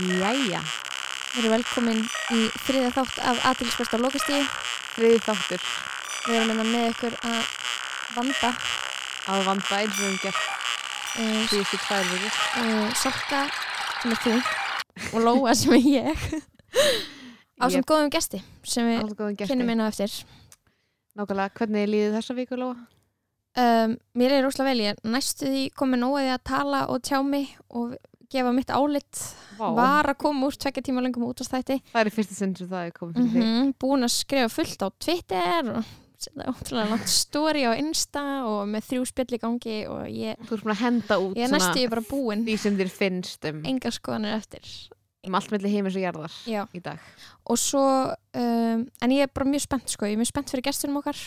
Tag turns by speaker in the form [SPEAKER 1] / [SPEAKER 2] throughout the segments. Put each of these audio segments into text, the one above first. [SPEAKER 1] Jæja,
[SPEAKER 2] Við erum velkomin í þriða þátt af Atilsbæst á Lókastíði.
[SPEAKER 1] þriði þáttur
[SPEAKER 2] Við erum hérna með ykkur að vanda
[SPEAKER 1] að vanda eins og við höfum gert
[SPEAKER 2] uh,
[SPEAKER 1] síðustu tvær vikur.
[SPEAKER 2] uh, Sokka sem er þú og Lóa sem er ég á sem
[SPEAKER 1] Ég-
[SPEAKER 2] góðum gesti sem við
[SPEAKER 1] Allt góðum gert.
[SPEAKER 2] kynnum inn á eftir.
[SPEAKER 1] Nákvæmlega, hvernig er líðið þessa viku, Lóa?
[SPEAKER 2] Um, mér er rosalega vel, ég er næstu því komið nógu því að tala og tjá mig og gefa mitt álit
[SPEAKER 1] Vá,
[SPEAKER 2] var að koma úr tvekja tíma lengum útastætti
[SPEAKER 1] það er í fyrsta sinn sem það er komið
[SPEAKER 2] mm
[SPEAKER 1] fyrir þig.
[SPEAKER 2] búin að skrifa fullt á Twitter og setja ótrúlega langt story á Insta og með þrjú spjall í gangi og ég,
[SPEAKER 1] Þú ert búin að henda út
[SPEAKER 2] ég er næstu ég bara búin
[SPEAKER 1] því sem þér finnst um,
[SPEAKER 2] enga skoðanir eftir
[SPEAKER 1] um allt melli heimis og jarðar
[SPEAKER 2] Já.
[SPEAKER 1] í dag.
[SPEAKER 2] og svo, um, en ég er bara mjög spennt sko, ég er mjög spennt fyrir gestunum okkar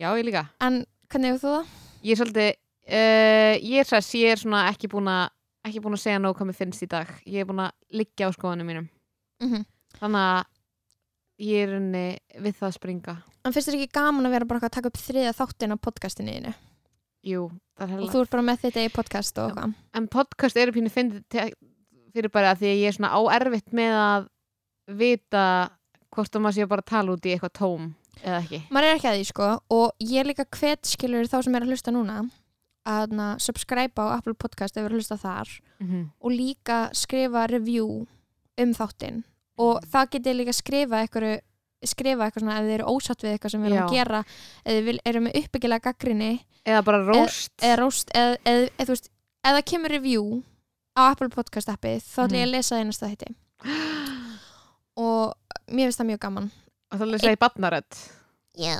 [SPEAKER 1] Já, ég líka.
[SPEAKER 2] en hvernig hefur þú það?
[SPEAKER 1] Ég er svolítið, uh, ég er sess, ég er svona ekki búin að ekki búin að segja nóg hvað mér finnst í dag. Ég er búin að liggja á skoðunum mínum.
[SPEAKER 2] Mm
[SPEAKER 1] Mhm. Þannig að ég er unni við það að springa.
[SPEAKER 2] En finnst þér ekki gaman að vera bara eitthvað að taka upp þriða þáttin á podcastinu þínu
[SPEAKER 1] Jú, það er
[SPEAKER 2] og
[SPEAKER 1] helga.
[SPEAKER 2] þú ert bara með þetta í podcast og eitthvað
[SPEAKER 1] en podcast eru pínu fyndið te- fyrir bara því að ég er svona áerfitt með að vita hvort að maður sé bara að tala út í eitthvað tóm eða ekki.
[SPEAKER 2] maður er ekki að því sko og ég líka hvet skilur þá sem er að hlusta núna að na, subscribe á Apple Podcast ef við erum að hlusta þar og líka skrifa review um þáttinn og
[SPEAKER 1] Mm.
[SPEAKER 2] það getið líka skrifa einhverju skrifa eitthvað svona ef þið eru ósatt við eitthvað sem við erum að
[SPEAKER 1] Já.
[SPEAKER 2] gera ef þið vil- eru með uppbyggilega gaggrinni
[SPEAKER 1] Eða bara róst.
[SPEAKER 2] eða róst eða, eða, eða, þú veist, eða kemur review á Apple Podcast appið þá ætlum
[SPEAKER 1] Mm.
[SPEAKER 2] ég að lesa það í næsta þætti og mér finnst það mjög gaman
[SPEAKER 1] og það lesa ég barnarödd.
[SPEAKER 2] Já.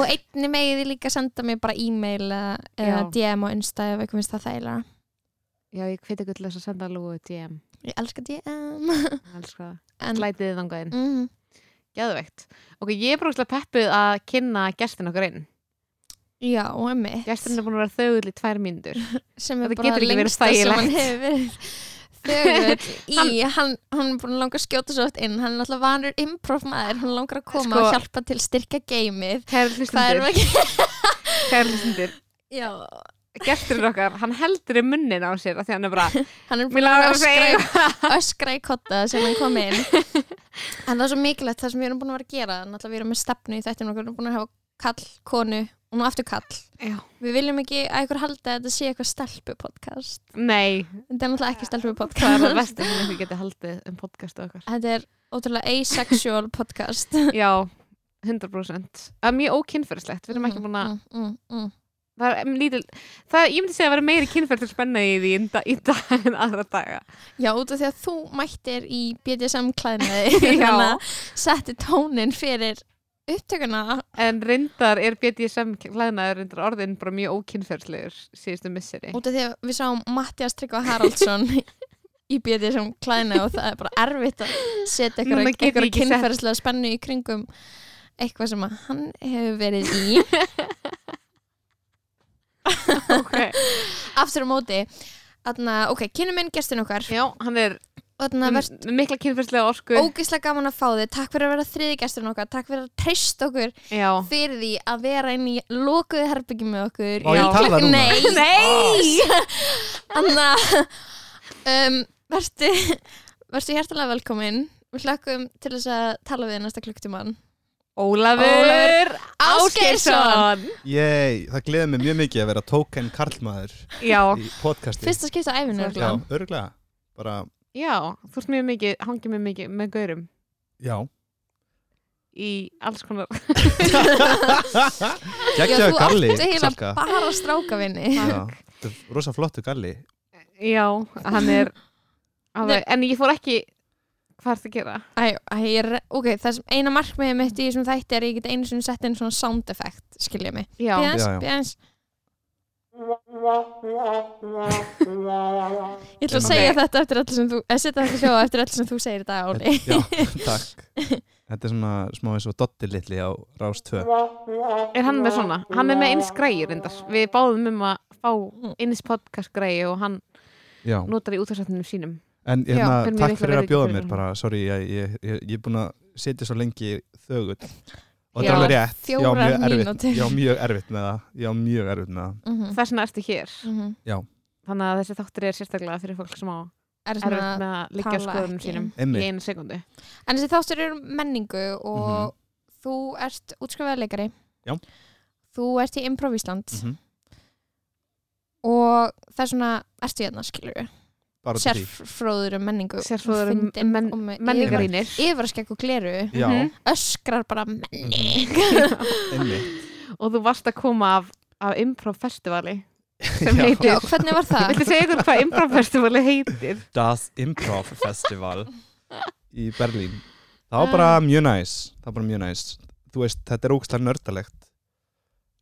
[SPEAKER 2] og einni megið þið líka senda mér bara e-mail eða eða
[SPEAKER 1] Já.
[SPEAKER 2] DM á Insta ef eitthvað finnst það þægilega
[SPEAKER 1] Já, ég hviti ekki til þess að senda lúgu DM.
[SPEAKER 2] ég elska DM
[SPEAKER 1] Elskar það.
[SPEAKER 2] en,
[SPEAKER 1] Slætið þið þangað inn.
[SPEAKER 2] mm,
[SPEAKER 1] Gæðvegt. Ok, ég er brúkslega peppuð að kynna gestin okkar inn.
[SPEAKER 2] já, emmi
[SPEAKER 1] Gestin er búin að vera þögull í tvær mínútur.
[SPEAKER 2] sem er
[SPEAKER 1] Þetta
[SPEAKER 2] bara
[SPEAKER 1] getur ekki verið
[SPEAKER 2] lengsta sem hann
[SPEAKER 1] þægilegt.
[SPEAKER 2] hefur verið þögull í hann, hann er búin að langa að skjóta svo oft inn hann er náttúrulega vanur improv maður hann langar að koma
[SPEAKER 1] Sko-
[SPEAKER 2] og hjálpa til styrka geimið
[SPEAKER 1] Kæra
[SPEAKER 2] hvað erum við
[SPEAKER 1] hlustundur,
[SPEAKER 2] að gera?
[SPEAKER 1] kæra hlustundur.
[SPEAKER 2] Já,
[SPEAKER 1] Gesturinn okkar, hann heldur í munnin á sér að því hann er bara,
[SPEAKER 2] hann er
[SPEAKER 1] mér
[SPEAKER 2] búin að
[SPEAKER 1] lágur að
[SPEAKER 2] öskra
[SPEAKER 1] segja
[SPEAKER 2] í- öskra í kotta sem hann kom inn en það er svo mikilvægt það sem við erum búin að vera að gera náttúrulega við erum með stefnu í þættinum okkar við erum búin að hafa kall, konu og nú aftur kall
[SPEAKER 1] Já.
[SPEAKER 2] við viljum ekki að ykkur halda að þetta sé eitthvað stelpupodcast
[SPEAKER 1] Nei,
[SPEAKER 2] þetta er náttúrulega
[SPEAKER 1] Það
[SPEAKER 2] ekki
[SPEAKER 1] er það
[SPEAKER 2] stelpupodcast
[SPEAKER 1] besta sem við getum haldið um podcastu okkar.
[SPEAKER 2] þetta er ótrúlega asexual podcast
[SPEAKER 1] Já, 100%. Það er mjög ókinnferðslegt, við erum ekki búin að,
[SPEAKER 2] mm, mm, mm.
[SPEAKER 1] það er um, lítil, það er, ég myndi segja að vera meiri kinnferðslega spenna í því í dag- í dag en aðra daga.
[SPEAKER 2] Já, út af því að þú mættir í BDSM klæðnaði
[SPEAKER 1] Já.
[SPEAKER 2] þannig að setti tónin fyrir upptökuna
[SPEAKER 1] En reyndar er BDSM klæðnaður reyndar orðin bara mjög ókinnferðslegur síðustu misseri.
[SPEAKER 2] út af því að við sáum Mattias Tryggva Haraldsson í BDSM klæðnaði og það er bara erfitt að setja
[SPEAKER 1] Núna
[SPEAKER 2] eitthvað,
[SPEAKER 1] get ég
[SPEAKER 2] eitthvað
[SPEAKER 1] ekki sett-
[SPEAKER 2] kynferðslega spennu í kringum eitthvað sem að hann hefur verið í
[SPEAKER 1] Okay.
[SPEAKER 2] aftur á móti Þarna, ok, kynum inn gestin okkar
[SPEAKER 1] Já, hann er
[SPEAKER 2] og þarna verðst
[SPEAKER 1] með mikla kinnferðslega orku.
[SPEAKER 2] ógislega gaman að fá þig takk fyrir að vera þriði gestin okkar, takk fyrir að treyst okkur
[SPEAKER 1] Já.
[SPEAKER 2] fyrir því að vera inn í lokuðu herbyggi með okkur
[SPEAKER 3] Má ég
[SPEAKER 2] Í-
[SPEAKER 3] tala núna?
[SPEAKER 2] Nei,
[SPEAKER 1] Nei!
[SPEAKER 2] Anna um, Vertu Vertu hjertalega velkomin Við hlökkum til þess að tala við þig næsta klukktumann
[SPEAKER 1] Ólafur
[SPEAKER 2] Ásgeirsson.
[SPEAKER 1] Ásgeirsson!
[SPEAKER 3] Yey, það gleði mig mjög mikið að vera token karlmaður
[SPEAKER 1] Já,
[SPEAKER 3] í podcasti
[SPEAKER 2] Fyrsta skipta á æfinu
[SPEAKER 3] Já,
[SPEAKER 2] örugglega.
[SPEAKER 3] örgulega Bara,
[SPEAKER 1] já, þú ert mjög mikið, hangið mjög mikið með gaurum
[SPEAKER 3] já
[SPEAKER 1] í alls konar
[SPEAKER 2] Já,
[SPEAKER 3] Gekkjaðu
[SPEAKER 2] þú
[SPEAKER 3] galli,
[SPEAKER 2] átti heila
[SPEAKER 3] Salka
[SPEAKER 2] bara strákavinni
[SPEAKER 3] Já, þetta er rosa flottu galli
[SPEAKER 1] Já, hann er alveg,
[SPEAKER 2] Nei.
[SPEAKER 1] En ég fór ekki Hvað ertu að gera?
[SPEAKER 2] Æ, æ, ég er- ok, það sem eina markmiðið mitt í þessum þætti er að ég get einu sinni sett inn svona sound effect, skilja mig.
[SPEAKER 1] Já,
[SPEAKER 2] Bjans,
[SPEAKER 3] Já, já.
[SPEAKER 2] bjans. Ég ætla að
[SPEAKER 3] Ok.
[SPEAKER 2] segja þetta eftir allir sem þú, eða setja þetta hljóða eftir allir sem þú segir þetta, Óli.
[SPEAKER 3] Já, takk Þetta er svona smá eins og Dotti litli á Rás 2
[SPEAKER 1] er hann með svona? Hann er með eins græjur reyndar Við báðum um að
[SPEAKER 2] Mhm,
[SPEAKER 1] fá eins podcast græju og hann
[SPEAKER 3] Já,
[SPEAKER 1] notar í útastættinum sínum
[SPEAKER 3] en
[SPEAKER 1] Já,
[SPEAKER 3] hérna,
[SPEAKER 1] fyrir mig
[SPEAKER 3] takk
[SPEAKER 1] mikla
[SPEAKER 3] fyrir að
[SPEAKER 1] virðingu
[SPEAKER 3] bjóða
[SPEAKER 1] fyrir
[SPEAKER 3] mér
[SPEAKER 1] honum.
[SPEAKER 3] bara, sorry, ég, ég, ég, ég er búin að setja svo lengi í þögull og
[SPEAKER 1] Já,
[SPEAKER 3] þetta er alveg rétt, ég á
[SPEAKER 2] fjórar
[SPEAKER 3] mjög erfitt
[SPEAKER 2] mínútur.
[SPEAKER 3] ég á mjög erfitt með það, ég á mjög erfitt með það
[SPEAKER 2] Mhm,
[SPEAKER 1] Þess vegna ertu hér
[SPEAKER 2] mhm.
[SPEAKER 1] Þannig að þessi þáttur er sérstaklega fyrir fólk sem á
[SPEAKER 2] er
[SPEAKER 1] erfitt
[SPEAKER 2] svona,
[SPEAKER 1] með að liggja á
[SPEAKER 2] tala
[SPEAKER 1] skoðunum
[SPEAKER 2] ekki.
[SPEAKER 1] sínum í
[SPEAKER 3] Einmitt.
[SPEAKER 1] einu sekundu
[SPEAKER 2] en þessi þáttur er um menningu og þú ert útskrifaðarleikari
[SPEAKER 3] Mhm. Já.
[SPEAKER 2] þú ert í Improv Ísland
[SPEAKER 3] Mhm.
[SPEAKER 2] og það er svona ertu hérna skilur
[SPEAKER 3] bara út af því
[SPEAKER 2] sérfróður um menningu
[SPEAKER 1] Sérfróður um
[SPEAKER 2] Fyndin
[SPEAKER 1] men-
[SPEAKER 2] og með yfir-
[SPEAKER 1] menningarínir
[SPEAKER 2] yfirskegg og gleru
[SPEAKER 3] Já, Mhm.
[SPEAKER 1] Mhm.
[SPEAKER 2] öskrar bara menning
[SPEAKER 3] einmitt
[SPEAKER 1] og þú varst að koma af, af improv festivali sem
[SPEAKER 3] Já.
[SPEAKER 1] heitir
[SPEAKER 2] Já, hvernig var það?
[SPEAKER 1] Viltu segja ykkur hvað improv festivali heitir?
[SPEAKER 3] Das Improv Festival í Berlín það
[SPEAKER 1] Ah.
[SPEAKER 3] var bara mjög næs það var bara mjög næs þú veist, þetta er ógstlega nördalegt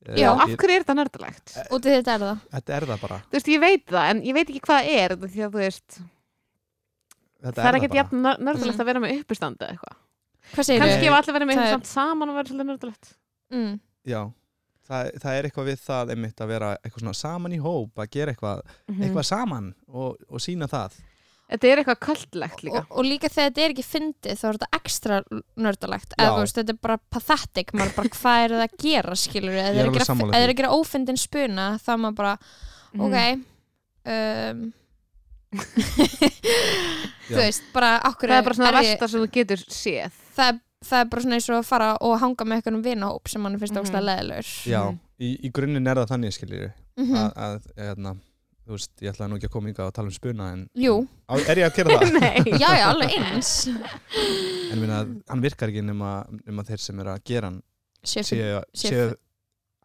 [SPEAKER 3] Eh,
[SPEAKER 2] Já.
[SPEAKER 1] Af
[SPEAKER 3] ég-
[SPEAKER 1] hverju er þetta nördulegt?
[SPEAKER 2] Út í þetta er það
[SPEAKER 3] þetta er það bara
[SPEAKER 1] Þú veist, ég veit það, en ég veit ekki hvað það er út af því að þú veist,
[SPEAKER 3] þetta
[SPEAKER 1] það er
[SPEAKER 3] það
[SPEAKER 1] ekkert
[SPEAKER 3] bara.
[SPEAKER 1] jafn nördulegt að vera með uppistand eða eitthvað.
[SPEAKER 2] Hvað segir þau?
[SPEAKER 3] Kannski-
[SPEAKER 1] Kannski ef allir verið með
[SPEAKER 2] Mm. Það er-
[SPEAKER 1] samt saman og verið svolítið nördulegt.
[SPEAKER 2] Mm.
[SPEAKER 3] Já, það, það er eitthvað við það einmitt að vera eitthvað svona saman í hóp að gera eitthvað,
[SPEAKER 1] Mhm.
[SPEAKER 3] eitthvað saman og, og sína það
[SPEAKER 1] Þetta er eitthvað kalltlegt líka.
[SPEAKER 2] Og, og líka þegar þetta er ekki fyndið þá er þetta ekstra nördalegt eða
[SPEAKER 3] Já.
[SPEAKER 2] þú veist, þetta er bara pathetic maður bara hvað er það að gera skilur eða það
[SPEAKER 3] Ég er
[SPEAKER 2] er að
[SPEAKER 3] alveg
[SPEAKER 2] gera- ef
[SPEAKER 3] sammála
[SPEAKER 2] það er
[SPEAKER 3] því.
[SPEAKER 2] að gera ófyndin spuna þá er maður bara,
[SPEAKER 1] Mhm.
[SPEAKER 2] ok um,
[SPEAKER 3] Já.
[SPEAKER 2] þú veist, bara okkur
[SPEAKER 1] Það er bara svona það
[SPEAKER 2] ég,
[SPEAKER 1] versta sem þú getur séð.
[SPEAKER 2] það, er, það er bara svona eins og að fara og hanga með eitthvað um vinahóp sem mann finnst
[SPEAKER 1] Mhm.
[SPEAKER 2] óslega leðilur
[SPEAKER 3] Já,
[SPEAKER 1] Mhm.
[SPEAKER 3] í, í grunninn er það þannig skiljið
[SPEAKER 2] mm
[SPEAKER 3] að, að hérna, þú veist, ég ætlaði nú ekki að koma ykkar og tala um spuna en
[SPEAKER 2] Jú,
[SPEAKER 3] á, er ég að gera það?
[SPEAKER 1] Nei.
[SPEAKER 2] já, já, alveg eins
[SPEAKER 3] en minna, hann virkar ekki nema, nema þeir sem eru að gera hann
[SPEAKER 2] Sjöfn
[SPEAKER 3] séu,
[SPEAKER 2] Séu-
[SPEAKER 3] séu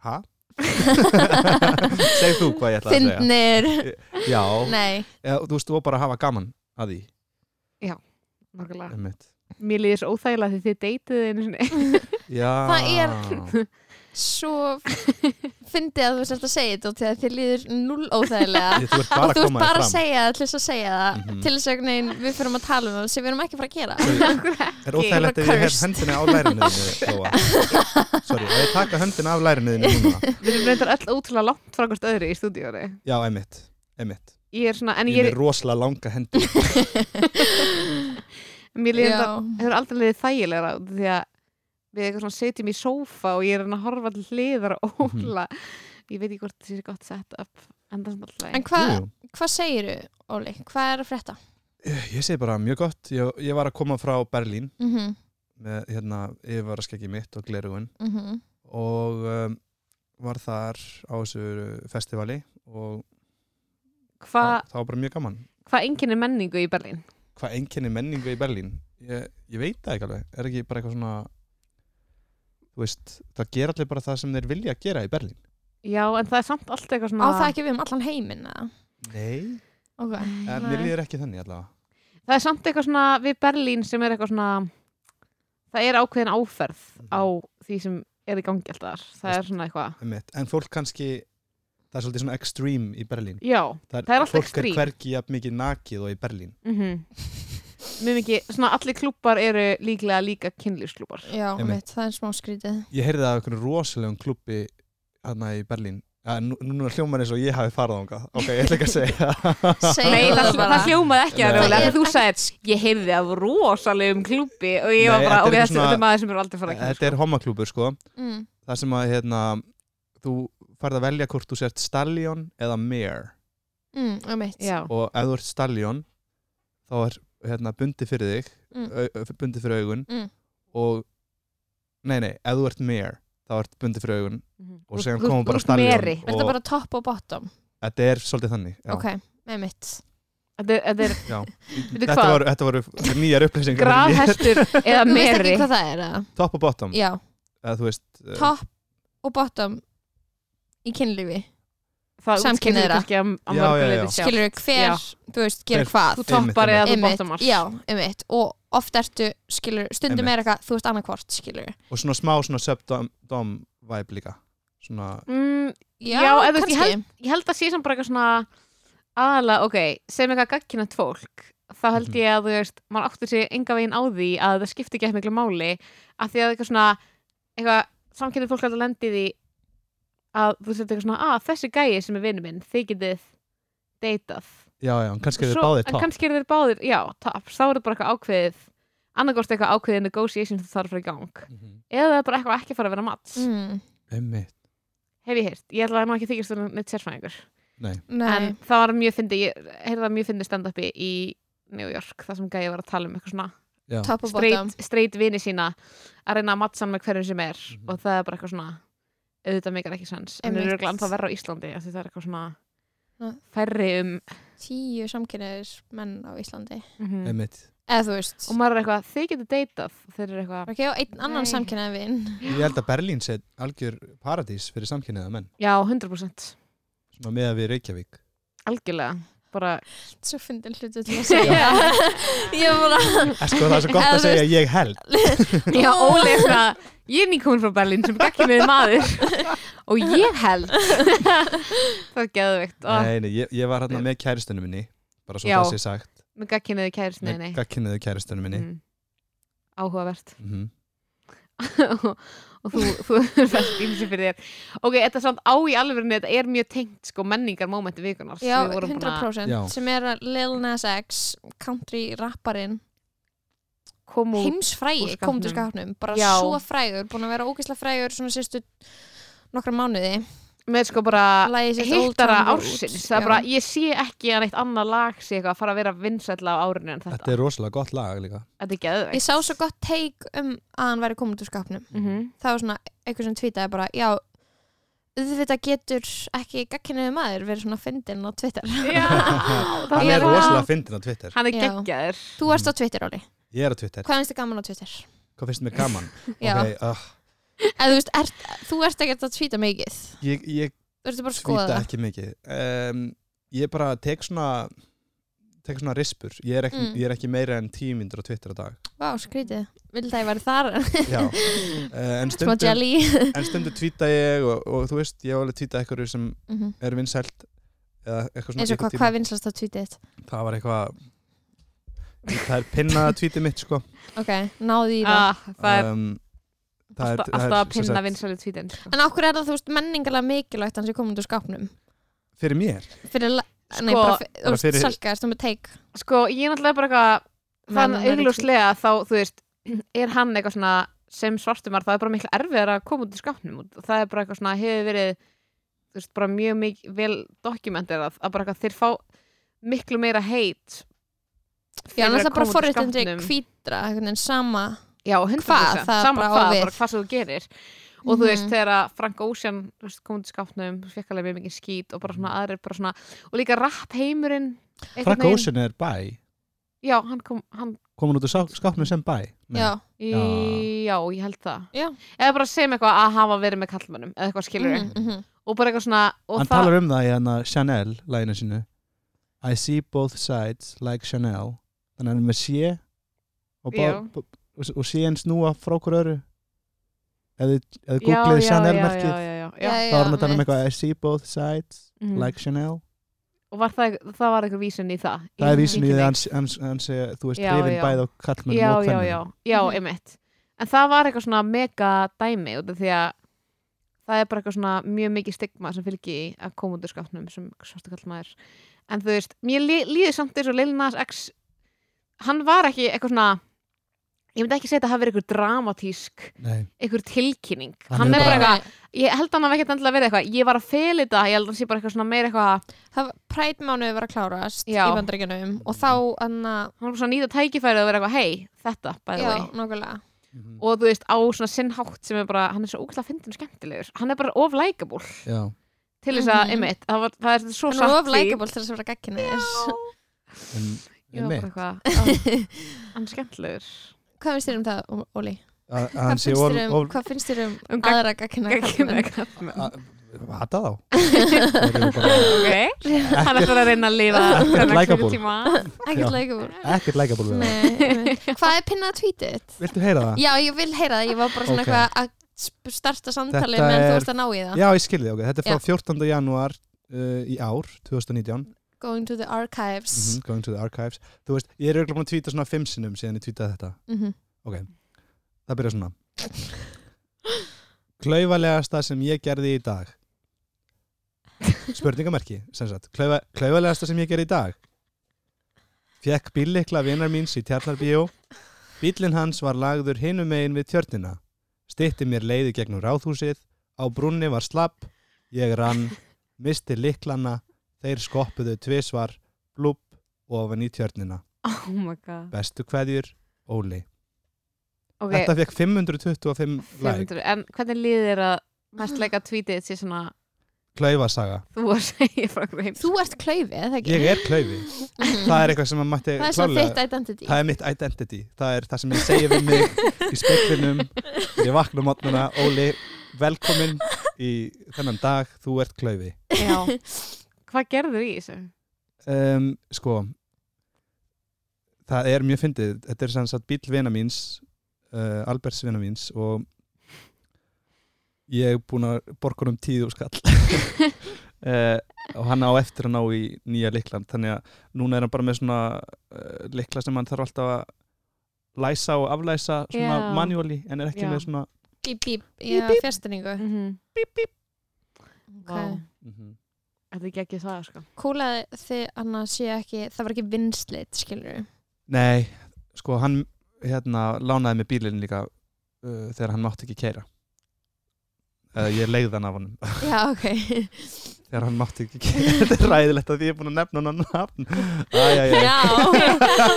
[SPEAKER 3] hæ? Segð þú hvað ég ætlaði að segja
[SPEAKER 2] Fyndnir,
[SPEAKER 3] Já,
[SPEAKER 2] nei
[SPEAKER 3] eða, þú veist, og bara hafa gaman að því
[SPEAKER 1] Nákvæmlega.
[SPEAKER 3] einmitt.
[SPEAKER 1] Mér líður svo óþægilega því þið deytið einu sinni.
[SPEAKER 3] Já,
[SPEAKER 2] Það svo fyndið að þú sérst að segja þetta og til að þér líður null óþægilega
[SPEAKER 3] Ég- þú ert bara
[SPEAKER 2] og þú
[SPEAKER 3] að
[SPEAKER 2] ert
[SPEAKER 3] koma þér
[SPEAKER 2] bara að
[SPEAKER 3] fram
[SPEAKER 2] segja það til þess að segja það
[SPEAKER 3] Mhm.
[SPEAKER 2] til þess að neginn, við fyrir að tala um það sem við erum ekki að fara að gera
[SPEAKER 3] Það er óþægilegt ef ég hef
[SPEAKER 2] Cursed.
[SPEAKER 3] höndina á lærinu þínu Lóa Sorry, ef ég taka höndina af lærinu þínu núna
[SPEAKER 1] Við erum reyndar öll ótrúlega langt frá hvert öðru í stúdíóri.
[SPEAKER 3] Já, emitt, emitt
[SPEAKER 1] Ég er svona, en
[SPEAKER 3] Ég er
[SPEAKER 1] ég,
[SPEAKER 3] með rosalega langa hendur
[SPEAKER 1] mér líður þetta
[SPEAKER 2] Já.
[SPEAKER 1] hefur aldrei liðið þægilegra út af því að við eitthvað svona setjum í sófa og ég er hann að horfa til hliðar og
[SPEAKER 3] Mhm.
[SPEAKER 1] óla ég veit ekki hvort það sé gott set up en það er svona alltaf
[SPEAKER 2] en
[SPEAKER 1] en,
[SPEAKER 2] hvað
[SPEAKER 3] Jú,
[SPEAKER 2] hva segiru, Óli? Hvað er að frétta?
[SPEAKER 3] Ég segi bara mjög gott Ég, ég var að koma frá Berlín
[SPEAKER 2] Mm -hmm.
[SPEAKER 3] með hérna yfirvaraskeggi mitt og glerugun
[SPEAKER 2] mhm.
[SPEAKER 3] og um, var þar á þessu festivali og
[SPEAKER 1] hvað
[SPEAKER 3] það var bara mjög gaman
[SPEAKER 1] hva enginn er menningu í Berlín?
[SPEAKER 3] Hvað enginni menningu í Berlín? Ég, ég veit það ekki alveg Er ekki bara eitthvað svona Þú veist, það gera allir bara það sem þeir vilja gera í Berlín
[SPEAKER 1] Já, en það er samt alltaf eitthvað
[SPEAKER 2] Á
[SPEAKER 1] svona
[SPEAKER 2] það ekki við um allan heiminn eða?
[SPEAKER 3] Nei
[SPEAKER 2] Ok,
[SPEAKER 3] En mér líður ekki þannig allavega.
[SPEAKER 1] það er samt eitthvað svona við Berlín sem er eitthvað svona það er ákveðin áferð á því sem er í gangi alltaf þar. það er svona eitthvað
[SPEAKER 3] Einmitt. En fólk kannski, það er svolítið svona extreme í Berlín.
[SPEAKER 1] já, Það er alltaf
[SPEAKER 3] fólk
[SPEAKER 1] extreme.
[SPEAKER 3] Fólk er hvergi jafn mikið nakið og í Berlín.
[SPEAKER 1] mhm mjög mikið, svona allir klúpar eru líklega líka kynlýfsklúpar
[SPEAKER 2] já,
[SPEAKER 3] Einmitt.
[SPEAKER 2] mitt, það er smá skrítið
[SPEAKER 3] Ég heyrði það af einhvern rosalegum klubbi hérna í Berlín. Ja, nú, núna hljómar eins og ég hafi farið þangað. Ok, ég ætla ekki að segja.
[SPEAKER 1] Nei,
[SPEAKER 2] Segðu
[SPEAKER 1] það,
[SPEAKER 2] það bara
[SPEAKER 1] það hljómaði ekki
[SPEAKER 3] Nei.
[SPEAKER 1] að
[SPEAKER 2] Það
[SPEAKER 1] rjóla
[SPEAKER 2] er
[SPEAKER 1] Þú sagði, ég heyrði af rosalegum klúpi og ég
[SPEAKER 3] Nei,
[SPEAKER 1] var bara, ok,
[SPEAKER 3] þetta er eitthvað
[SPEAKER 1] þetta
[SPEAKER 3] svona-
[SPEAKER 1] þetta er maður sem er aldrei fara að
[SPEAKER 3] Þetta er homaklúbur, sko.
[SPEAKER 2] mm.
[SPEAKER 3] Það sem að, hérna, þú farið að velja hvort þú sért stallion eða mare.
[SPEAKER 2] Mm, einmitt.
[SPEAKER 1] Já,
[SPEAKER 3] Og ef þú ert stallion, þá er, hérna, bundi fyrir þig,
[SPEAKER 2] Mm.
[SPEAKER 3] au, bundi fyrir augun.
[SPEAKER 2] Mm.
[SPEAKER 3] Og, nei, nei, ef þú ert mare, þá ert bundi fyrir augun. og
[SPEAKER 1] Þú-
[SPEAKER 3] segja
[SPEAKER 1] þú-
[SPEAKER 3] koma
[SPEAKER 1] þú
[SPEAKER 3] bara
[SPEAKER 1] ert
[SPEAKER 3] stallion
[SPEAKER 1] meri.
[SPEAKER 2] Er þetta
[SPEAKER 3] og
[SPEAKER 2] bara top og bottom?
[SPEAKER 3] þetta er svolítið þannig já,
[SPEAKER 2] Ok, með mitt
[SPEAKER 1] Þetta er- þetta er
[SPEAKER 3] já.
[SPEAKER 1] Veitu
[SPEAKER 3] þetta,
[SPEAKER 1] hvað?
[SPEAKER 3] voru, þetta voru nýjar upplýsingar
[SPEAKER 1] grafhestur eða
[SPEAKER 2] Þú veist
[SPEAKER 1] meri
[SPEAKER 2] ekki hvað það er eða?
[SPEAKER 3] top og bottom
[SPEAKER 2] Já,
[SPEAKER 3] eða, þú veist, eh,
[SPEAKER 2] top og bottom í kynlífi
[SPEAKER 1] Það útskýrir
[SPEAKER 2] samkynhneigðra.
[SPEAKER 1] kannski að að
[SPEAKER 3] Já,
[SPEAKER 1] mörgu
[SPEAKER 3] já, já.
[SPEAKER 1] leyti sjálft.
[SPEAKER 2] skilur hver,
[SPEAKER 1] Já.
[SPEAKER 2] þú veist, gera
[SPEAKER 3] Hver-
[SPEAKER 2] hvað
[SPEAKER 1] Þú toppar
[SPEAKER 3] Einmitt,
[SPEAKER 1] eða þú
[SPEAKER 2] Einmitt,
[SPEAKER 1] bottomar
[SPEAKER 2] já, einmitt og oft ertu, skilur, stundum
[SPEAKER 3] Einmitt.
[SPEAKER 2] er eitthvað þú ert annarkvort, skilur
[SPEAKER 3] og svona smá svona subdom dom vibe líka svona
[SPEAKER 1] Mm, Já, ef þú veist, ég Ég held að sé sem bara eitthvað svona aðalega, ok, sem eitthvað gagkinat fólk þá held
[SPEAKER 3] Mhm.
[SPEAKER 1] ég að þú veist, maður áttur sig enga veginn á því að það skipti ekki eftir miklu máli af því að eitthvað svona eitthvað, samkynnið fólk er alltaf lendið í því að þú veist eitthvað svona að þessi gæi sem er vinnu minn, þið getið deytað.
[SPEAKER 3] já, já, kannski eru
[SPEAKER 1] Svo-
[SPEAKER 3] báðið
[SPEAKER 1] En
[SPEAKER 3] top
[SPEAKER 1] kannski eru þeir báðir, já, top, þá eru bara eitthvað ákveðið annarkost eitthvað ákveðið negotiation sem þarf að fara í gang
[SPEAKER 3] Mhm.
[SPEAKER 1] eða það er bara eitthvað ekki að fara að vera mats
[SPEAKER 2] mm,
[SPEAKER 3] einmitt,
[SPEAKER 1] hef ég heyrt, ég ætla að nú ekki þykist þú neitt sérfræðingur
[SPEAKER 3] nei
[SPEAKER 2] Nei,
[SPEAKER 1] en það var mjög fyndi, ég heyrði það mjög fyndi stand-upi í New York þar sem gæði var að tala um eitthvað svona
[SPEAKER 3] Já.
[SPEAKER 2] top og bottom
[SPEAKER 1] streit, streit vini sína að reyna að mattsa hann með hverjum sem er
[SPEAKER 3] Mhm.
[SPEAKER 1] og það er bara eitthvað svona auðvitað mikar ekki sens en það
[SPEAKER 2] Einmitt.
[SPEAKER 1] eru örugglega ennþá verra á Íslandi af því það er eitthvað svona
[SPEAKER 2] Ja.
[SPEAKER 1] færri um
[SPEAKER 2] tíu samkynniðis menn á Íslandi
[SPEAKER 1] mhm.
[SPEAKER 3] Einmitt.
[SPEAKER 2] eða þú veist
[SPEAKER 1] og maður er eitthvað, þið getur deitað þeir eru eitthvað,
[SPEAKER 2] ok, og einn
[SPEAKER 1] Nei.
[SPEAKER 2] annan samkynniðin vin
[SPEAKER 3] Ég held að Berlín sé algjör paradís fyrir samkynniða menn,
[SPEAKER 1] já, 100%
[SPEAKER 3] svona með að við Reykjavík.
[SPEAKER 1] algjörlega, bara
[SPEAKER 2] svo fyndin hlutu til að segja ég var bara
[SPEAKER 3] Eh, Sko, það er svo gott
[SPEAKER 2] Eða
[SPEAKER 3] að
[SPEAKER 2] þú
[SPEAKER 3] segja ég held.
[SPEAKER 1] já, ólega eitthvað ég er nýkomin frá Berlín sem ekki með maður og ég held það er geðveikt og
[SPEAKER 3] Nei, nei, ég, ég var hérna með kæristunum minni, bara svo
[SPEAKER 1] Ah. Já.
[SPEAKER 3] það sé sagt.
[SPEAKER 1] með gagkinniðu kærisniðinni
[SPEAKER 3] Með gagkinniðu kæristunum minni.
[SPEAKER 1] mm. áhugavert
[SPEAKER 3] Mm -hmm.
[SPEAKER 1] og og þú, þú er fælt ímsi fyrir þér ok, þetta er samt á í alvegurinu þetta er mjög tengt sko menningar mómenti vikunar
[SPEAKER 2] já,
[SPEAKER 1] Við vorum búin að
[SPEAKER 2] 100%
[SPEAKER 3] Já.
[SPEAKER 2] sem er að Lil Nas X country rapparinn
[SPEAKER 1] koma út
[SPEAKER 2] heimsfrægi
[SPEAKER 1] úr
[SPEAKER 2] kom til
[SPEAKER 1] skápnum.
[SPEAKER 2] skapnum bara
[SPEAKER 1] Já.
[SPEAKER 2] svo frægur, búin að vera ógeðslega frægur svona sérstu nokkra mánuði
[SPEAKER 1] með sko bara
[SPEAKER 2] Lagið sitt Old
[SPEAKER 1] hittara
[SPEAKER 2] Town Road.
[SPEAKER 1] ársins það
[SPEAKER 2] Já.
[SPEAKER 1] er bara, ég sé ekki að neitt annað lag sé eitthvað að fara að vera vinsætla á árinu en
[SPEAKER 3] Þetta
[SPEAKER 1] þetta,
[SPEAKER 3] er rosalega gott lag líka.
[SPEAKER 1] þetta er geðveikt
[SPEAKER 2] ég sá svo gott teik um að hann væri komin til skapnum
[SPEAKER 1] Mhm.
[SPEAKER 2] það var svona eitthvað sem tweetaði bara já, auðvitað getur ekki gagkinniðu maður verið svona fyndin á Twitter
[SPEAKER 1] Mhm. Já,
[SPEAKER 3] Hann
[SPEAKER 1] það
[SPEAKER 2] Já.
[SPEAKER 3] er rosalega fyndin á Twitter.
[SPEAKER 1] hann er
[SPEAKER 2] Já.
[SPEAKER 1] geggjaður
[SPEAKER 2] þú varst á Twitter Óli,
[SPEAKER 3] Ég er á Twitter.
[SPEAKER 2] hvað finnst þið gaman á Twitter?
[SPEAKER 3] Hvað finnst mér gaman?
[SPEAKER 2] Já.
[SPEAKER 3] Ok, uh,
[SPEAKER 2] eða þú veist, ert, þú ert ekkert að tweeta mikið
[SPEAKER 3] ég, ég
[SPEAKER 2] þú ert bara að skoða
[SPEAKER 3] Svíta
[SPEAKER 2] það
[SPEAKER 3] ekki mikið um, Ég bara tek svona tek svona rispur Ég er ekki,
[SPEAKER 2] Mm.
[SPEAKER 3] ég er ekki meira en tíu myndur á Twitter á dag
[SPEAKER 2] vá, skrítið, vil það ég væri þar
[SPEAKER 3] Já uh, En
[SPEAKER 2] smá
[SPEAKER 3] stundum,
[SPEAKER 2] jelly
[SPEAKER 3] en stundum tvíta ég og, og þú veist, ég hef alveg tvítað eitthvað sem
[SPEAKER 2] Mhm.
[SPEAKER 3] er vinsælt eða eitthvað svona
[SPEAKER 2] eins og
[SPEAKER 3] yfir
[SPEAKER 2] hvað,
[SPEAKER 3] tíma.
[SPEAKER 2] hvað er vinslast á tweetið þitt?
[SPEAKER 3] Það var eitthvað Það er pinnað tvítið mitt sko
[SPEAKER 2] ok, náðu í það
[SPEAKER 1] ah, það er
[SPEAKER 3] um, það
[SPEAKER 1] alltaf,
[SPEAKER 3] það
[SPEAKER 1] alltaf að
[SPEAKER 3] sem
[SPEAKER 1] pinna
[SPEAKER 3] sagt,
[SPEAKER 1] vinsæli tvítin sko.
[SPEAKER 2] en okkur er það, þú veist, menningarlega mikilvægt hans er komin til skapnum
[SPEAKER 3] Fyrir mér
[SPEAKER 2] fyrir, la-
[SPEAKER 1] Sko,
[SPEAKER 2] nei, bara, fyr,
[SPEAKER 3] bara
[SPEAKER 2] þú veist,
[SPEAKER 3] fyrir-
[SPEAKER 2] salkaðist um að teik
[SPEAKER 1] sko, ég er náttúrulega bara eitthvað þann
[SPEAKER 2] Menn eru
[SPEAKER 1] augljóslega þá, þú veist er hann eitthvað svona sem svartumar það er bara miklu erfiðar að koma út í skápnum og það er bara eitthvað svona, hefur verið þú veist, bara mjög mikið vel dokumentir að, bara eitthvað þeir fá miklu meira heit fyrir
[SPEAKER 2] Já, en það
[SPEAKER 1] að
[SPEAKER 2] er bara
[SPEAKER 1] koma út úr
[SPEAKER 2] forréttindi
[SPEAKER 1] skápnum.
[SPEAKER 2] hvítra, einhvern veginn sama
[SPEAKER 1] Já, 100%
[SPEAKER 2] Hvað, það
[SPEAKER 1] sama
[SPEAKER 2] bara á
[SPEAKER 1] hvað,
[SPEAKER 2] við.
[SPEAKER 1] bara hvað sem þú gerir og þú veist,
[SPEAKER 2] Mhm.
[SPEAKER 1] þegar að Frank Ocean þú veist, kom til skápnum, fekk alveg mjög mikið skít og bara
[SPEAKER 2] Mhm.
[SPEAKER 1] svona aðrir, bara svona, og líka rapp heimurinn
[SPEAKER 3] Frank Ocean er bæ
[SPEAKER 1] Já, hann kom, hann,
[SPEAKER 3] komin út úr sá- skápnum sem bæ Nei.
[SPEAKER 2] Já,
[SPEAKER 1] í,
[SPEAKER 3] Já.
[SPEAKER 1] já, ég held það
[SPEAKER 2] Já.
[SPEAKER 1] Eða bara segjum eitthvað að hafa verið með kallmönnum eða eitthvað skilur
[SPEAKER 2] mhm, mhm.
[SPEAKER 1] og bara eitthvað svona og
[SPEAKER 3] hann talar um það í hana Chanel læginu sínu I see both sides like Chanel þannig að hann er með sé og,
[SPEAKER 1] Já.
[SPEAKER 3] bá- bá- og, og sé hann snúa frá okkur öru eða eða
[SPEAKER 1] Já,
[SPEAKER 3] googlaði
[SPEAKER 1] já,
[SPEAKER 3] um Chanel
[SPEAKER 1] já,
[SPEAKER 3] merkið
[SPEAKER 1] já, já, já,
[SPEAKER 2] Já,
[SPEAKER 1] já.
[SPEAKER 3] þá
[SPEAKER 2] já,
[SPEAKER 3] var hann að tala um
[SPEAKER 2] mitt.
[SPEAKER 3] eitthvað I see both sides
[SPEAKER 1] Mhm.
[SPEAKER 3] like Chanel
[SPEAKER 1] og var það, það var eitthvað vísun í það
[SPEAKER 3] það er vísin í því
[SPEAKER 1] það
[SPEAKER 3] að hann, hann, hann sé eh, þú veist
[SPEAKER 1] Já,
[SPEAKER 3] hrifin
[SPEAKER 1] já.
[SPEAKER 3] bæð á kallmenn
[SPEAKER 1] já,
[SPEAKER 3] og
[SPEAKER 1] já,
[SPEAKER 3] kvennum
[SPEAKER 1] já, já,
[SPEAKER 2] Mhm.
[SPEAKER 1] einmitt en það var eitthvað svona mega dæmi út af því að það er bara eitthvað svona mjög mikið stigma sem fylgir í að koma út úr skápnum sem svartu kall maður en þú veist, mér lí, líður samt eins og Lil Nas X hann var ekki eitthvað svona ég myndi ekki segja að það hafi verið eitthvað dramatísk
[SPEAKER 3] Nei,
[SPEAKER 1] eitthvað tilkynning
[SPEAKER 3] Hann
[SPEAKER 1] hann,
[SPEAKER 3] er
[SPEAKER 1] er
[SPEAKER 3] bara-
[SPEAKER 1] eitthvað, ég held að hann hafi ekkert endilega verið eitthvað ég var að feli þetta, ég held að hann sé bara eitthvað svona meira eitthvað
[SPEAKER 2] Það var prætmánuði var að klárast
[SPEAKER 1] Já.
[SPEAKER 2] í bandaríkjanum og þá anna,
[SPEAKER 1] hann var svona að nýta tækifærið að vera eitthvað hei, þetta, bæði
[SPEAKER 2] já,
[SPEAKER 1] vei
[SPEAKER 2] nákvæmlega
[SPEAKER 3] Mhm.
[SPEAKER 1] og þú veist, á svona sinnhátt sem er bara hann er svo ógætlega fyndin og skemmtilegur hann er bara of likeable
[SPEAKER 3] já.
[SPEAKER 1] til þess að,
[SPEAKER 2] Mhm.
[SPEAKER 1] einmitt, það, var, það er svo
[SPEAKER 2] hann
[SPEAKER 1] satt
[SPEAKER 2] er of
[SPEAKER 1] því.
[SPEAKER 2] likeable til þess að vera gagkinni
[SPEAKER 3] En,
[SPEAKER 1] Ég var bara
[SPEAKER 3] einmitt,
[SPEAKER 1] eitthvað, "Ah, hann er skemmtilegur
[SPEAKER 2] hvað finnst þér um það, Ó- Óli?
[SPEAKER 3] að að hann
[SPEAKER 2] Hvað
[SPEAKER 3] sé
[SPEAKER 2] finnst
[SPEAKER 3] of-
[SPEAKER 2] þér um,
[SPEAKER 3] of-
[SPEAKER 2] hvað finnst þér um,
[SPEAKER 1] Um gagn-
[SPEAKER 2] aðra gagkinna
[SPEAKER 1] Gagnkynhneigð karlmenn.
[SPEAKER 3] hata þá Það er bara
[SPEAKER 1] ok, hann er bara að reyna að lifa
[SPEAKER 3] Ekkert
[SPEAKER 1] þennan
[SPEAKER 3] likeable.
[SPEAKER 1] klukkutíma.
[SPEAKER 3] Já.
[SPEAKER 2] ekkert likeable
[SPEAKER 3] ekkert lækabúl við það
[SPEAKER 2] Nei, nei. hvað er pinnað tweetið?
[SPEAKER 3] Viltu heyra það?
[SPEAKER 2] já, ég vil heyra það, ég var bara svona
[SPEAKER 3] Ok.
[SPEAKER 2] eitthvað að sp- starta samtalið
[SPEAKER 3] Þetta
[SPEAKER 2] meðan þú
[SPEAKER 3] er-
[SPEAKER 2] varst að ná í það
[SPEAKER 3] Já, ég skilði, ok. Þetta er frá 14. janúar uh, í ár, 2019.
[SPEAKER 2] going to the archives
[SPEAKER 3] Mm going to the archives. Þú veist, ég er auðvitað búin að tvíta svona fimm sinnum síðan ég tvítaði þetta.
[SPEAKER 2] Mhm.
[SPEAKER 3] Það byrja svona. Klaufalegasta sem ég gerði í dag. Spurningamerki, sem sagt. Klaufa, klaufalegasta sem ég gerði í dag. Fjekk bíllikla vinnar míns í Tjarnarbíó. Bíllinn hans var lagður hinum megin við tjörnina. Stitti mér leiði gegnum ráðhúsið. Á brúnni var slapp. Ég rann, misti liklana. Þeir skoppuðu tvisvar, blúpp, ofan í tjörnina.
[SPEAKER 1] Oh my god
[SPEAKER 3] Bestu kveðjur, Óli
[SPEAKER 1] Ok,
[SPEAKER 3] Þetta fekk 525 like
[SPEAKER 1] 500, en hvernig líður þér að mestleika tweetið sé svona
[SPEAKER 3] Klaufasaga,
[SPEAKER 1] þú að segja frá hverjum
[SPEAKER 2] Þú ert klaufið, það ekki? Mhm.
[SPEAKER 3] ég er klaufi Það er eitthvað sem maður mætti
[SPEAKER 2] það er svo
[SPEAKER 3] klárlega-
[SPEAKER 2] þitt identity.
[SPEAKER 3] Það er mitt identity, það er það sem ég segi við mig í speklinum, ég vakna á mótnuna, Óli, velkomin í þennan dag, þú ert klaufi.
[SPEAKER 1] Já. Hvað gerður í þessu?
[SPEAKER 3] Um, sko, það er mjög fyndið, þetta er sem sagt bíl vina míns, uh, Alberts vina míns og ég er búin að borga um tíð og skall uh, og hann á eftir að ná í nýja liklan, þannig að núna er hann bara með svona uh, likla sem hann þarf alltaf að læsa og aflæsa svona
[SPEAKER 1] Já.
[SPEAKER 3] manuáli en er ekki
[SPEAKER 1] Já.
[SPEAKER 3] með svona
[SPEAKER 2] Bíp, bíp,
[SPEAKER 1] Bíp,
[SPEAKER 2] já,
[SPEAKER 1] bíp.
[SPEAKER 2] fjastningu.
[SPEAKER 1] Mm -hmm.
[SPEAKER 2] Okay.
[SPEAKER 3] mm
[SPEAKER 1] Mhm.
[SPEAKER 3] -hmm.
[SPEAKER 1] Þetta er ekki það sko
[SPEAKER 2] Kúlaði þið annars sé ekki, það var ekki vinslit, skilur við.
[SPEAKER 3] Nei, sko hann hérna lánaði með bílinn líka uh, þegar hann mátti ekki keira eða ég leiði hann af honum
[SPEAKER 2] Já, ok.
[SPEAKER 3] þegar hann mátti ekki keira þetta er ræðilegt að því ég er búin að nefna hann nafn Æ, já, já.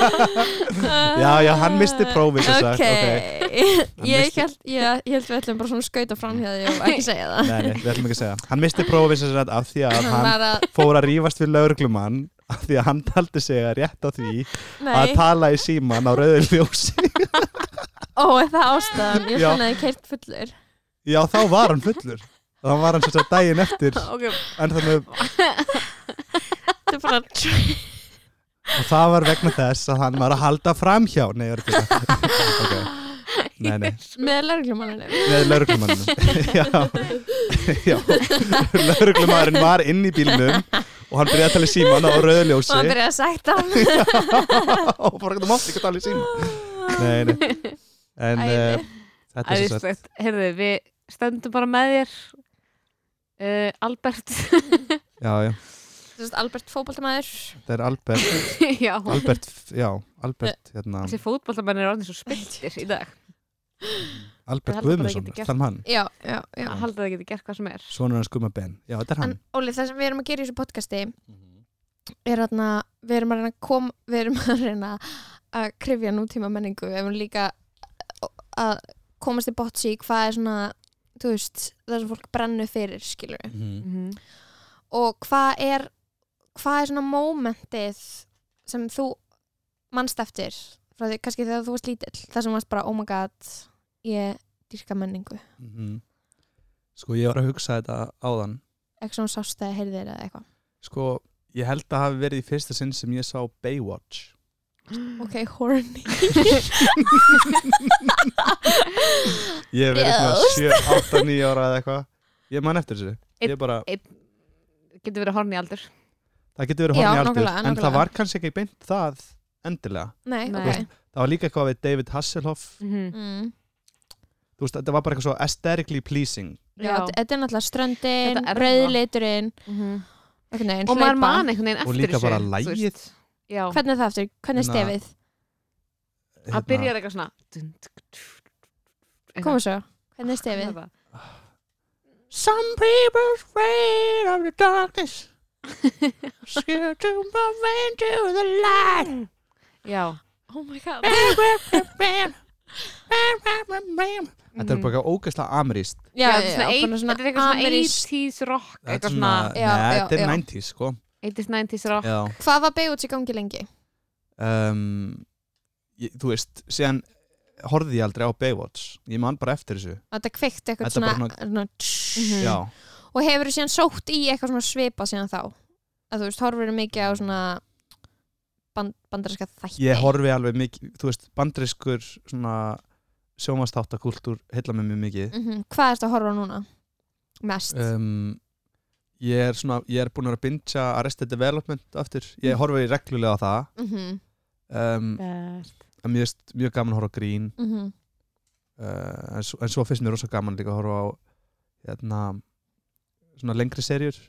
[SPEAKER 3] já, já, hann misti prófið sem sagt,
[SPEAKER 2] Ok,
[SPEAKER 3] Hann
[SPEAKER 2] ég
[SPEAKER 3] missti-
[SPEAKER 2] held, já, ég held við ætlum bara svona að skauta fram hjá því og ekki segja það.
[SPEAKER 3] Nei, nei, við ætlum ekki að segja Hann misti prófið sem sagt af því að
[SPEAKER 2] Hann
[SPEAKER 3] hann
[SPEAKER 2] var að,
[SPEAKER 3] fór að rífast við lauruglumann af því að hann taldi sig að rétta því að
[SPEAKER 2] nei,
[SPEAKER 3] tala í síman á rauðu ljósi
[SPEAKER 2] ó, er það ástæðan, ég
[SPEAKER 3] Já.
[SPEAKER 2] fann að þið keirt fullur.
[SPEAKER 3] Já, þá var hann fullur þá var hann sem sagt daginn eftir
[SPEAKER 1] Ok,
[SPEAKER 3] en þannig,
[SPEAKER 2] Þetta er bara,
[SPEAKER 3] og það var vegna þess að hann var að halda framhjá Nei, ég er ekki það okay. Nei, nei,
[SPEAKER 2] með lörglumanninu.
[SPEAKER 3] með lauruglumannum Já, já Lauruglumannurinn var inn í bílnum og hann byrjaði að tala í síman á
[SPEAKER 2] Og
[SPEAKER 3] rauðu
[SPEAKER 2] hann
[SPEAKER 3] ljósi
[SPEAKER 2] byrjaði að sætta hann.
[SPEAKER 3] og bara þú mátt ekki að tala í síman Nei, nei En
[SPEAKER 2] Æði.
[SPEAKER 3] uh, þetta er sem sagt
[SPEAKER 1] æðislegt Herðu, við stöndum bara með þér uh, Albert
[SPEAKER 3] Já, já,
[SPEAKER 2] Þú veist, Albert fótboltamaður.
[SPEAKER 3] þetta er Albert
[SPEAKER 1] Já,
[SPEAKER 3] Albert, já, Albert hérna,
[SPEAKER 1] þessi fótballamenn er orðin svo spiltir í dag Ég
[SPEAKER 3] Albert
[SPEAKER 1] held að bara
[SPEAKER 3] Guðmundsson,
[SPEAKER 1] geti gert-
[SPEAKER 3] þann mann
[SPEAKER 2] Já, já, já.
[SPEAKER 1] að halda það getur gert hvað sem er
[SPEAKER 3] Svonur hans Guma Ben, já, þetta er hann
[SPEAKER 2] En Óli, það sem við erum að gera í þessu podcasti er að við erum að reyna að kom, við erum að reyna að krifja nútíma menningu við erum líka að komast í botts í hvað er svona þú veist, það sem fólk brennu fyrir skilur við,
[SPEAKER 3] Mhm.
[SPEAKER 1] mm
[SPEAKER 2] og hvað er hvað er svona mómentið sem þú manst eftir frá því, kannski þegar þú varst lítill það sem varst bara, oh my god ég dýrka menningu,
[SPEAKER 3] Mhm. Sko, ég var að hugsa þetta áðan
[SPEAKER 2] eitthvað svona sást eða heyrðir eða eitthvað,
[SPEAKER 3] Sko, ég held að hafi verið í fyrsta sinn sem ég sá Baywatch
[SPEAKER 1] Mm.
[SPEAKER 2] ok, horny
[SPEAKER 3] Ég hef verið svona 7, 8, 9 ára eða eitthvað Ég man eftir þessu Ég
[SPEAKER 1] Einn-
[SPEAKER 3] bara,
[SPEAKER 1] Getur verið horni aldur
[SPEAKER 3] það getur verið
[SPEAKER 2] Já,
[SPEAKER 3] horni aldur
[SPEAKER 2] nákvæmlega,
[SPEAKER 3] En það
[SPEAKER 2] nákvæmlega.
[SPEAKER 3] var kannski ekki beint það endilega
[SPEAKER 2] nei,
[SPEAKER 1] Nei.
[SPEAKER 2] ok
[SPEAKER 3] Það var líka eitthvað við David Hasselhoff
[SPEAKER 1] mm.
[SPEAKER 2] mm.
[SPEAKER 3] Þú veist, þetta var bara eitthvað svo aesthetically pleasing
[SPEAKER 2] Já,
[SPEAKER 1] Já.
[SPEAKER 2] þetta er náttúrulega ströndin,
[SPEAKER 1] Þetta er það.
[SPEAKER 2] rauðleiturinn
[SPEAKER 1] -hmm.
[SPEAKER 2] einhvern veginn,
[SPEAKER 1] Og maður
[SPEAKER 2] hlaupa.
[SPEAKER 1] man einhvern veginn eftir
[SPEAKER 3] Og líka bara
[SPEAKER 1] þessu, þú
[SPEAKER 3] lagið.
[SPEAKER 1] veist. Já,
[SPEAKER 2] Hvernig er það aftur? Hvernig er
[SPEAKER 3] Hérna,
[SPEAKER 2] stefið?
[SPEAKER 1] það byrjar eitthvað svona Dun, dun, dun, dun.
[SPEAKER 2] Komum svo, hvernig er
[SPEAKER 1] Hvað
[SPEAKER 2] stefið?
[SPEAKER 1] er það?
[SPEAKER 3] Some people afraid of the darkness Scared to move into the light
[SPEAKER 1] Já
[SPEAKER 2] Oh my god
[SPEAKER 3] Þetta er bara eitthvað ógeðslega ameríst
[SPEAKER 2] Já, Ah,
[SPEAKER 1] þetta er svona eight-
[SPEAKER 2] bara
[SPEAKER 1] þetta er eitthvað svona
[SPEAKER 2] amerískt.
[SPEAKER 1] 80s rock
[SPEAKER 3] Þetta
[SPEAKER 1] Eitthvað
[SPEAKER 3] er
[SPEAKER 1] svona
[SPEAKER 3] svona,
[SPEAKER 2] Já,
[SPEAKER 3] neða,
[SPEAKER 2] já,
[SPEAKER 3] þetta er
[SPEAKER 2] já.
[SPEAKER 3] 90s sko
[SPEAKER 1] 80s, 90s rock
[SPEAKER 3] Já
[SPEAKER 2] Hvað var Baywatch í gangi lengi?
[SPEAKER 3] um, ég, Þú veist, síðan horfði ég aldrei á Baywatch Ég man bara eftir þessu
[SPEAKER 2] Þetta kveikt eitthvað
[SPEAKER 3] Þetta er
[SPEAKER 2] svona,
[SPEAKER 3] bara
[SPEAKER 2] svona
[SPEAKER 1] Mhm.
[SPEAKER 3] Já,
[SPEAKER 2] Og hefur þú síðan sótt í eitthvað svona svipa síðan þá? Að þú veist, horfur þú mikið á svona band, bandarinska þætti?
[SPEAKER 3] ég horfi alveg mikið Þú veist, bandriskur svona sjómastáttakultúr heilla með mjög mikið
[SPEAKER 2] Mhm. Hvað ertu að horfa á núna? Mest?
[SPEAKER 3] um, Ég er svona, ég er búin að bingja Arrested Development aftur
[SPEAKER 2] Mm.
[SPEAKER 3] Ég horfi reglulega á það
[SPEAKER 2] Mhm,
[SPEAKER 3] um,
[SPEAKER 1] Best.
[SPEAKER 3] en Mér finnst mjög gaman að horfa á Green
[SPEAKER 2] mhm.
[SPEAKER 3] uh, en, svo, en svo finnst mér rosa gaman líka að horfa á hérna, svona lengri serjur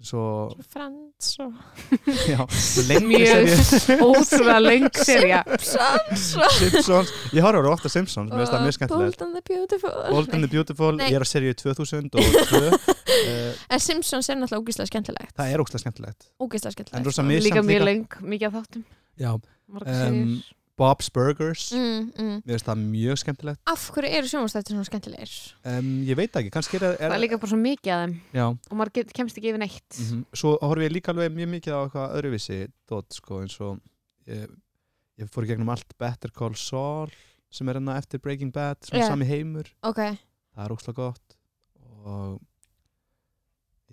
[SPEAKER 3] svo
[SPEAKER 2] Frans og
[SPEAKER 3] já, lengri
[SPEAKER 1] Mjög
[SPEAKER 3] serjur
[SPEAKER 1] Ótrúlega löng serja
[SPEAKER 2] Simpsons og
[SPEAKER 3] Simpsons, ég horfa á ofta Simpsons mér finnst það mjög skemmtilegt
[SPEAKER 2] Bold and the Beautiful
[SPEAKER 3] Bold and the Beautiful,
[SPEAKER 2] Nei.
[SPEAKER 3] ég er á serju 2002 uh,
[SPEAKER 2] En Simpsons er náttúrulega ógeðslega skemmtilegt
[SPEAKER 3] það er ógstlega skemmtilegt
[SPEAKER 2] Ógeðslega
[SPEAKER 3] en
[SPEAKER 2] skemmtilegt
[SPEAKER 3] rosa misjafnt
[SPEAKER 1] Líka mjög
[SPEAKER 3] líka,
[SPEAKER 1] löng, mikið af þáttum
[SPEAKER 3] Já,
[SPEAKER 1] um,
[SPEAKER 3] Em, Bob's Burgers
[SPEAKER 2] mm, mm.
[SPEAKER 3] Mér finnst það mjög skemmtilegt
[SPEAKER 2] af hverju eru sjónvastættir svona skemmtilegir
[SPEAKER 3] um, Ég veit það ekki, kannski er, er
[SPEAKER 1] það er líka bara svo mikið af þeim
[SPEAKER 3] Já,
[SPEAKER 1] og maður get, kemst ekki yfir neitt
[SPEAKER 3] mm Svo horfi ég líka alveg mjög mikið á eitthvað öðruvísi dot, sko, eins og ég, ég fór í gegnum allt Better Call Saul sem er hérna eftir Breaking Bad, svona
[SPEAKER 2] Já.
[SPEAKER 3] sami heimur
[SPEAKER 2] ok,
[SPEAKER 3] það er óslega gott og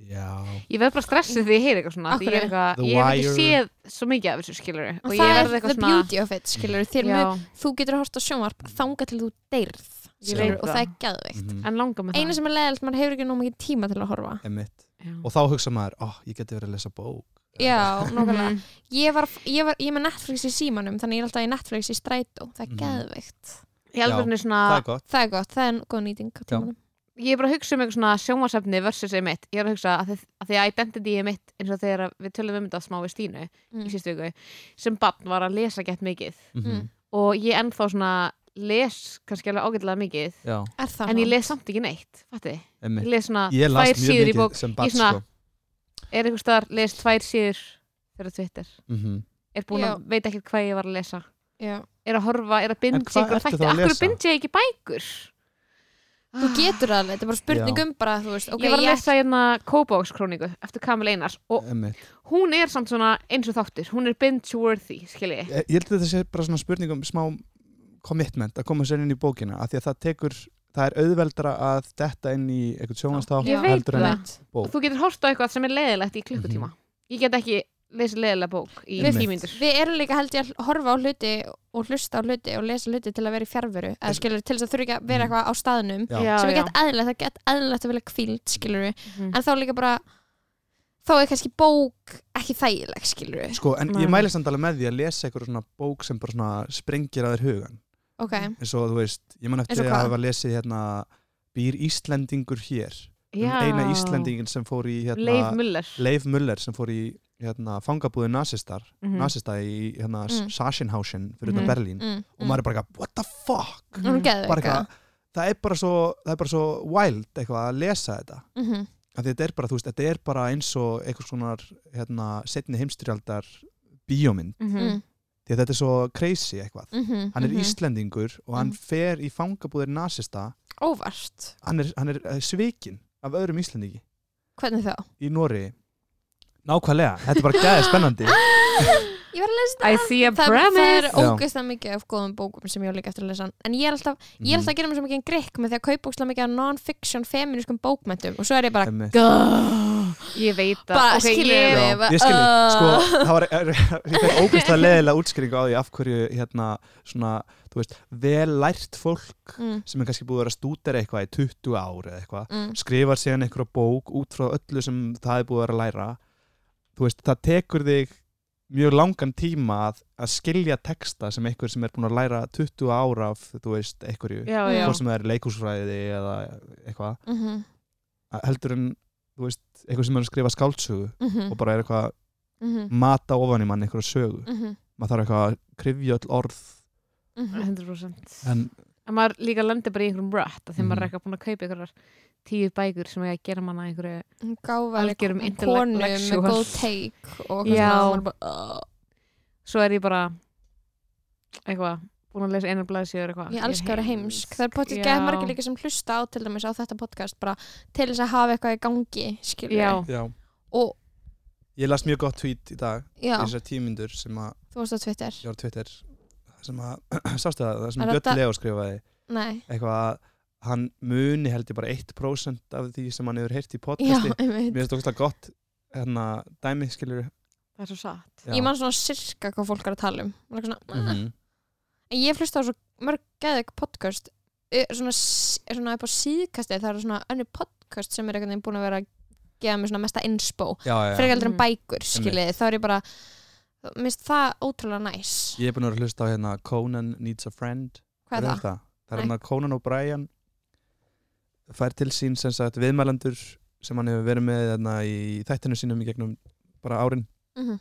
[SPEAKER 3] já,
[SPEAKER 1] ég verð bara stressið því ég heyri eitthvað svona
[SPEAKER 2] Af
[SPEAKER 1] því ég er
[SPEAKER 2] hverju?
[SPEAKER 1] eitthvað,
[SPEAKER 3] The
[SPEAKER 1] ég hef ekki
[SPEAKER 3] Wire.
[SPEAKER 1] séð svo mikið af þessu skiluru og
[SPEAKER 2] og
[SPEAKER 1] ég
[SPEAKER 2] það er
[SPEAKER 1] verð
[SPEAKER 2] the
[SPEAKER 1] eitthvað svona Mm,
[SPEAKER 2] beauty of it skilur þér
[SPEAKER 1] já,
[SPEAKER 2] með, þú getur að horta sjónvarp þanga til þú deyrð
[SPEAKER 3] Ég
[SPEAKER 2] skilur,
[SPEAKER 1] veit
[SPEAKER 2] og
[SPEAKER 1] það.
[SPEAKER 2] það er gæðveikt
[SPEAKER 3] mhm,
[SPEAKER 1] en langar með
[SPEAKER 2] eina sem er leðilt, maður hefur ekki nú mikið tíma til að horfa
[SPEAKER 3] emitt
[SPEAKER 1] það
[SPEAKER 3] og þá hugsa maður, ó, ég geti verið að lesa bók
[SPEAKER 2] já, nokkulega
[SPEAKER 1] Mhm.
[SPEAKER 2] ég, var, ég, var, ég er með Netflix í símanum þannig ég er alltaf í Netflix í strætó það er
[SPEAKER 3] Mhm.
[SPEAKER 2] mm. geðveikt,
[SPEAKER 1] Í alvörinu svona,
[SPEAKER 3] það er gott
[SPEAKER 2] það er gott, það er góð nýting á tímanum
[SPEAKER 1] ég er bara að hugsa um eitthvað svona sjónvarsefni versus ég mitt, ég er að hugsa að því, að því að identity er mitt eins og þegar að við tölum um þetta smá við Stínu í
[SPEAKER 2] mm.
[SPEAKER 1] sístu viku sem barn var að lesa gett mikið
[SPEAKER 3] mm
[SPEAKER 2] Mm.
[SPEAKER 1] og ég ennþá svona les kannski alveg ágætlega mikið
[SPEAKER 3] já,
[SPEAKER 2] er það
[SPEAKER 1] en ég
[SPEAKER 2] nú?
[SPEAKER 1] les samt ekki neitt, fatti ég
[SPEAKER 3] emitt
[SPEAKER 1] les svona
[SPEAKER 3] ég las
[SPEAKER 1] tvær
[SPEAKER 3] mjög
[SPEAKER 1] síður í
[SPEAKER 3] mikið
[SPEAKER 1] bók
[SPEAKER 3] sem barn,
[SPEAKER 1] í svona-
[SPEAKER 3] sko
[SPEAKER 1] er einhver staðar, les tvær síður fyrir Twitter,
[SPEAKER 3] Mhm.
[SPEAKER 1] er búin að veit ekki hvað ég var að lesa
[SPEAKER 2] Já.
[SPEAKER 1] er að horfa, er að bindja
[SPEAKER 3] En hvað
[SPEAKER 1] ykkur
[SPEAKER 3] ertu
[SPEAKER 1] þætti,
[SPEAKER 3] þá að
[SPEAKER 1] af hverju
[SPEAKER 3] lesa?
[SPEAKER 1] bindja ég ekki bækur
[SPEAKER 2] þú getur það alveg, þetta er bara spurning
[SPEAKER 3] Já.
[SPEAKER 2] um bara þú veist, ok,
[SPEAKER 1] ég var að
[SPEAKER 2] ég-
[SPEAKER 1] lesa hérna Kóbókskróningu eftir Kamil Einars og
[SPEAKER 3] Einmitt.
[SPEAKER 1] hún er samt svona eins og þáttur, hún er binge-worthy skilji,
[SPEAKER 3] Eh, ég ég held að þetta sé bara svona spurning um smá commitment að koma sér inn í bókina af því að það tekur, það er auðveldra að detta inn í eitthvað sjónastátt
[SPEAKER 1] Ég veit
[SPEAKER 3] heldur en
[SPEAKER 1] það.
[SPEAKER 2] Einmitt.
[SPEAKER 3] bók.
[SPEAKER 1] þú getur horft á eitthvað sem er leiðilegt í klukkutíma ég get ekki lesið leiðilega bók í
[SPEAKER 3] Mhm. Einmitt.
[SPEAKER 1] tímyndur
[SPEAKER 2] Við erum líka held ég að horfa á hluti og hlusta á hluti og lesa hluti til að vera í fjarveru eða skilur til þess að þurfa ekki að
[SPEAKER 3] Mm.
[SPEAKER 2] vera eitthvað á staðnum
[SPEAKER 3] Já.
[SPEAKER 1] Já,
[SPEAKER 2] sem er
[SPEAKER 1] já.
[SPEAKER 2] gett eðlilegt, það er gett eðlilegt að vilja kvíld skilur
[SPEAKER 1] Mhm.
[SPEAKER 2] en þá líka bara þá er kannski bók ekki þægileg skilur
[SPEAKER 3] sko, en
[SPEAKER 1] Nei.
[SPEAKER 3] ég mæli samt alveg með því að lesa eitthvað svona bók sem bara svona sprengir að þér hugan
[SPEAKER 2] ok,
[SPEAKER 3] eins og þú veist, ég man
[SPEAKER 2] Eins og
[SPEAKER 3] eftir
[SPEAKER 2] hvað?
[SPEAKER 3] að hafa lesið hérna býr Íslendingur hér um eina Íslendingin sem fór í
[SPEAKER 1] Leif
[SPEAKER 3] hérna,
[SPEAKER 1] Muller
[SPEAKER 3] Leif Muller sem fór í hérna, fangabúðu nasistar
[SPEAKER 1] Mhm.
[SPEAKER 3] nasista í hérna,
[SPEAKER 2] Mm.
[SPEAKER 3] mm. Sachsenhausen fyrir utan
[SPEAKER 1] Mhm.
[SPEAKER 3] Berlín
[SPEAKER 2] mm,
[SPEAKER 3] og maður er bara eitthvað, what the fuck
[SPEAKER 2] mm. hún
[SPEAKER 3] bara
[SPEAKER 2] geðveika
[SPEAKER 3] eitthvað, það er bara svo það er bara svo wild eitthvað að lesa þetta
[SPEAKER 2] Mhm.
[SPEAKER 3] af því þetta er bara, þú veist, þetta er bara eins og eitthvað svona hérna, setni heimstyrjaldar bíómynd
[SPEAKER 1] Mhm.
[SPEAKER 2] Mm,
[SPEAKER 3] því að þetta er svo crazy eitthvað
[SPEAKER 2] mhm,
[SPEAKER 3] hann er
[SPEAKER 2] mhm.
[SPEAKER 3] Íslendingur og hann
[SPEAKER 2] Mhm.
[SPEAKER 3] fer í fangabúðir nasista
[SPEAKER 2] óvart,
[SPEAKER 3] hann er, hann er eh, svikinn af öðrum Íslendingi
[SPEAKER 2] hvernig þá?
[SPEAKER 3] í Nóri nákvæmlega, þetta er bara gæði spennandi
[SPEAKER 2] ég var að lesa
[SPEAKER 1] I see a
[SPEAKER 2] það það er
[SPEAKER 1] premise
[SPEAKER 3] Já.
[SPEAKER 2] ógeðslega mikið af góðum bókum sem ég á líka eftir að lesa en ég er alltaf ég er
[SPEAKER 3] Mhm.
[SPEAKER 2] alltaf að gera mér svo mikið en grikk með því að kaupa ógstlega mikið af non-fiction feminískum bókmyndum og svo er ég bara
[SPEAKER 3] Einmitt.
[SPEAKER 1] ég veit að
[SPEAKER 2] bara
[SPEAKER 1] ok,
[SPEAKER 2] skilur
[SPEAKER 1] ég-
[SPEAKER 3] Já,
[SPEAKER 2] mig
[SPEAKER 3] ég skil þig. sko, það var er, er, ógæðslega leðilega útskýring á því af hverju hérna, svona, þú veist, vel lært fólk
[SPEAKER 2] mm,
[SPEAKER 3] sem er kannski búið að vera stúdera eitthvað í 20 ár eða eitthvað
[SPEAKER 2] mm,
[SPEAKER 3] skrifar síðan einhverja bók út frá öllu sem það er búið að vera að læra þú veist, það tekur þig mjög langan tíma að, að skilja texta sem einhver sem er búin að læra 20 ára af, þú veist, einhverju
[SPEAKER 1] já, já.
[SPEAKER 3] hvort sem það er leikúsfræði eða eitthvað
[SPEAKER 1] mm-hmm,
[SPEAKER 2] mhm,
[SPEAKER 3] að heldur en, þú veist, einhver sem er að skrifa skáldsögu
[SPEAKER 2] mhm,
[SPEAKER 1] mm-hmm,
[SPEAKER 3] og bara er eitthvað að
[SPEAKER 2] mhm,
[SPEAKER 3] mata ofan í mann einhverja sögu
[SPEAKER 1] mm-hmm,
[SPEAKER 2] mhm,
[SPEAKER 3] maður þarf eitthvað að krifja öll orð
[SPEAKER 2] mhm.
[SPEAKER 1] 100%
[SPEAKER 3] en,
[SPEAKER 1] en maður líka lendir bara í einhverjum rött af því maður er
[SPEAKER 3] Mhm.
[SPEAKER 1] eitthvað búin að kaupa einhverjar tíu bækur sem eiga að gera manna einhverju
[SPEAKER 2] Hún gáfaði
[SPEAKER 1] Algjörum
[SPEAKER 2] konu með
[SPEAKER 1] intellectual.
[SPEAKER 2] góð teik og eitthvað
[SPEAKER 1] Já.
[SPEAKER 2] svona, og maður bara, "Ugh."
[SPEAKER 1] svo er ég bara eitthvað, búin að lesa einar blaðsíður eitthvað
[SPEAKER 2] ég elska að vera heimsk það er potið
[SPEAKER 1] Já.
[SPEAKER 2] gæð margir líka sem hlusta á til dæmis á þetta podcast bara til þess að hafa eitthvað í gangi skilur
[SPEAKER 1] já,
[SPEAKER 3] já,
[SPEAKER 2] og
[SPEAKER 3] ég las mjög gott tweet í dag
[SPEAKER 2] já,
[SPEAKER 3] í þessar tímyndur sem að
[SPEAKER 2] þú varst á Twitter
[SPEAKER 3] ég var á Twitter sem að, sástu það, það sem
[SPEAKER 2] Er
[SPEAKER 3] Björn
[SPEAKER 2] þetta-
[SPEAKER 3] Leo skrifaði
[SPEAKER 2] nei,
[SPEAKER 3] eitthvað að hann muni held ég bara 1% af því sem hann hefur heyrt í
[SPEAKER 2] já,
[SPEAKER 3] podcasti
[SPEAKER 2] einmitt
[SPEAKER 3] mér finnst okkur gott hérna, dæmi skilur
[SPEAKER 1] það er svo satt
[SPEAKER 2] ég man svona sirka hvað fólk er að tala um Maður er eitthvað svona,
[SPEAKER 3] mm -hmm.
[SPEAKER 2] En ég hlusta á svo mörg geðug podcast ö, svona, s- svona upp á síðkasti það eru svona önnu podcast sem er einhvern veginn búin að vera að gefa mér svona mesta inspo
[SPEAKER 3] já, já,
[SPEAKER 2] frekar heldur en
[SPEAKER 1] Mm.
[SPEAKER 2] bækur skilið þá er ég bara minnst það ótrúlega næs
[SPEAKER 3] ég er búin að vera að hlusta á hérna Conan Needs a Friend
[SPEAKER 2] hvað er það?
[SPEAKER 3] það? það er
[SPEAKER 2] Nei.
[SPEAKER 3] hérna Conan O'Brien fær til sín sem sagt viðmælandur sem hann hefur verið með hérna, í þættinu sínum í gegnum bara árin
[SPEAKER 2] Mm -hmm.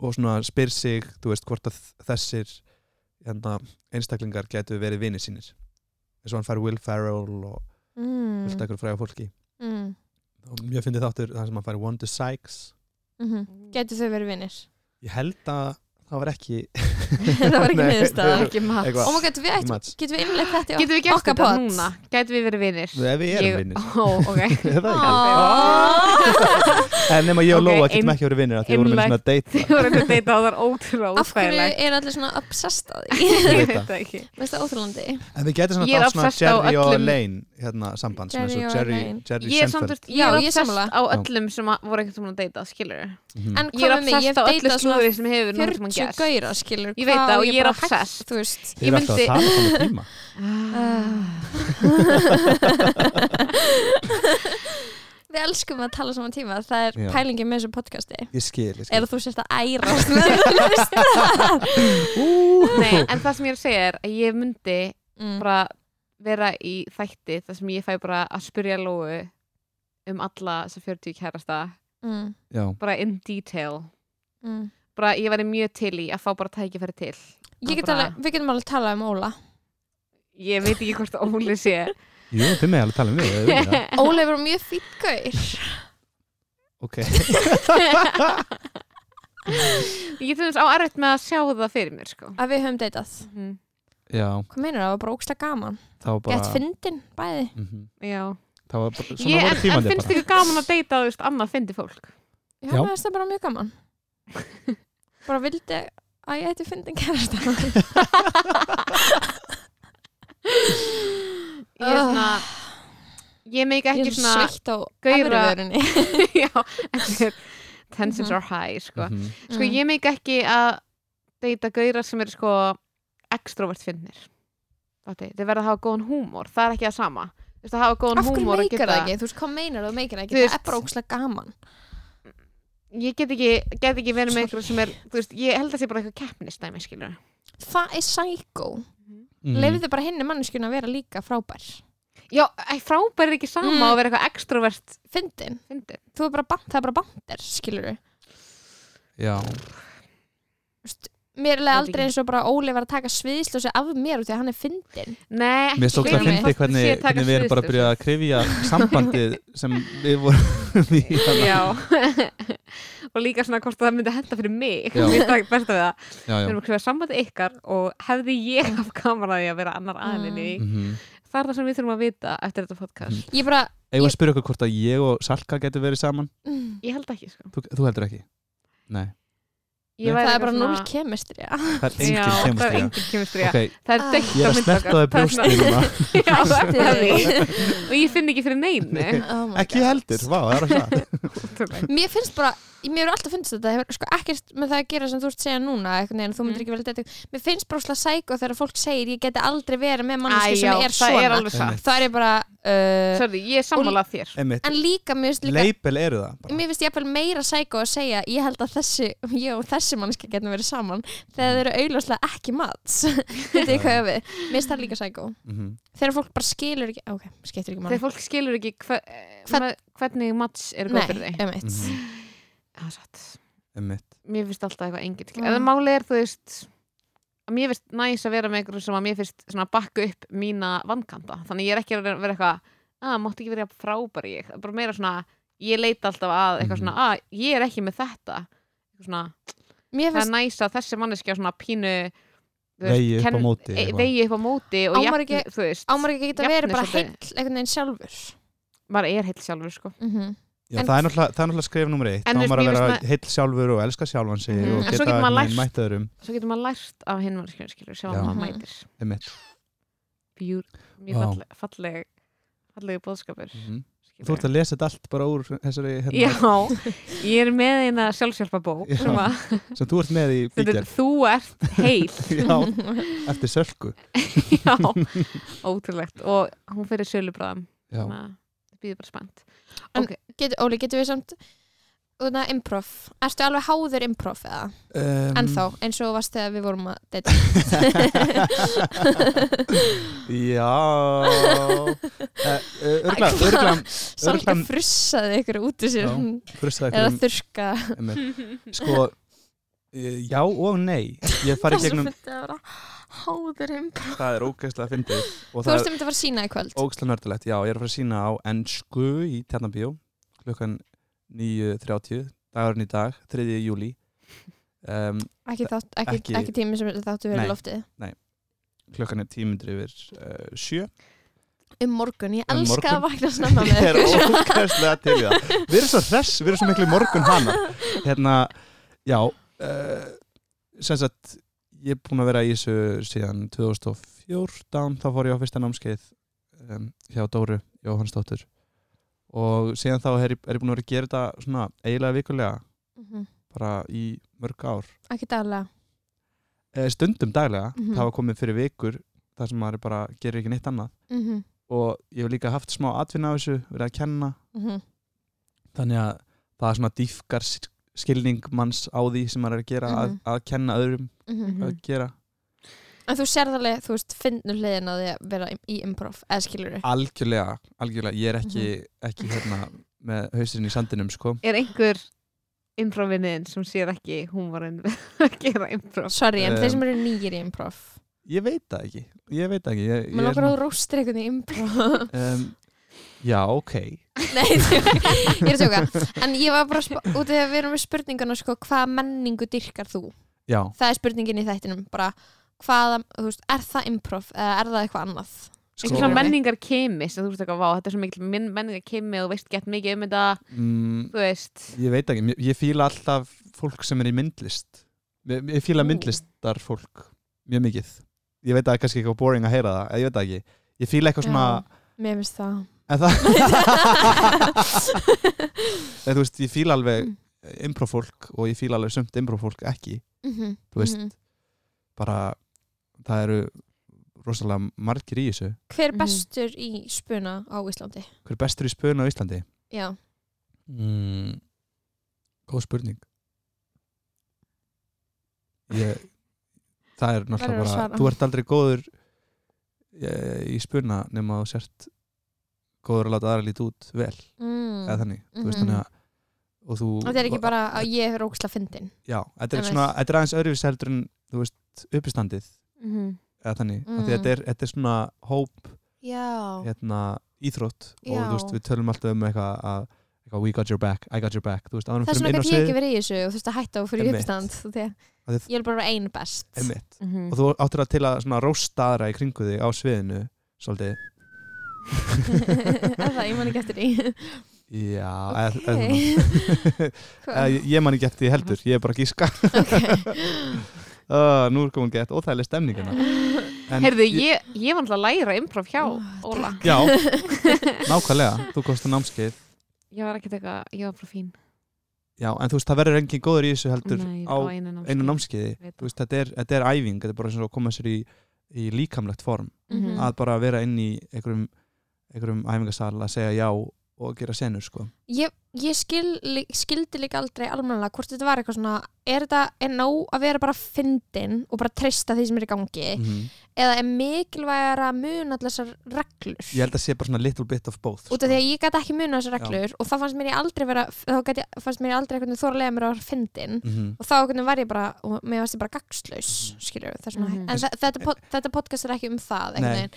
[SPEAKER 3] og svona spyr sig þú veist hvort að þessir hérna, einstaklingar getur verið vinir sínir eins og hann fær Will Ferrell og fullt
[SPEAKER 2] mm.
[SPEAKER 3] ekkur fræga fólki
[SPEAKER 2] mm.
[SPEAKER 3] og mjög
[SPEAKER 2] Mhm.
[SPEAKER 3] fyndi þáttur þar sem hann fær Wanda Sykes
[SPEAKER 2] mm -hmm. getur þau verið vinnir
[SPEAKER 3] ég held að það var ekki
[SPEAKER 2] það var ekki
[SPEAKER 3] Nei,
[SPEAKER 2] niðurstaða
[SPEAKER 3] nei,
[SPEAKER 1] ekki maður
[SPEAKER 3] eitthvað
[SPEAKER 2] oh my god, við ættum,
[SPEAKER 3] Mats.
[SPEAKER 2] getum við innlegt þetta í
[SPEAKER 1] getum við gert
[SPEAKER 2] okkar
[SPEAKER 1] þetta
[SPEAKER 2] pot?
[SPEAKER 1] núna getum við verið vinir
[SPEAKER 3] Ef við erum vinir.
[SPEAKER 1] ó, ok
[SPEAKER 3] Er það
[SPEAKER 2] Ah.
[SPEAKER 3] ekki?
[SPEAKER 2] Aaaah.
[SPEAKER 3] En nema ég
[SPEAKER 1] Ok,
[SPEAKER 3] og Lóa getum
[SPEAKER 1] ein-
[SPEAKER 3] ekki verið vinnir Því vorum við svona
[SPEAKER 1] einlægt.
[SPEAKER 3] að deyta
[SPEAKER 1] þið voru að deyta og það var ótrúlega
[SPEAKER 2] af hverju
[SPEAKER 1] óþægilegt
[SPEAKER 2] er allir svona obsessed á því
[SPEAKER 3] Ég
[SPEAKER 1] ég
[SPEAKER 3] veit
[SPEAKER 1] veit
[SPEAKER 3] það.
[SPEAKER 1] það ekki
[SPEAKER 2] veist það óþrólandi
[SPEAKER 1] Mm.
[SPEAKER 3] En við getum
[SPEAKER 1] Ég
[SPEAKER 3] svona
[SPEAKER 1] er
[SPEAKER 3] dátt svona
[SPEAKER 1] obsessed á
[SPEAKER 3] Jerry og
[SPEAKER 1] öllum-
[SPEAKER 3] Lane Hérna samband sem er
[SPEAKER 2] Jerry
[SPEAKER 3] svo
[SPEAKER 2] og
[SPEAKER 3] Jerry,
[SPEAKER 2] Lane.
[SPEAKER 3] Jerry
[SPEAKER 1] ég er samt
[SPEAKER 3] Seinfeld
[SPEAKER 1] úr, ég
[SPEAKER 2] Já,
[SPEAKER 1] er
[SPEAKER 2] ég er
[SPEAKER 1] obsessed
[SPEAKER 2] sammála.
[SPEAKER 1] á öllum sem að, voru ekkert saman að deyta, skilur
[SPEAKER 3] Mhm.
[SPEAKER 2] en
[SPEAKER 1] ég er
[SPEAKER 2] komið mig, ég
[SPEAKER 1] obsessed á
[SPEAKER 2] hef
[SPEAKER 1] öllu
[SPEAKER 2] deytað svona
[SPEAKER 1] slúðið sem hefur nokkurn tímann
[SPEAKER 2] 40
[SPEAKER 1] gerst.
[SPEAKER 2] gauðra skilur
[SPEAKER 1] Ég veit
[SPEAKER 2] hvað
[SPEAKER 1] það og
[SPEAKER 2] á
[SPEAKER 1] ég er
[SPEAKER 2] bara hægt-
[SPEAKER 1] obsessed.
[SPEAKER 2] þú veist
[SPEAKER 3] Þið eru
[SPEAKER 1] ég
[SPEAKER 3] alltaf að
[SPEAKER 1] myndi-
[SPEAKER 3] tala svona tíma
[SPEAKER 1] Ah.
[SPEAKER 2] við elskum að tala saman tíma það er
[SPEAKER 3] Já.
[SPEAKER 2] pælingin með þessu podcasti
[SPEAKER 3] Ég skil, ég skil
[SPEAKER 2] eða þú sérst að ærast með þér
[SPEAKER 1] Nei, en það sem ég er að segja er að ég myndi
[SPEAKER 2] mm.
[SPEAKER 1] bara vera í þætti þar sem ég fæ bara að spyrja Lóu um alla þessar 40 kærasta
[SPEAKER 2] mm.
[SPEAKER 3] Já,
[SPEAKER 1] bara in detail
[SPEAKER 2] mm.
[SPEAKER 1] bara ég væri mjög til í að fá bara tækifæri til
[SPEAKER 2] Ég get
[SPEAKER 1] Bara-
[SPEAKER 2] alveg, við getum alveg að tala um Óla
[SPEAKER 1] ég veit ekki hvort Óli sé
[SPEAKER 3] jú, þið með alveg tala um mig ef þið viljið.
[SPEAKER 2] Óla er bara mjög fýtt gaur
[SPEAKER 3] Ok,
[SPEAKER 1] ég til þess á erfitt með að sjá það fyrir mér sko
[SPEAKER 2] að við höfum deytað
[SPEAKER 1] Mhm,
[SPEAKER 3] já,
[SPEAKER 2] Hvað meinar það? Það var bara ógsta gaman
[SPEAKER 3] þá bara
[SPEAKER 2] Gett fyndin bæði
[SPEAKER 3] Mhm.
[SPEAKER 1] já
[SPEAKER 3] Það var bara, svona
[SPEAKER 1] ég,
[SPEAKER 3] voru
[SPEAKER 1] en, en
[SPEAKER 3] tímandi
[SPEAKER 1] finnst
[SPEAKER 3] bara
[SPEAKER 1] ykkur gaman að deyta þú veist annað fyndi fólk
[SPEAKER 2] Já,
[SPEAKER 3] Já.
[SPEAKER 2] mér finnst það bara mjög gaman Bara vildi að ég ætti fyndin kærasta
[SPEAKER 1] ég er svona Ah. ég meik
[SPEAKER 2] Ég
[SPEAKER 1] ekki
[SPEAKER 2] er
[SPEAKER 1] svona
[SPEAKER 2] sveitt á
[SPEAKER 1] gaura-
[SPEAKER 2] efriðurinni
[SPEAKER 1] já, þetta er- tensions are high sko,
[SPEAKER 3] Mhm.
[SPEAKER 1] sko ég meik ekki að deyta gaurar sem eru sko extrovert finnir þeir verða að hafa góðan húmór það er ekki það sama Þú veist, að hafa góðan
[SPEAKER 2] Af hverju
[SPEAKER 1] húmór og
[SPEAKER 2] meikar það
[SPEAKER 1] geta-
[SPEAKER 2] ekki? Þú veist, hvað meinar það meikar það
[SPEAKER 1] Þú
[SPEAKER 2] ekki? Það
[SPEAKER 1] veist-
[SPEAKER 2] er bara ógsta gaman
[SPEAKER 1] ég get ekki, get ekki verið með
[SPEAKER 2] Sorry.
[SPEAKER 1] einhverjum sem er þú veist, ég held að það sé bara eitthvað keppnistæmi skilur
[SPEAKER 2] Það er sækó
[SPEAKER 3] Mhm.
[SPEAKER 2] Leifðu bara henni manneskjuna að vera líka frábær
[SPEAKER 1] já, æ, frábær er ekki sama
[SPEAKER 2] Mm.
[SPEAKER 1] að vera eitthvað extrovert
[SPEAKER 2] Fyndin,
[SPEAKER 1] fyndið
[SPEAKER 2] þú er bara, ban- það er bara bandir, skilur við
[SPEAKER 3] Mhm. Já,
[SPEAKER 2] Mér er
[SPEAKER 1] Veit
[SPEAKER 2] aldrei
[SPEAKER 1] ekki.
[SPEAKER 2] eins og bara Óli var að taka sviðslösi af mér út því að hann er fyndin
[SPEAKER 1] Nei, ekki
[SPEAKER 3] mér stókst að
[SPEAKER 2] Gaurinn
[SPEAKER 1] skilur
[SPEAKER 2] minn.
[SPEAKER 3] fyndi
[SPEAKER 1] mig. Fólk sé
[SPEAKER 3] hvernig,
[SPEAKER 1] að taka sko.
[SPEAKER 3] hvernig við erum bara að byrja að krifja sambandið sem við vorum í hérna.
[SPEAKER 1] sviðsljósið. Já, og líka svona hvort það myndi henda fyrir mig
[SPEAKER 3] Já.
[SPEAKER 1] Mér finnst það besta við það Við
[SPEAKER 3] Já, já
[SPEAKER 1] erum að skrifa sambandi ykkar og hefði ég af kameraði að vera annar aðinni mm.
[SPEAKER 3] Mhm.
[SPEAKER 1] Það er það sem við þurfum að vita eftir þetta
[SPEAKER 3] Mm.
[SPEAKER 1] podcast
[SPEAKER 2] Ég bara,
[SPEAKER 3] Eigum við að spyrja okkur hvort að ég og Salka getur verið saman?
[SPEAKER 2] mm,
[SPEAKER 1] Ég held ekki, sko
[SPEAKER 3] Þú, þú heldur ekki? Nei,
[SPEAKER 1] Ég væri
[SPEAKER 2] það er
[SPEAKER 1] eitthvað
[SPEAKER 2] bara
[SPEAKER 1] svona-
[SPEAKER 2] núl kemistri
[SPEAKER 3] það
[SPEAKER 1] Já,
[SPEAKER 3] er enginn
[SPEAKER 1] það er
[SPEAKER 3] kemustri
[SPEAKER 1] engin kemistri
[SPEAKER 3] Ok,
[SPEAKER 1] Það er
[SPEAKER 2] Ah.
[SPEAKER 1] dökkt
[SPEAKER 3] ég er að snerta það brjóstið núna
[SPEAKER 1] Já, það er það.
[SPEAKER 2] Allt
[SPEAKER 1] Og ég finn ekki fyrir neinu
[SPEAKER 2] oh
[SPEAKER 3] Ekki ég heldur, vá, það er að það
[SPEAKER 1] Ótrúlegt.
[SPEAKER 2] Mér finnst bara, mér hefur alltaf finnst þetta það hefur sko ekkert með það að gera sem þú ert að segja núna einhvern veginn, þú myndir
[SPEAKER 1] Mm.
[SPEAKER 2] ekki vel þetta Mér finnst bara slag sæko þegar fólk segir ég geti aldrei verið með
[SPEAKER 1] Æ,
[SPEAKER 2] manneski
[SPEAKER 1] já,
[SPEAKER 2] sem er
[SPEAKER 1] Það er
[SPEAKER 2] svona
[SPEAKER 1] alveg satt
[SPEAKER 2] Þá er ég bara uh,
[SPEAKER 1] Sorry, ég er sammálað þér
[SPEAKER 3] Einmitt,
[SPEAKER 2] En líka, mér finnst líka
[SPEAKER 3] label eru það bara.
[SPEAKER 2] Mér finnst jafnvel meira sæko að segja ég held að þessi, ég og þessi manneski getum verið saman þegar þau eru auðvarslega ekki mats Þetta er hvað ég á við Mér finnst það líka sæko
[SPEAKER 3] Mhm.
[SPEAKER 2] Þegar fólk bara skilur ekki, ok, skiptir ekki mann
[SPEAKER 1] Þegar fólk skilur ekki hver,
[SPEAKER 2] Hvern-
[SPEAKER 1] með, hvernig mats er góð fyrir
[SPEAKER 2] Nei,
[SPEAKER 1] þig
[SPEAKER 2] um eitt
[SPEAKER 3] Mhm.
[SPEAKER 1] Það er satt
[SPEAKER 3] Einmitt.
[SPEAKER 1] mér finnst alltaf eitthvað engin
[SPEAKER 2] Já.
[SPEAKER 1] mm.
[SPEAKER 3] Ah.
[SPEAKER 1] eða máli er þú veist að mér finnst næs að vera með einhverjum sem að mér finnst svona að bakka upp mína vankanta þannig ég er ekki að vera vera eitthvað að mátti ekki vera jafn frábær og ég Það er bara meira svona ég leita alltaf að eitthvað
[SPEAKER 3] Mhm.
[SPEAKER 1] svona að ég er ekki með þetta Eitthvað svona,
[SPEAKER 2] Mér
[SPEAKER 1] það er
[SPEAKER 2] finnst
[SPEAKER 1] næs að þessi manneskja svona pínu þú veist,
[SPEAKER 3] Vegi upp á
[SPEAKER 1] kenn-
[SPEAKER 3] móti
[SPEAKER 1] e,
[SPEAKER 3] eitthvað.
[SPEAKER 1] vegi upp á móti og
[SPEAKER 2] Á maður
[SPEAKER 1] jafn,
[SPEAKER 2] ekki-
[SPEAKER 1] þú veist
[SPEAKER 2] ámar ekki að geta
[SPEAKER 1] Jafnir
[SPEAKER 2] verið bara heill
[SPEAKER 1] svolítið.
[SPEAKER 2] einhvern veginn sjálfur
[SPEAKER 1] maður er heill sjálfur sko
[SPEAKER 2] Mhm.
[SPEAKER 3] Já,
[SPEAKER 2] En-
[SPEAKER 3] það er náttúrulega, það er náttúrulega skref nummer eitt
[SPEAKER 1] En þú
[SPEAKER 3] þá á
[SPEAKER 1] veist,
[SPEAKER 3] maður
[SPEAKER 1] mér
[SPEAKER 3] að vera
[SPEAKER 1] finnst
[SPEAKER 3] heill sjálfur og elska sjálfan sig
[SPEAKER 1] Mhm.
[SPEAKER 3] og
[SPEAKER 1] En svo
[SPEAKER 3] geta
[SPEAKER 1] getur maður lært-
[SPEAKER 3] mættaðurum
[SPEAKER 1] svo getur maður lært af hinn manneskjum skilur sem
[SPEAKER 3] Já.
[SPEAKER 1] að maður
[SPEAKER 2] Mhm.
[SPEAKER 1] mætir
[SPEAKER 3] Einmitt.
[SPEAKER 1] bjúr, mjög
[SPEAKER 3] Vá.
[SPEAKER 1] falleg, falleg falleg bóðskapur
[SPEAKER 3] Mm. Mhm. Þú ert að lesa þetta allt bara úr þessari
[SPEAKER 1] Já,
[SPEAKER 3] hérna,
[SPEAKER 1] ég er með eina sjálfsjálfa bók
[SPEAKER 3] Já.
[SPEAKER 1] sem að
[SPEAKER 3] sem þú ert með í
[SPEAKER 1] stendur,
[SPEAKER 3] bíkjær
[SPEAKER 1] þú ert heil
[SPEAKER 3] Já, eftir sölku
[SPEAKER 1] Já, ótrúlegt og hún fyrir sölubráðum
[SPEAKER 3] Já,
[SPEAKER 1] býður bara spennt
[SPEAKER 2] En-
[SPEAKER 1] okay.
[SPEAKER 2] Get, Óli, getur við samt Una, improv, ertu alveg háður improv eða?
[SPEAKER 3] um,
[SPEAKER 2] Ennþá, eins og þú varst þegar við vorum að deyta
[SPEAKER 3] Já Örgla, örgla
[SPEAKER 2] Salka
[SPEAKER 3] Eh, Örugglega-
[SPEAKER 2] frussaði ykkur út úr sér
[SPEAKER 3] Já, um-
[SPEAKER 2] hún-
[SPEAKER 3] Frustaði
[SPEAKER 2] eða
[SPEAKER 3] einhverjum
[SPEAKER 2] þurrka
[SPEAKER 3] einmitt. Sko, eh, já og nei Ég
[SPEAKER 2] Það
[SPEAKER 3] fari
[SPEAKER 2] er svo
[SPEAKER 3] gegnum,
[SPEAKER 2] fyndið að vera háður improv
[SPEAKER 3] það er ógeðslega fyndið og
[SPEAKER 2] Þú
[SPEAKER 3] það
[SPEAKER 2] veist
[SPEAKER 3] er
[SPEAKER 2] um þetta var sína í kvöld
[SPEAKER 3] ógeðslega nördulegt Já, ég er að fara að sína á ennsku í Tjarnabíó klukkan 9.30 dagurinn í dag, 3. júli um,
[SPEAKER 2] Ekki, þátt, ekki,
[SPEAKER 3] Ekki-
[SPEAKER 2] ekki, tími sem þáttu verið
[SPEAKER 3] Nei.
[SPEAKER 2] í lofti
[SPEAKER 3] klokkan er tímundur yfir uh, sjö
[SPEAKER 2] um morgun, ég
[SPEAKER 3] Um
[SPEAKER 2] elska að
[SPEAKER 3] morgun.
[SPEAKER 2] vakna snemma með
[SPEAKER 3] Ég er
[SPEAKER 2] ykkur.
[SPEAKER 3] ókærslega til í það Við erum svo hress, við erum svo miklu morgun hana Hérna, já uh, sem sagt ég er búin að vera í þessu síðan 2014, þá fór ég á fyrsta námskeið um, hjá Dóru Jóhannsdóttur og síðan þá er ég, er ég búin að vera að gera þetta svona eiginlega vikulega,
[SPEAKER 2] Mhm.
[SPEAKER 3] bara í mörg ár
[SPEAKER 2] ekki daglega
[SPEAKER 3] eh, stundum daglega,
[SPEAKER 2] Mhm.
[SPEAKER 3] það var komið fyrir vikur þar sem maður er bara gerir ekki neitt annað
[SPEAKER 2] mm -hmm.
[SPEAKER 3] og ég hef líka haft smá atvinna á þessu, verið að kenna
[SPEAKER 2] Mm -hmm.
[SPEAKER 3] þannig að það er svona dýfkar sk- skilning manns á því sem maður er að gera
[SPEAKER 2] Mhm.
[SPEAKER 3] að, að kenna öðrum
[SPEAKER 1] Mhm.
[SPEAKER 3] að gera
[SPEAKER 2] en þú sérð alveg, þú veist, finnur hliðin á því að vera í- í improv, eða skilur
[SPEAKER 3] algjörlega, algjörlega, ég er ekki,
[SPEAKER 1] Mhm.
[SPEAKER 3] ekki hérna með hausinn í sandinum sko.
[SPEAKER 1] Er einhver improvinniðin sem sér ekki hún var ein- að gera improv
[SPEAKER 2] sorry, en
[SPEAKER 3] Um,
[SPEAKER 2] þeir sem eru nýjir í improv
[SPEAKER 3] ég veit það ekki ég veit það ekki ég, ég
[SPEAKER 2] maður
[SPEAKER 3] er
[SPEAKER 2] lókar á róstir einhvern í improv
[SPEAKER 3] svona, um, já, ok
[SPEAKER 2] Nei, ég er að tjóka En ég var bara að spá- út af því að við erum með spurninguna sko, hvað menningu dyrkar þú?
[SPEAKER 3] já,
[SPEAKER 2] Það er spurningin í þættinum bara hvaða, þú veist, er það improv eða er það eitthvað annað?
[SPEAKER 1] Einhver
[SPEAKER 3] sko,
[SPEAKER 1] svona menningar kemi sem þú veist ekki að vá, þetta er svo mikil min- menningar kemi og þú veist gett mikið um þetta,
[SPEAKER 3] mm,
[SPEAKER 1] þú veist
[SPEAKER 3] ég veit ekki, Mér- ég fíla alltaf fólk sem er í myndlist ég, ég fíla
[SPEAKER 1] Ú.
[SPEAKER 3] myndlistar fólk mjög mikið, ég veit að það er kannski eitthvað boring að heyra það, en ég veit það ekki ég fíla eitthvað svona
[SPEAKER 2] Mér finnst það
[SPEAKER 3] En það
[SPEAKER 2] Mhm,
[SPEAKER 3] En þú veist, ég fíla alveg
[SPEAKER 2] Mm.
[SPEAKER 3] improfólk og ég fíla alveg sumt improfólk ekki
[SPEAKER 2] Mhm,
[SPEAKER 3] Þú veist.
[SPEAKER 2] mhm.
[SPEAKER 3] bara það eru rosalega margir í þessu
[SPEAKER 2] Hver er
[SPEAKER 1] Mhm.
[SPEAKER 2] bestur í spuna á Íslandi?
[SPEAKER 3] Hver er bestur í spöðun á Íslandi?
[SPEAKER 2] Já,
[SPEAKER 3] Mm. Góð spurning ég, Það er
[SPEAKER 2] Verður
[SPEAKER 3] náttúrulega
[SPEAKER 2] að
[SPEAKER 3] bara
[SPEAKER 2] svara.
[SPEAKER 3] Þú ert aldrei góður eh, í spuna nema þú sért góður að láta aðra lítið út vel
[SPEAKER 2] mm.
[SPEAKER 3] eða þannig, þú veist
[SPEAKER 2] Mhm.
[SPEAKER 3] þannig að og þú,
[SPEAKER 2] Og það er ekki bara að ég er róksla fyndin
[SPEAKER 3] já, þetta er,
[SPEAKER 2] Einmitt.
[SPEAKER 3] svona, þetta er aðeins öðruvis heldur en þú veist, uppistandið
[SPEAKER 1] Mhm.
[SPEAKER 3] eða þannig, mm.
[SPEAKER 2] Mm.
[SPEAKER 3] því þetta er, þetta er svona hóp,
[SPEAKER 2] Já,
[SPEAKER 3] hérna, íþrótt og
[SPEAKER 2] Já.
[SPEAKER 3] þú veist, við tölum alltaf um eitthvað að eitthvað, we got your back, I got your back þú veist, um áður en
[SPEAKER 2] það er
[SPEAKER 3] við förum
[SPEAKER 2] svona
[SPEAKER 3] inn á
[SPEAKER 2] hvað ég ekki
[SPEAKER 3] svið-
[SPEAKER 2] verið í þessu og þú veist að hætta og fyrir
[SPEAKER 3] Einmitt.
[SPEAKER 2] uppstand því að
[SPEAKER 3] Af því-
[SPEAKER 2] ég vil bara vera ein best
[SPEAKER 3] einmitt,
[SPEAKER 1] Mhm.
[SPEAKER 3] og þú áttur að til að svona rósta aðra í kringu þig á sviðinu svolítið,
[SPEAKER 2] Er það, ég man ekki eftir því
[SPEAKER 3] já eða- eða svona.
[SPEAKER 2] Ok.
[SPEAKER 3] Eða ég- ég man ekki eftir því heldur, ég er bara að gíska uh, nú er komin gett óþægileg stemningina En
[SPEAKER 1] Heyrðu, ég, ég var alltaf að læra improv hjá
[SPEAKER 2] Ó,
[SPEAKER 1] Óla
[SPEAKER 3] já, nákvæmlega, þú komst að námskeið
[SPEAKER 1] Ég var ekkert eitthvað, ég var bara fín
[SPEAKER 3] Já, en þú veist, það verður engin góður í þessu heldur
[SPEAKER 1] Nei,
[SPEAKER 3] á
[SPEAKER 1] einu námskeiði.
[SPEAKER 3] einu námskeiði.
[SPEAKER 1] Ég veit
[SPEAKER 3] Þú veist, þetta er, þetta er æfing, þetta er bara svona að koma sér í, í líkamlegt form.
[SPEAKER 1] Mhm.
[SPEAKER 2] Mm.
[SPEAKER 3] Að bara vera inn í einhverjum, einhverjum æfingasal að segja já og gera senur, sko.
[SPEAKER 2] Ég, ég skil, lí- skildi líka aldrei almennilega hvort þetta var eitthvað svona er þetta er nóg að vera bara fyndin og bara treysta því sem er í gangi
[SPEAKER 3] Mm
[SPEAKER 2] eða er mikilvægara að muna allar þessar reglur
[SPEAKER 3] Ég held að sé bara svona little bit of both. sko.
[SPEAKER 2] út af því að ég gæti ekki muna þessar reglur og þá fannst mér ég aldrei vera þá gæti, fannst mér ég aldrei eitthvað þorlega mér að vera fyndin
[SPEAKER 3] Mm -hmm.
[SPEAKER 2] og þá einhvern veginn var ég bara og mér varst ég bara gagslaus skilur við þessum mm
[SPEAKER 1] Mhm.
[SPEAKER 2] en þe- þetta, pod- þetta podcast er ekki um það einhvern
[SPEAKER 3] Nei.
[SPEAKER 2] veginn.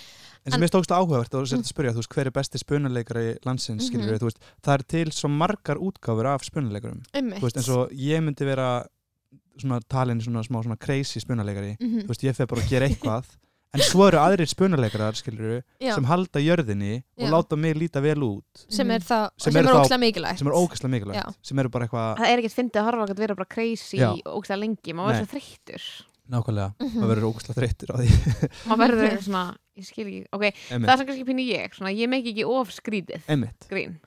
[SPEAKER 3] En sem
[SPEAKER 2] en-
[SPEAKER 3] mér stókst áhugavert og sér þetta að spyrja, þú veist, hver er besti spunuleikari
[SPEAKER 2] Mm. Mhm.
[SPEAKER 3] landsins, skilur við, þú veist, það er til svo margar útgáfur af spunuleikarum.
[SPEAKER 2] Einmitt.
[SPEAKER 3] Þú veist, eins og ég myndi vera svona talin svona smá svona crazy spunuleikari.
[SPEAKER 2] Mhm.
[SPEAKER 3] Þú veist, ég fer bara að gera eitthvað, en svo eru aðrir spunuleikarar, skilur
[SPEAKER 2] Já,
[SPEAKER 3] sem halda jörðinni og
[SPEAKER 2] Já.
[SPEAKER 3] láta mig líta vel út
[SPEAKER 2] sem er þá
[SPEAKER 3] Sem
[SPEAKER 2] sem,
[SPEAKER 3] er
[SPEAKER 2] er
[SPEAKER 3] þá-
[SPEAKER 2] ókslega mikilvægt
[SPEAKER 3] sem er ógæslega mikilvægt
[SPEAKER 2] Já.
[SPEAKER 3] sem eru bara eitthvað
[SPEAKER 1] Það er ekkert fyndið að horfa að vera bara crazy
[SPEAKER 3] Já.
[SPEAKER 1] og ógstlega lengi, maður verður
[SPEAKER 3] Nei.
[SPEAKER 1] svo þreyttur
[SPEAKER 3] nákvæmlega,
[SPEAKER 2] Mhm.
[SPEAKER 3] maður verður ógæslega þreyttur á því
[SPEAKER 1] maður verður eitthvað svona, ég skil ekki ok, það
[SPEAKER 3] einmitt,
[SPEAKER 1] er sem kannski pínu ég, svona ég meik ekki of skrítið
[SPEAKER 3] einmitt.
[SPEAKER 1] grín,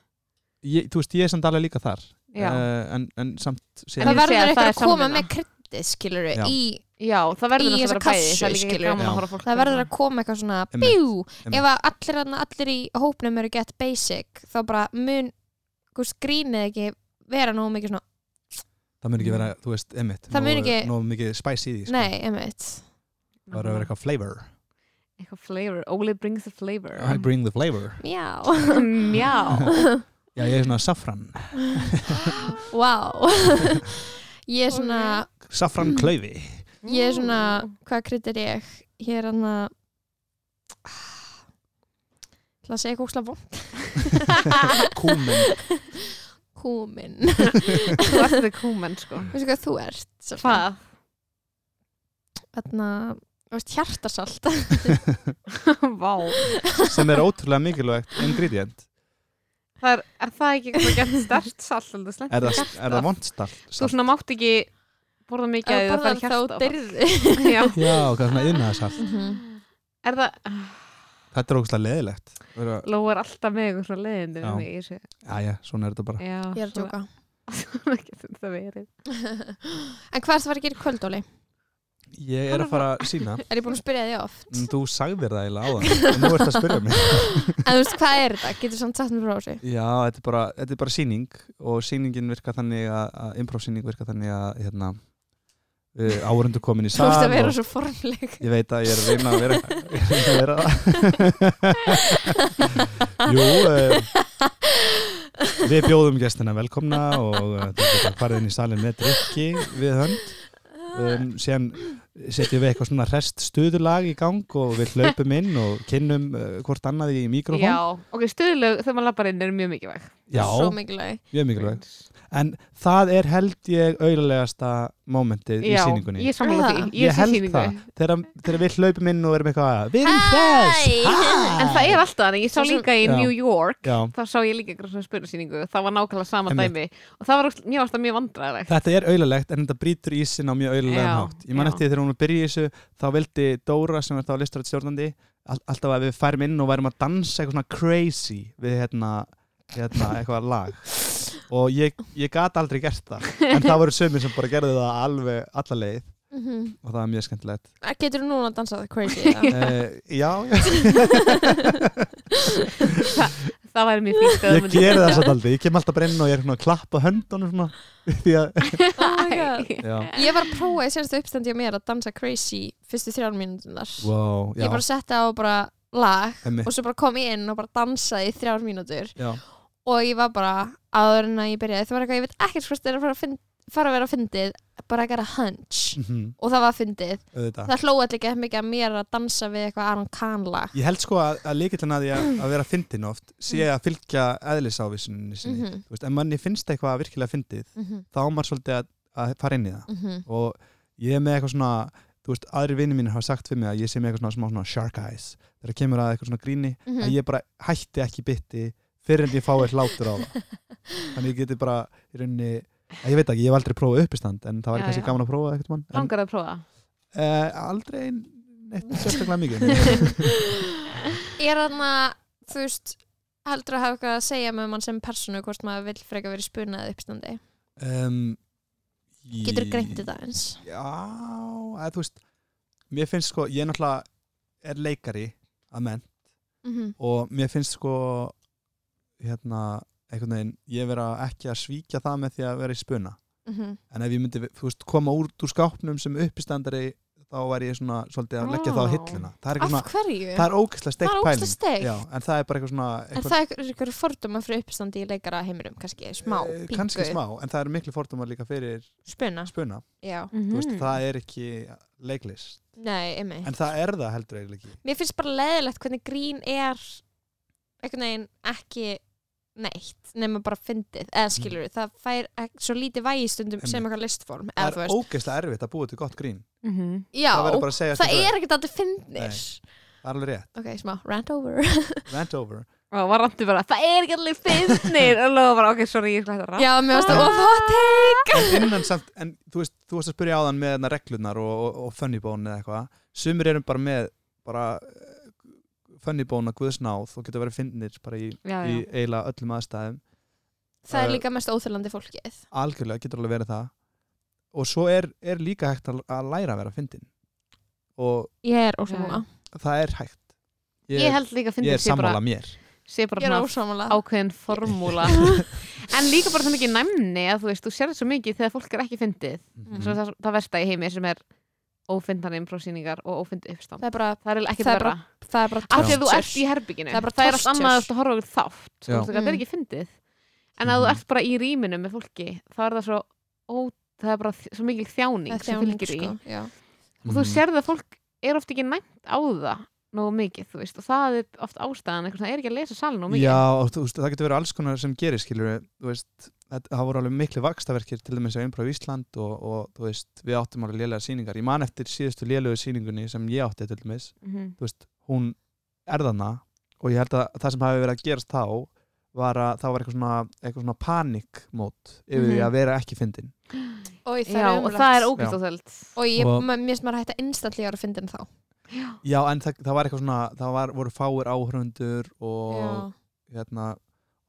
[SPEAKER 3] Ég, þú veist, ég er samt alveg líka þar
[SPEAKER 1] já,
[SPEAKER 3] uh, en, en samt
[SPEAKER 1] En
[SPEAKER 2] En
[SPEAKER 1] ég
[SPEAKER 2] það
[SPEAKER 3] síðan,
[SPEAKER 1] segi
[SPEAKER 2] verður
[SPEAKER 1] að
[SPEAKER 2] eitthvað
[SPEAKER 1] það
[SPEAKER 2] að
[SPEAKER 1] er
[SPEAKER 2] koma
[SPEAKER 1] samvinna.
[SPEAKER 2] með kryttið, skilur
[SPEAKER 3] Já.
[SPEAKER 2] í,
[SPEAKER 1] já, það verður
[SPEAKER 2] Í
[SPEAKER 1] náttúrulega
[SPEAKER 2] þessa
[SPEAKER 1] að vera bæði
[SPEAKER 2] kassu,
[SPEAKER 1] það er líka ekki
[SPEAKER 2] skilurðu.
[SPEAKER 1] gaman
[SPEAKER 3] Já.
[SPEAKER 1] að horfa á fólk hérna.
[SPEAKER 2] það verður að koma eitthvað svona
[SPEAKER 3] Einmitt,
[SPEAKER 2] bjú,
[SPEAKER 3] einmitt.
[SPEAKER 2] ef að allir, þarna- allir í hópnum eru gett basic, þá bara mun gúst, grínið ekki vera nógu mikið svona,
[SPEAKER 3] það mun ekki vera, þú veist, einmitt
[SPEAKER 2] Það mun
[SPEAKER 3] nógu-
[SPEAKER 2] ekki-
[SPEAKER 3] nógu mikið spice í því sko.
[SPEAKER 2] nei, einmitt
[SPEAKER 3] það verður að vera eitthvað flavor
[SPEAKER 1] eitthvað flavor, Óli brings the flavor
[SPEAKER 3] I bring the flavor
[SPEAKER 2] já,
[SPEAKER 1] já,
[SPEAKER 3] já, ég er svona safran,
[SPEAKER 2] wow ég er svona Mm.
[SPEAKER 3] safran klaufi
[SPEAKER 2] ég er svona, hvað krytt er ég ég er hann að ætla að segja eitthvað ókslega vond
[SPEAKER 3] kúmen
[SPEAKER 2] húmin
[SPEAKER 1] þú ert þetta kúmen sko
[SPEAKER 2] veistu hvað þú ert Sophia?
[SPEAKER 1] hvað?
[SPEAKER 2] þarna, þú veist, hjartasalt
[SPEAKER 1] Vá
[SPEAKER 3] sem er ótrúlega mikilvægt ingredient
[SPEAKER 1] það er, er það ekki eitthvað gert stert salt alveg slengt
[SPEAKER 3] er
[SPEAKER 1] í
[SPEAKER 3] það,
[SPEAKER 1] hjartað?
[SPEAKER 3] er það vondstalt
[SPEAKER 1] þú svona mátt ekki borða mikið
[SPEAKER 2] Ef
[SPEAKER 1] af því það
[SPEAKER 2] þú borðar
[SPEAKER 1] fer hjarta
[SPEAKER 2] þá
[SPEAKER 1] áfall.
[SPEAKER 2] deyrði
[SPEAKER 1] Já.
[SPEAKER 3] já, hvað er svona
[SPEAKER 2] Mhm.
[SPEAKER 3] yðnaðarsalt
[SPEAKER 1] er það,
[SPEAKER 3] þetta er ógustlega leðilegt Vera,
[SPEAKER 1] Lóa er alltaf með eitthvað svona leiðindi
[SPEAKER 3] Já.
[SPEAKER 1] við mig í þessu.
[SPEAKER 3] aðja, svona er þetta bara
[SPEAKER 1] Já,
[SPEAKER 2] ég er að tjóka
[SPEAKER 1] svona getur þetta verið
[SPEAKER 2] en hvað er það að gera í kvöldóli?
[SPEAKER 3] ég er að fara að sína
[SPEAKER 2] er ég búin að spyrja því oft?
[SPEAKER 3] Mm, þú sagðir það eiginlega á það en nú ert að spyrja mig
[SPEAKER 2] en þú veist, hvað er þetta? getur samt sagt mér frá þessu?
[SPEAKER 3] já, þetta er bara, þetta er bara síning og síningin virka þannig að, að improv-síning virka þannig að hérna, uh, áhörundu komin í
[SPEAKER 2] þú
[SPEAKER 3] sal
[SPEAKER 2] veist að vera
[SPEAKER 3] og,
[SPEAKER 2] svo formleg
[SPEAKER 3] ég veit að ég er að reyna að vera, ég er að reyna að vera það jú uh, við bjóðum gestina velkomna og uh, þú getur farið inn í salin með drikki við hönd um, síðan setjum við eitthvað svona rest stuðulag í gang og við hlaupum inn og kynnum uh, hvort annað í mikrofón
[SPEAKER 1] Já, ok, stuðlög þegar maður lappar inn er mjög mikilvæg
[SPEAKER 3] Já,
[SPEAKER 2] svo mikilvæg
[SPEAKER 3] mjög mikilvægt En það er held ég auðarlegasta mómentið í
[SPEAKER 1] Já,
[SPEAKER 3] síningunni
[SPEAKER 1] ég sammála því,
[SPEAKER 2] Er það?
[SPEAKER 1] ég, sé
[SPEAKER 3] held
[SPEAKER 1] sýningu.
[SPEAKER 3] það, þegar, þegar við hlaupum inn og erum eitthvað að Við erum þess
[SPEAKER 1] En það er alltaf þannig, ég sá
[SPEAKER 2] Það er
[SPEAKER 1] líka í
[SPEAKER 3] Já.
[SPEAKER 1] New York
[SPEAKER 3] Já,
[SPEAKER 1] þá sá ég líka eitthvað svona spurnarsýningu það var nákvæmlega sama
[SPEAKER 3] Einmitt.
[SPEAKER 1] dæmi og það var ósl- mjög alltaf mjög vandræðilegt
[SPEAKER 3] Þetta er auðarlegt en þetta brýtur í sinna á mjög auðarlegan
[SPEAKER 1] Já,
[SPEAKER 3] hátt Ég man
[SPEAKER 1] já.
[SPEAKER 3] eftir því þegar hún var að byrja í þessu þá vildi Dóra sem er þá listrætt stjórnandi all- alltaf að við færum inn og værum að dansa eitthvað svona crazy við hérna, hérna eitthvað lag og ég, ég gat aldrei gert það en það voru sömur sem bara gerði það alveg alla leið
[SPEAKER 2] mm -hmm.
[SPEAKER 3] og það var mjög skemmtilegt
[SPEAKER 2] Eh, getur þú núna að dansa það crazy eða?
[SPEAKER 3] uh, já, já.
[SPEAKER 1] það væri mjög fínt að þú
[SPEAKER 3] ég
[SPEAKER 1] myndir
[SPEAKER 3] geri það
[SPEAKER 1] gera
[SPEAKER 3] satt aldrei, ég kem alltaf bara inn og ég er svona að klappa höndunum svona því að,
[SPEAKER 2] oh my god
[SPEAKER 3] já,
[SPEAKER 2] Ég var að prófa í senstu uppstandi á mér að dansa crazy fyrstu þrjár mínútunar.
[SPEAKER 3] wow, já,
[SPEAKER 2] Ég bara setti á bara lag
[SPEAKER 3] emmi,
[SPEAKER 2] og svo bara kom ég inn og bara dansaði í þrjár mínútur
[SPEAKER 3] já,
[SPEAKER 2] og ég var bara áður en að ég byrjaði. Það var eitthvað, ég veit ekkert hvort þetta er að fara að, finn, fara að vera að fyndið, bara eitthvað að hunch
[SPEAKER 3] mhm,
[SPEAKER 2] og það var að fyndið.
[SPEAKER 3] auðvitað
[SPEAKER 2] Það hlóði allir ekki mikið að mér að dansa við eitthvað Aron Kahn lag.
[SPEAKER 3] ég held sko að, að líkillin að ég að vera fyndin oft sé að fylgja eðlisávísuninni sinni,
[SPEAKER 2] Mm. Mhm.
[SPEAKER 3] þú veist, en manni finnst eitthvað virkilega fyndið,
[SPEAKER 2] Mhm,
[SPEAKER 3] þá á maður svolítið að, að fara inn í það
[SPEAKER 2] mhm.
[SPEAKER 3] og ég er með eitthvað svona þú veist, aðri vinni mín hafa sagt fyrir mig að ég sé með eitthvað svona, smá svona shark eyes þegar kemur að eitthvað svona gríni
[SPEAKER 2] Mhm.
[SPEAKER 3] að
[SPEAKER 1] Mm.
[SPEAKER 3] ég bara hætti ekki bytti fyrir en ég fái hlátur á það þannig ég geti bara í rauninni að ég veit ekki, ég hef aldrei prófað uppistand en það var
[SPEAKER 1] Já,
[SPEAKER 3] kannski
[SPEAKER 1] já.
[SPEAKER 3] gaman að prófa eitthvað mann en,
[SPEAKER 1] langar að prófa
[SPEAKER 3] uh, aldrei neitt sérstaklega mikið
[SPEAKER 2] Er þarna, þú veist, heldur að hafa eitthvað að segja með mann sem personu hvort maður vil freka verið spunað uppstandi?
[SPEAKER 3] um,
[SPEAKER 2] Getur greint þetta eins?
[SPEAKER 3] Já, eða þú veist mér finnst sko, ég náttúrulega er leikari að menn
[SPEAKER 2] Mhm.
[SPEAKER 3] og mér finnst sko hérna, einhvern veginn ég vera ekki að svíkja það með því að vera í spuna
[SPEAKER 2] Mhm.
[SPEAKER 3] en ef ég myndi þú veist, koma úr, úr skápnum sem uppistandari þá væri ég svona svolítið að leggja það
[SPEAKER 1] Vá.
[SPEAKER 3] á hilluna það er,
[SPEAKER 2] Af
[SPEAKER 3] eitthvað svona,
[SPEAKER 2] hverju?
[SPEAKER 3] það er ógeðslega
[SPEAKER 2] Það er
[SPEAKER 3] steikt
[SPEAKER 2] ógeðslega
[SPEAKER 3] pæling
[SPEAKER 2] steikt.
[SPEAKER 3] Já, en það er bara eitthvað svona
[SPEAKER 2] En
[SPEAKER 3] eitthvað,
[SPEAKER 2] það er eitthvað fordóma fyrir uppstandi í leikara heimurum, kannski, smá,
[SPEAKER 3] eh,
[SPEAKER 2] pingu,
[SPEAKER 3] kannski smá, en það er miklu fordómar líka fyrir
[SPEAKER 2] spuna.
[SPEAKER 3] spuna
[SPEAKER 2] Já,
[SPEAKER 3] þú veist, það er ekki leiklist
[SPEAKER 2] nei, ymmi.
[SPEAKER 3] en það er það heldur eiginlega ekki
[SPEAKER 2] Mér finnst bara leðilegt hvernig grín er einhvern veginn ekki neitt, nema bara fyndið, eða skilur það fær ek- svo lítið vægi stundum sem
[SPEAKER 3] Einmitt.
[SPEAKER 2] eitthvað listform, eða þú
[SPEAKER 3] það er
[SPEAKER 2] veist.
[SPEAKER 3] ógeðslega erfitt að búa til gott grín
[SPEAKER 1] Mhm.
[SPEAKER 2] Já,
[SPEAKER 3] það verður bara að segja
[SPEAKER 2] það er ekkert allir fyndnir.
[SPEAKER 3] það er alveg rétt,
[SPEAKER 2] Ok, smá, rant over.
[SPEAKER 3] rant over
[SPEAKER 1] og var randi bara, það er ekki allir finnir og Lóa bara, ok, sorry, ég ætla að randi
[SPEAKER 2] Já, mér varst það of hot take.
[SPEAKER 3] en innan samt, en þú veist, þú varst að spyrja áðan með þarna reglunar og, og, og funnybón eða eitthvað, sumir erum bara með bara eh, funnybón að guðsnáð og getur verið fyndnir bara í,
[SPEAKER 1] já,
[SPEAKER 3] í
[SPEAKER 1] já.
[SPEAKER 3] eiginlega öllum aðstæðum
[SPEAKER 2] Það er
[SPEAKER 3] Eh,
[SPEAKER 2] líka mest óþjólandi fólkið.
[SPEAKER 3] algjörlega getur alveg verið það og svo er, er líka hægt að, að læra að vera fyndin og
[SPEAKER 2] Ég er ósámála.
[SPEAKER 3] það er hægt ég,
[SPEAKER 1] ég held líka að
[SPEAKER 3] ég
[SPEAKER 1] finnir
[SPEAKER 3] er
[SPEAKER 1] sé bara,
[SPEAKER 3] sammála mér
[SPEAKER 1] sé bara
[SPEAKER 2] Ég er
[SPEAKER 1] svona
[SPEAKER 2] ósámála.
[SPEAKER 1] ákveðin formúla en líka bara svo mikið næmni að þú veist, þú sér þetta svo mikið þegar fólk er ekki fyndið
[SPEAKER 2] Mhm.
[SPEAKER 1] Mm, svo það, það versta í heimi sem er ófyndan imprósýningar og ófyndi uppstand
[SPEAKER 2] Það er bara
[SPEAKER 1] það er eiginlega ekkert
[SPEAKER 2] Það
[SPEAKER 1] verra
[SPEAKER 2] er það er bara
[SPEAKER 1] af því að þú
[SPEAKER 2] torture.
[SPEAKER 1] ert í herbygginu
[SPEAKER 2] Það er bara
[SPEAKER 1] það er allt
[SPEAKER 2] torture.
[SPEAKER 1] annað að þú ert að horfa okkur þátt
[SPEAKER 3] Já.
[SPEAKER 1] þú veist, það
[SPEAKER 2] Mm.
[SPEAKER 1] er ekki fyndið en að þú
[SPEAKER 3] Mhm.
[SPEAKER 1] ert bara í rýminu með fólki þá er það svo ó, það er bara þ- svo mikil þjáning
[SPEAKER 2] Það er
[SPEAKER 1] sem
[SPEAKER 2] þjáning,
[SPEAKER 1] fylgir í
[SPEAKER 3] Mm.
[SPEAKER 2] sko, já.
[SPEAKER 1] og þú sér það að fólk er oft ekki næmt á það nógu mikið, þú veist, og það er oft ástæðan, eitthvað svona, er ekki að lesa salin nógu mikið
[SPEAKER 3] Já, og þú veist, það getur verið alls konar sem gerir, skilur við, þú veist, þetta, það voru alveg miklu vakstaverkir til dæmis á Improv Ísland og, og þú veist, við áttum alveg lélega sýningar. Ég man eftir síðustu lélegu sýningunni sem ég átti til dæmis,
[SPEAKER 1] Mhm.
[SPEAKER 3] þú veist, hún er þarna og ég held að það sem hafi verið að gerast þá var að það var eitthvað svona, eitthvað svona panikmót yfir því
[SPEAKER 1] Mhm.
[SPEAKER 3] að vera ekki fyndin.
[SPEAKER 2] Oj,
[SPEAKER 1] Já,
[SPEAKER 2] það er
[SPEAKER 1] og
[SPEAKER 2] umrætt.
[SPEAKER 1] það er ógæst
[SPEAKER 3] Já.
[SPEAKER 1] á þöld
[SPEAKER 2] Og ég,
[SPEAKER 3] Og-
[SPEAKER 2] ma- mér finnst maður að hætta instantlega að vera að fyndin þá.
[SPEAKER 3] Já, en það, það var eitthvað svona, það var, voru fáir áhrundur og hérna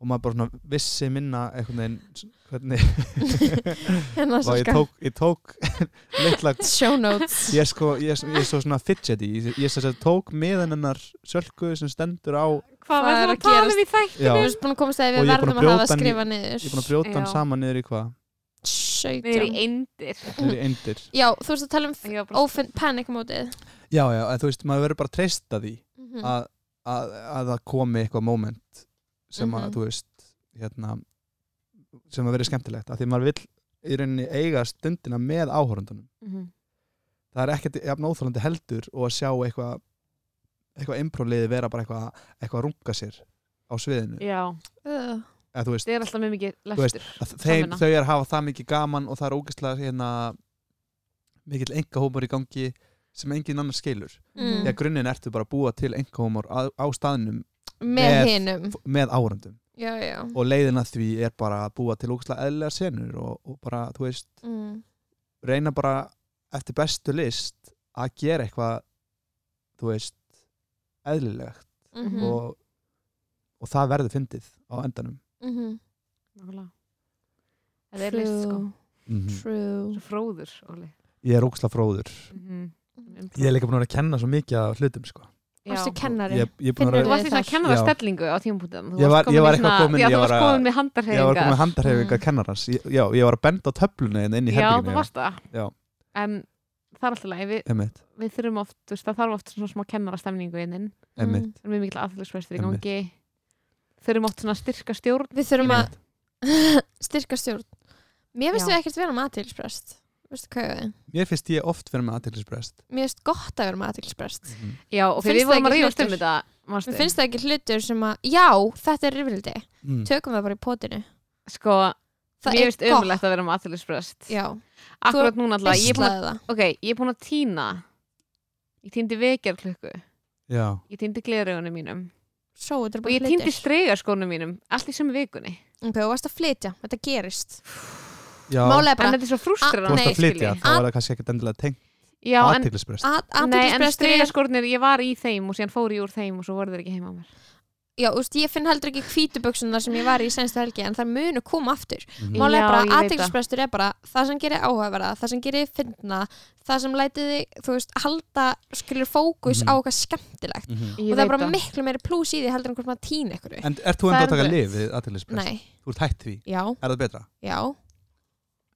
[SPEAKER 3] og maður bara svona vissi minna einhvern veginn s- hvernig
[SPEAKER 2] Hérna
[SPEAKER 3] og
[SPEAKER 2] svo
[SPEAKER 3] ég
[SPEAKER 2] skal
[SPEAKER 3] tók, ég tók litla,
[SPEAKER 2] show notes.
[SPEAKER 3] ég sko ég, ég er svo svona fidgety, ég, ég sem sagt tók meðan hennar sölku sem stendur á
[SPEAKER 1] Hvað var það
[SPEAKER 2] er að
[SPEAKER 1] að tala
[SPEAKER 2] gerast?
[SPEAKER 1] um í þætt?
[SPEAKER 3] já,
[SPEAKER 2] Við
[SPEAKER 3] ég
[SPEAKER 2] erum búin að komast að
[SPEAKER 3] Og
[SPEAKER 2] við
[SPEAKER 3] ég er búin að
[SPEAKER 2] verðum að hafa
[SPEAKER 3] brjóta
[SPEAKER 2] að
[SPEAKER 3] hann í-
[SPEAKER 2] skrifa
[SPEAKER 3] er búin að
[SPEAKER 2] niður.
[SPEAKER 3] brjóta hann
[SPEAKER 1] Já.
[SPEAKER 3] saman niður í hvað,
[SPEAKER 1] Niður í
[SPEAKER 2] 17.
[SPEAKER 1] eindir
[SPEAKER 3] niður í eindir
[SPEAKER 2] Já, þú veist að tala um
[SPEAKER 1] Ég var bara-
[SPEAKER 2] ofinn panikmótið.
[SPEAKER 3] já, já, en þú veist, maður verður bara að treysta því
[SPEAKER 2] Mhm.
[SPEAKER 3] að, að, að það komi eitthvað moment sem að,
[SPEAKER 2] Mhm.
[SPEAKER 3] þú veist hérna, sem að verður skemmtilegt af því maður vill í rauninni eiga stundina með áhórundunum
[SPEAKER 1] Mhm.
[SPEAKER 3] það er ekkert jafn óþólandi heldur og að sjá eitthvað eitthvað impróliði vera bara eitthvað eitthvað að runga sér á sviðinu
[SPEAKER 1] Já,
[SPEAKER 2] Ugh.
[SPEAKER 3] eða þú veist,
[SPEAKER 1] þið er alltaf mjög mikið
[SPEAKER 3] Þú veist,
[SPEAKER 1] lestur
[SPEAKER 3] að þeim,
[SPEAKER 1] samvinna.
[SPEAKER 3] þau er að hafa það mikið gaman og það er ógeðslega hérna, mikill engahómar í gangi sem engin annar skilur
[SPEAKER 2] Mm.
[SPEAKER 3] þegar grunninn ertu bara að búa til engahómar á, á staðnum
[SPEAKER 2] Með
[SPEAKER 3] Með-
[SPEAKER 2] hinum.
[SPEAKER 3] f- með árandum
[SPEAKER 2] Já, já.
[SPEAKER 3] og leiðin að því er bara að búa til ógeðslega eðlilega senur og, og bara, þú veist,
[SPEAKER 2] Mm.
[SPEAKER 3] reyna bara eftir bestu list að gera eitthvað þú veist, eðlilegt
[SPEAKER 1] Mm.
[SPEAKER 2] Mhm.
[SPEAKER 3] og, og það verður fyndið á endanum
[SPEAKER 2] Mhm.
[SPEAKER 1] Nákvæmlega. Það er list sko
[SPEAKER 2] Mhm. True.
[SPEAKER 1] Svo Fróður, Óli
[SPEAKER 3] ég er óksla fróður
[SPEAKER 1] Mhm. Um
[SPEAKER 3] ég er líka búin að vera að kenna svo mikið af hlutum sko.
[SPEAKER 1] Já.
[SPEAKER 2] Varstu kennari?
[SPEAKER 3] ég, ég, er búinn að
[SPEAKER 1] Þú
[SPEAKER 2] Finnurðu-
[SPEAKER 3] vera,
[SPEAKER 1] varst í svona
[SPEAKER 2] Þar.
[SPEAKER 1] kennarastellingu á tímapunktum
[SPEAKER 3] Ég var- ég var eitthvað komin-
[SPEAKER 1] Já,
[SPEAKER 3] ég
[SPEAKER 1] þú
[SPEAKER 3] var
[SPEAKER 1] varst
[SPEAKER 3] að-
[SPEAKER 1] komin með
[SPEAKER 3] ég var
[SPEAKER 1] handarhefingar
[SPEAKER 3] komið með handarhefingar kennarans ég, já, ég var að benda á töfluna hérna inn í
[SPEAKER 1] Mm. Já, þú
[SPEAKER 3] herbygginu
[SPEAKER 1] varst það
[SPEAKER 3] Já.
[SPEAKER 1] En það er alltaf leið, við,
[SPEAKER 3] emitt,
[SPEAKER 1] við þurfum oft, þú veist, það þarf oft svona smá kennarastemningu inn
[SPEAKER 3] emitt
[SPEAKER 1] Það er mjög mikil aðhaldsverðstur í
[SPEAKER 3] Einmitt.
[SPEAKER 1] gangi Þurfum oft svona að styrka stjórn
[SPEAKER 2] Við þurfum að styrka stjórn. Mér finnst
[SPEAKER 1] Já.
[SPEAKER 2] við ekkert vera með aðtilsprest. Veistu hvað ég við?
[SPEAKER 3] mér finnst ég oft verið með aðtillisbrest
[SPEAKER 2] Mér finnst gott að vera með aðtilsprest.
[SPEAKER 1] Já, og
[SPEAKER 2] Finnst
[SPEAKER 1] fyrir við
[SPEAKER 2] það
[SPEAKER 1] vorum að
[SPEAKER 2] ekki
[SPEAKER 1] rífast um
[SPEAKER 2] hlutur?
[SPEAKER 1] þetta
[SPEAKER 2] Mér
[SPEAKER 1] manstu?
[SPEAKER 2] finnst það ekki hlutur sem að, já, þetta er rifrildi.
[SPEAKER 3] mm.
[SPEAKER 2] Tökum það bara í potinu.
[SPEAKER 1] Sko,
[SPEAKER 2] Það
[SPEAKER 1] mér
[SPEAKER 2] er
[SPEAKER 1] finnst umlegt að vera með aðhaldsverðst
[SPEAKER 2] Já,
[SPEAKER 1] Akkurat núna alltaf, ég er búin að
[SPEAKER 2] islaði það.
[SPEAKER 1] Ok, ég er búin að týna Ég týndi vekjarklukku
[SPEAKER 3] já,
[SPEAKER 1] Ég týndi gleraugunum mínum
[SPEAKER 2] Svo, þetta er
[SPEAKER 1] Og
[SPEAKER 2] bara
[SPEAKER 1] ég
[SPEAKER 2] hlutur.
[SPEAKER 1] týndi stregaskónum mínum Allt í sem vikunni
[SPEAKER 2] Ok, þú varst að flytja, þetta gerist.
[SPEAKER 3] já
[SPEAKER 2] Málega
[SPEAKER 1] En
[SPEAKER 2] bara,
[SPEAKER 1] þetta er svo
[SPEAKER 3] þú
[SPEAKER 1] frustrarandi
[SPEAKER 3] varst
[SPEAKER 2] Nei,
[SPEAKER 3] að flytja, þá
[SPEAKER 2] Að-
[SPEAKER 3] var það kannski ekkert endilega tengt
[SPEAKER 1] Já, en,
[SPEAKER 3] aðtillisbrest
[SPEAKER 1] nei, en
[SPEAKER 2] aðtilsprestur er,
[SPEAKER 1] stregaskórnir Ég var í þeim og síðan fór ég úr þeim Og svo voru þeir ekki heima á mér
[SPEAKER 2] já, þú veist, ég finn heldur ekki kvítuböksunar sem ég var í senstu helgi, en það munu koma aftur.
[SPEAKER 3] Mm.
[SPEAKER 1] Já,
[SPEAKER 2] Málega bara,
[SPEAKER 1] ég veit það.
[SPEAKER 2] aðtilsprestur er bara það sem gerir áhugaverða, það sem gerir fyndna, það sem lætið þig, þú veist, halda, skilur fókus
[SPEAKER 3] Mhm.
[SPEAKER 2] á eitthvað skemmtilegt.
[SPEAKER 1] Ég
[SPEAKER 2] og það
[SPEAKER 1] veit
[SPEAKER 2] er bara miklu meiri plús í því heldur en hvort maður týn ykkur við.
[SPEAKER 3] en ert þú
[SPEAKER 1] Það
[SPEAKER 3] enda
[SPEAKER 1] er
[SPEAKER 3] að taka
[SPEAKER 1] rétt.
[SPEAKER 3] lif við aðtillisbrest?
[SPEAKER 2] Nei,
[SPEAKER 3] þú ert hætt því,
[SPEAKER 2] já,
[SPEAKER 3] er það betra?
[SPEAKER 2] já.